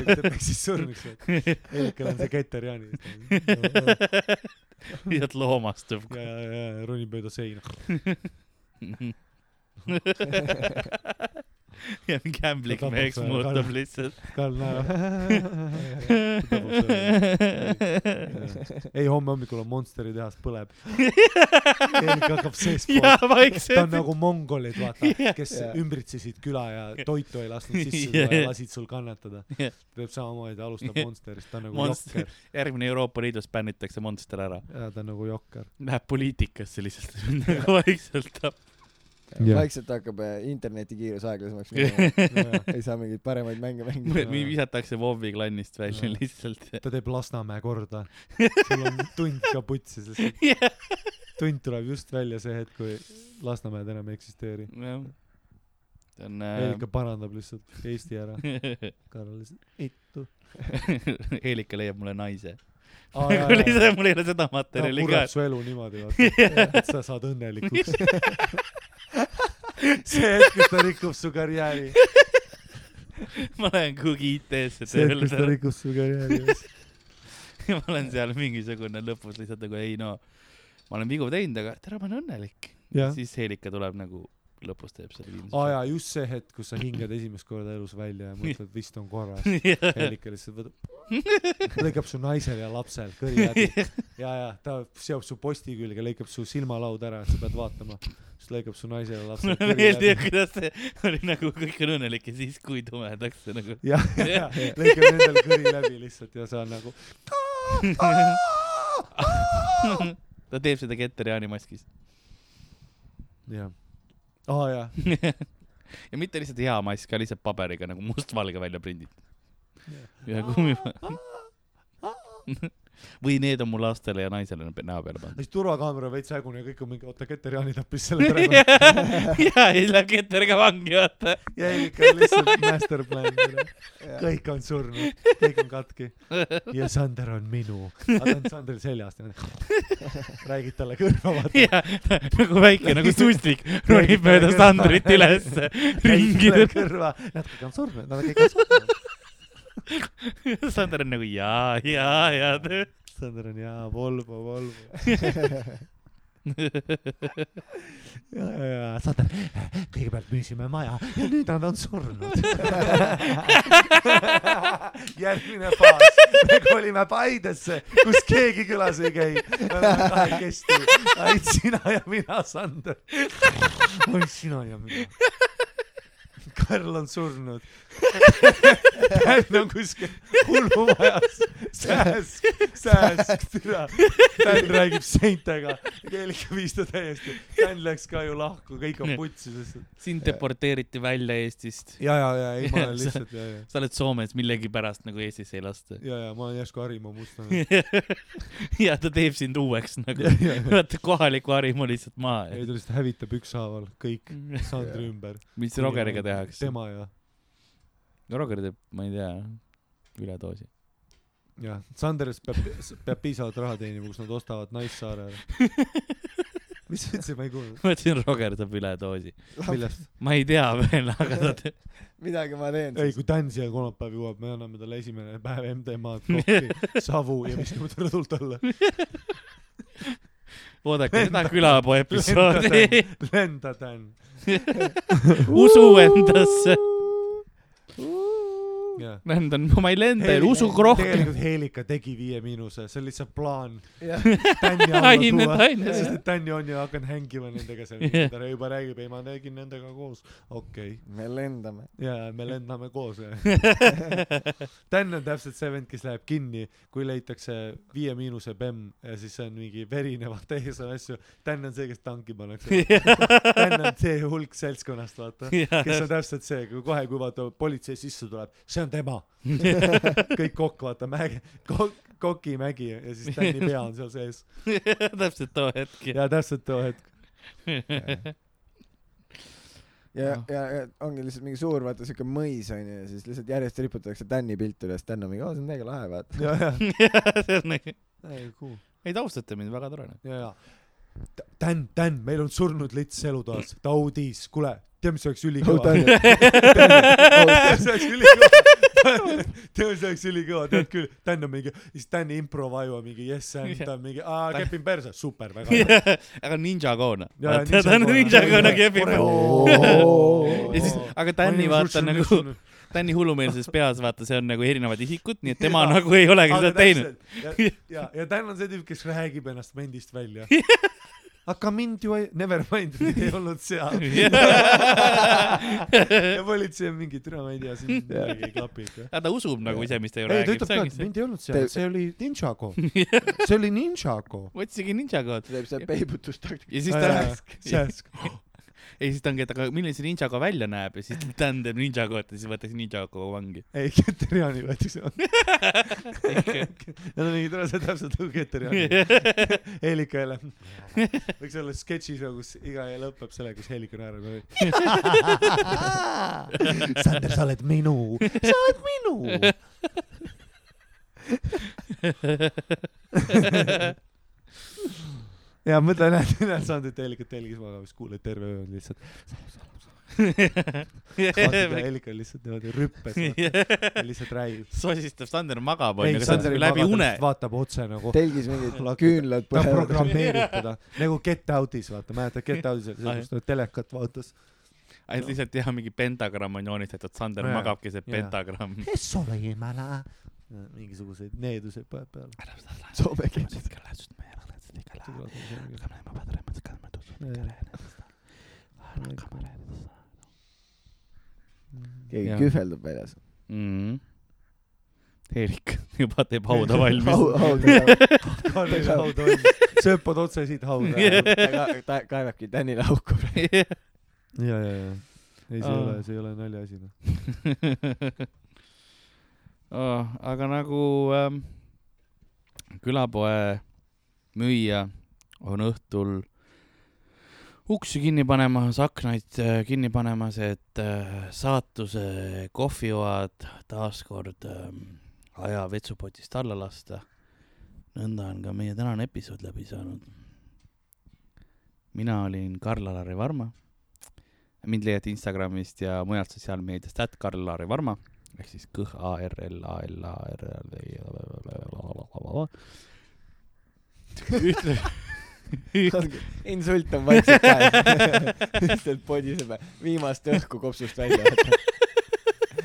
S2: ta peksis surnuks , et Helikal on see Keter Jaani . ja ,
S3: lihtsalt loomastub .
S2: ja , ja ronib mööda seina .
S3: Mm-hmm. ja mingi ämblik
S2: Ta tapab
S3: meheks
S2: selle
S3: muutub
S2: karja.
S3: lihtsalt .
S2: Karl näeb . tapab ei , homme hommikul on Monsteri tehas põleb . Helik hakkab seestpoolt
S3: jaa ,
S2: ta on
S3: vaikselt .
S2: nagu mongolid , vaata , kes
S5: Jah.
S2: ümbritsesid küla ja toitu ei lasknud sisse
S3: Jah.
S2: tuua ja lasid sul kannatada .
S3: Jah.
S2: peab samamoodi , ta alustab
S3: Jah.
S2: Monsterist , ta on nagu
S3: Monster-
S2: jokker .
S3: järgmine Euroopa Liidus bännitakse Monster ära .
S2: jaa , ta on nagu jokker .
S3: Läheb poliitikasse lihtsalt , nagu vaikselt tapab .
S2: Jah.
S5: vaikselt hakkab eh, interneti kiirus aeglasemaks minema . ei saa mingeid paremaid mänge mängida .
S3: mind visatakse Vovi klannist välja
S2: Jaa.
S3: lihtsalt .
S2: ta teeb Lasnamäe korda . sul on tund ka putsis , sest tund tuleb just välja see hetk , kui Lasnamäed enam ei eksisteeri .
S3: jah . ta on
S2: Helika parandab lihtsalt Eesti ära .
S3: äh, .
S2: Karl lihtsalt , eitu .
S3: Helika leiab mulle naise .
S2: Aa, jaa,
S3: nagu
S2: jaa.
S3: lihtsalt mul ei ole seda
S2: ta
S3: materjali ka
S2: pureb . su elu niimoodi , vaata , et sa saad õnnelikuks . see hetk , kus ta rikub su karjääri
S3: ma lähen kuhugi IT-sse
S2: see ,
S3: tööle
S2: kus ta rikub su karjääri üles .
S3: ja ma olen seal mingisugune lõpus lihtsalt nagu ei no , ma olen vigu teinud , aga tere , ma olen õnnelik .
S2: jah ,
S3: siis Helika tuleb nagu lõpus teeb selle viimse
S2: aa jaa , just see hetk , kus sa hingad esimest korda elus välja ja mõtled , vist on korras .
S3: jaa .
S2: Helika lihtsalt võtab , lõikab su naisel ja lapsel kõri läbi ja , ja ta seob su posti külge , lõikab su silmalaud ära , et sa pead vaatama , siis lõikab su naisel ja lapsel
S3: mulle
S2: kõri läbi
S3: meeldib , kuidas see oli nagu kõik on õnnelik ja siis , kui tumedaks see nagu .
S2: jah , lõikab endal kõri läbi lihtsalt ja sa nagu
S3: ta teeb seda Keter Jaani maskis .
S2: jah , aa jaa ,
S3: ja mitte lihtsalt hea mask , aga lihtsalt paberiga nagu mustvalge välja prinditud . ja kummi- . või need on mu lastele ja naisele näo peale pandud .
S2: siis turvakaamera veits hägune ja kõik on mingi , oota , Keter Jaani tappis selle praegu
S3: ja , ja siis läheb Keteriga vangi , vaata .
S2: ja Erika on lihtsalt masterplan , kõik on surnud , kõik on katki ja Sander on minu , aga ta on Sandril seljas , räägid talle kõrva , vaata ,
S3: ja , nagu väike nagu suslik ronib mööda Sandrit ülesse
S2: räägid
S3: ringi
S2: talle . kõrva , nad kõik on surnud , nad kõik on surnud .
S3: Sander on nagu jaa , jaa , jaa .
S2: Sander on jaa , Volvo , Volvo . ja , ja , ja Sander , kõigepealt müüsime maja ja nüüd nad on surnud . järgmine faas , me kolime Paidesse , kus keegi külas ei käi . me oleme kahekesti , ainult sina ja mina , Sander . ainult sina ja mina . Karl on surnud . Pärn on kuskil hullumajas , sääsk , sääsk , türa . Pärn räägib seintega , Helika viis ta täiesti . Pärn läks ka ju lahku , kõik on putsi lihtsalt .
S3: sind deporteeriti välja Eestist .
S2: ja , ja , ja ei , ma olen
S3: Sa-
S2: lihtsalt ja , ja ,
S3: sa oled Soomes millegipärast nagu Eestisse ei lasta .
S2: ja , ja ma olen järsku Harjumaa mustlane .
S3: ja ta teeb sind uueks nagu
S2: ja , ja , ja
S3: vaata kohaliku harimu lihtsalt maha
S2: ei . ta lihtsalt hävitab ükshaaval kõik Sandri ümber .
S3: mis Mm. Rogeriga tehakse ?
S2: tema ja ,
S3: no Roger teeb , ma ei tea , üledoosi .
S2: jah , Sander peab , peab piisavalt raha teenima , kus nad ostavad Naissaarele . mis sa ütlesid , ma ei kuulnud .
S3: ma ütlesin , Roger saab üledoosi .
S2: millest ?
S3: ma ei tea veel , aga ta teeb .
S5: midagi ma teen
S2: ei ,
S5: siis .
S2: kui Dan siia kolmapäev jõuab , me anname talle esimene päev MDMA-d , kokki , savu ja viskame ta rõdult alla .
S3: oodake seda külapoe episoodi .
S2: lenda , Dan .
S3: usu endasse .
S2: jah .
S3: lendan , ma ei lenda , usuge rohkem .
S2: tegelikult Helika tegi Viie Miinuse , see on lihtsalt plaan .
S3: Aine taine.
S2: sest et Dan on ja hakkan hängima nendega seal
S3: Jah. ,
S2: ta juba räägib , ei ma tegin nendega koos , okei okay. .
S5: me lendame .
S2: ja me lendame koos . Dan on täpselt see vend , kes läheb kinni , kui leitakse Viie Miinuse bemm ja siis see on mingi verine , vaata ees on asju . Dan on see , kes tanki pannakse . Dan on see hulk seltskonnast , vaata kes on täpselt see , kui kohe , kui vaata politsei sisse tuleb , see on tema . kõik kokk , vaata Mägi , kokk , kokimägi ja siis Tänni pea on seal sees
S3: täpselt too hetk .
S2: ja täpselt too hetk .
S5: ja , ja , ja ongi lihtsalt mingi suur , vaata siuke mõis onju ja siis lihtsalt järjest riputatakse Tänni pilt üles , Tän on mingi , aa see on täiega lahe vaata .
S2: ja , ja ,
S3: see on nagu ,
S2: ei kuu ,
S3: ei te austate mind , väga tore .
S2: ja , ja . Tän , Tän , meil on surnud lits elutoas , ta uudis , kuule , tead , mis oleks
S5: oh
S2: ülikõva ?
S5: Tän ,
S2: tead , see oleks ülikõva . tead , see oleks ülikõva , tead küll , Tän on mingi , siis Tän improvaju on mingi yes and , ta on mingi , aa , kepin perse , super , väga hea .
S3: aga Ninja Koona .
S2: Ja, ja
S3: ta on
S2: Ninja
S3: Ninja
S2: Koona.
S3: Koona kehvim . ja siis , aga Tänni vaata nagu , Tänni hullumeelses peas , vaata , see on nagu erinevad isikud , nii et tema
S2: Jaa.
S3: nagu ei olegi seda teinud ..
S2: ja , ja , ja Dan on see tüüp , kes räägib ennast mendist välja . aga mind ju ei , never mind , mind ei olnud seal . ja politsei on mingi , türa ma ei tea , siin midagi ei klapi ikka .
S3: aga ta usub nagu ise , mis ta ju
S2: ei , ta ütleb ka , et
S3: räägib .
S2: mind ei olnud seal , see oli Ninjago . see oli Ninjago .
S3: otsige Ninja Kood .
S5: ta teeb seal peibutustaktika .
S3: ja siis ta läheb , ja siis ta ongi , et aga milline see Ninja Kood välja näeb ja siis ta teeb Ninja Kood ja siis võetakse Ninja Kood vangi .
S2: ei , Keteriani võetakse . Nad on mingid , see on täpselt nagu Keteriani . Helika jälle . võiks olla sketšis , kus iga ja lõpeb sellega , kus Helika naerab . Sander , sa oled minu , sa oled minu . ja mõtle , näed , näed Sandrit ja Helikat telgis magamas , kuuled terve öö on lihtsalt . Helika on lihtsalt niimoodi rüppes ja lihtsalt räägib .
S3: sosistab , Sander magab
S2: ei
S3: onju ,, aga
S2: Sander
S3: Sander
S2: ei
S3: läbi
S2: maga , ta
S3: une
S2: lihtsalt vaatab otse nagu .
S5: telgis mingid
S2: Plakad.
S5: küünlad
S2: ta
S5: põlevad .
S2: programmeerib teda nagu Get Out'is vaata , mäletad Get Out'is oli see , kus ta telekat vaatas .
S3: ainult lihtsalt jah , mingi pentagramm on joonistatud , Sander
S2: Jaa.
S3: magabki see
S2: Jaa.
S3: pentagramm .
S2: kes ole jumala ? mingisuguseid needuseid paneb peale .
S5: Soome keeles . keegi
S3: Jaa.
S5: kühveldab väljas .
S3: Mhm. Eerik juba teeb hauda valmis .
S2: Karli haud on , sööpad otse siit hauda . ja ,
S5: ta kaevabki Tänile auku praegu .
S2: ja , ja . ei , see ei
S3: Aa.
S2: ole , see ei ole naljaasi noh .
S3: oh, . aga nagu ähm, külapoe müüja on õhtul uksi kinni panemas , aknaid äh, kinni panemas , et äh, saatuse kohvioad taaskord ähm, aja vetsupotist alla lasta . nõnda on ka meie tänane episood läbi saanud . mina olin Karl-Alari Varma . mind leiate Instagramist ja mujalt sotsiaalmeediast , et Karl-Alari Varma ehk siis kõh A R L A L A R L I . ütle ,
S5: insult on vaikselt käes . lihtsalt podiseme viimast õhku kopsust välja .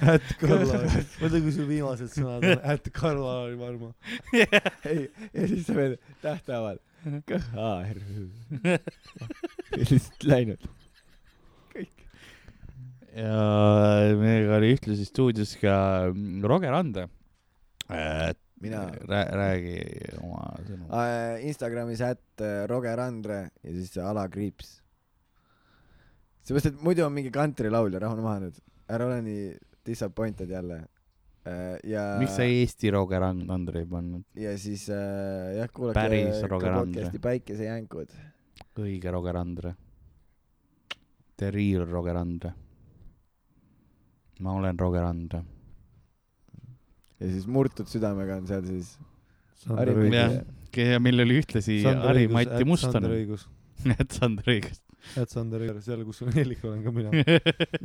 S2: Ät Karla , mõtle kui sul viimased sõnad on , ät Karla oli varma .
S5: ei , ja siis sa veel tähtaval . KHR . ja lihtsalt läinud .
S3: ja meiega oli ühtlasi stuudios ka mm, Roger Ande .
S5: mina
S3: räägi oma sõnu .
S5: äh, Instagramis ätt äh, Roger Andre ja siis see alakriips . seepärast , et muidu on mingi kantrilaulja , rahune maha nüüd , ära ole nii disappointed jälle äh, . ja .
S3: miks sa Eesti Roger Andre ei pannud ?
S5: ja siis äh, jah , kuulake .
S3: Päris Roger Andre.
S5: podcast'i Päikesejänkud .
S3: õige Roger Andre . The real Roger Andre . ma olen Roger Andre .
S5: ja siis Murtud südamega on seal siis .
S2: Sander
S5: Õigus.
S3: jah , ja meil oli ühtlasi Harri-Mati Mustonen .
S2: õigus .
S3: et Sander õigesti .
S2: et Sander Jõer , seal , kus ma nelik olen ka mina .
S5: aa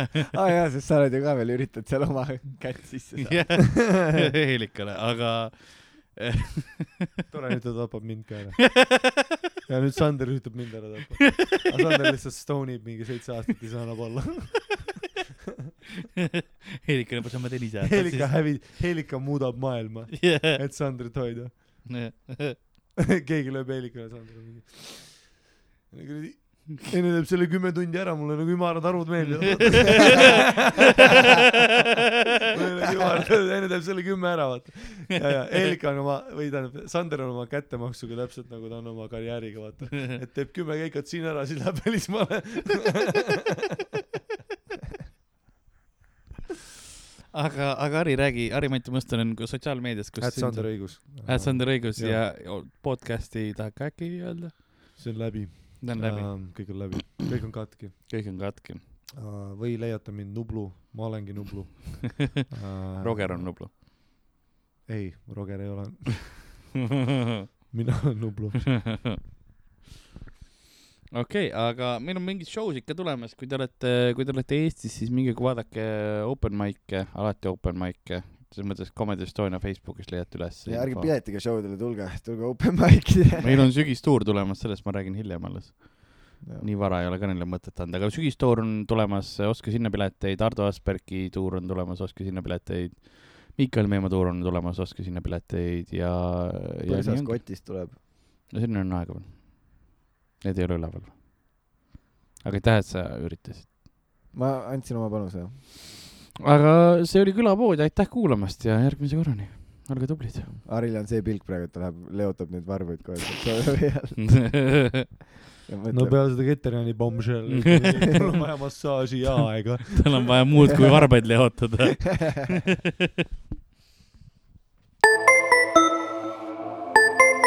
S5: Ah, jaa , sest sa oled ju ka veel , üritad seal oma kätt sisse saada .
S3: Heelikale , aga
S2: tore , nüüd ta tapab mind ka ära . ja nüüd Sander üritab mind ära tappa . aga Sander lihtsalt stone ib mingi seitse aastat ja siis annab alla .
S3: Heelika lõpus ma teen ise .
S2: Helika hävi- , Helika muudab maailma ,
S3: hävib .
S2: et Sandrit hoida . keegi lööb Helikale Sandrile mingi . kuradi , enne teeb selle kümme tundi ära , mulle nagu ümarad arvud meeldivad . nagu enne teeb selle kümme ära , vaata . ja , ja Helika on oma , või tähendab , Sander on oma kättemaksuga täpselt nagu ta on oma karjääriga , vaata . et teeb kümme käikat siin ära , siis läheb välismaale .
S3: aga , aga Harri , räägi , Harri-Mati Mustonen on ka sotsiaalmeedias , kus
S2: et Sander õigus .
S3: Ät Sander õigus
S2: Jah.
S3: ja o- podcast'i tahad ka äkki öelda ?
S2: see on läbi .
S3: ta on läbi ,
S2: Ehm, kõik on läbi , kõik on katki .
S3: kõik on katki .
S2: Äh, või leiate mind Nublu , ma olengi Nublu Äh,
S3: Roger on Nublu .
S2: ei , Roger ei ole , mina olen Nublu .
S3: okei , aga meil on mingid show'd ikka tulemas , kui te olete , kui te olete Eestis , siis minge vaadake open mic'e , alati open mic'e , selles mõttes Comedy Estonia Facebookis leiate üles .
S5: ja ärge piletiga show dele tulge , tulge open mic'ile .
S3: meil on sügistuur tulemas , sellest ma räägin hiljem alles .
S5: on
S3: nii vara ei ole ka neile mõtet anda , aga sügistuur on tulemas , ostke sinna pileteid , Ardo Aspergi tuur on tulemas , ostke sinna pileteid . Miikael Meemaa tuur on tulemas , ostke sinna pileteid ja , ja nii
S5: põõsas
S3: ongi.
S5: kotis tuleb .
S3: no sinna on aega veel . Need ei ole üleval . aga aitäh , et sa üritasid .
S5: ma andsin oma panuse .
S3: aga see oli külapood ja aitäh kuulamast ja järgmise korrani . olge tublid .
S5: Aril on see pilk praegu , et ta läheb , leotab neid varvuid kohe sealt soe peal ja
S2: no
S5: mõtleb .
S2: peale seda Keterjani bombshell'i , mul on vaja massaaži ja aega .
S3: tal on vaja muud kui varbaid leotada .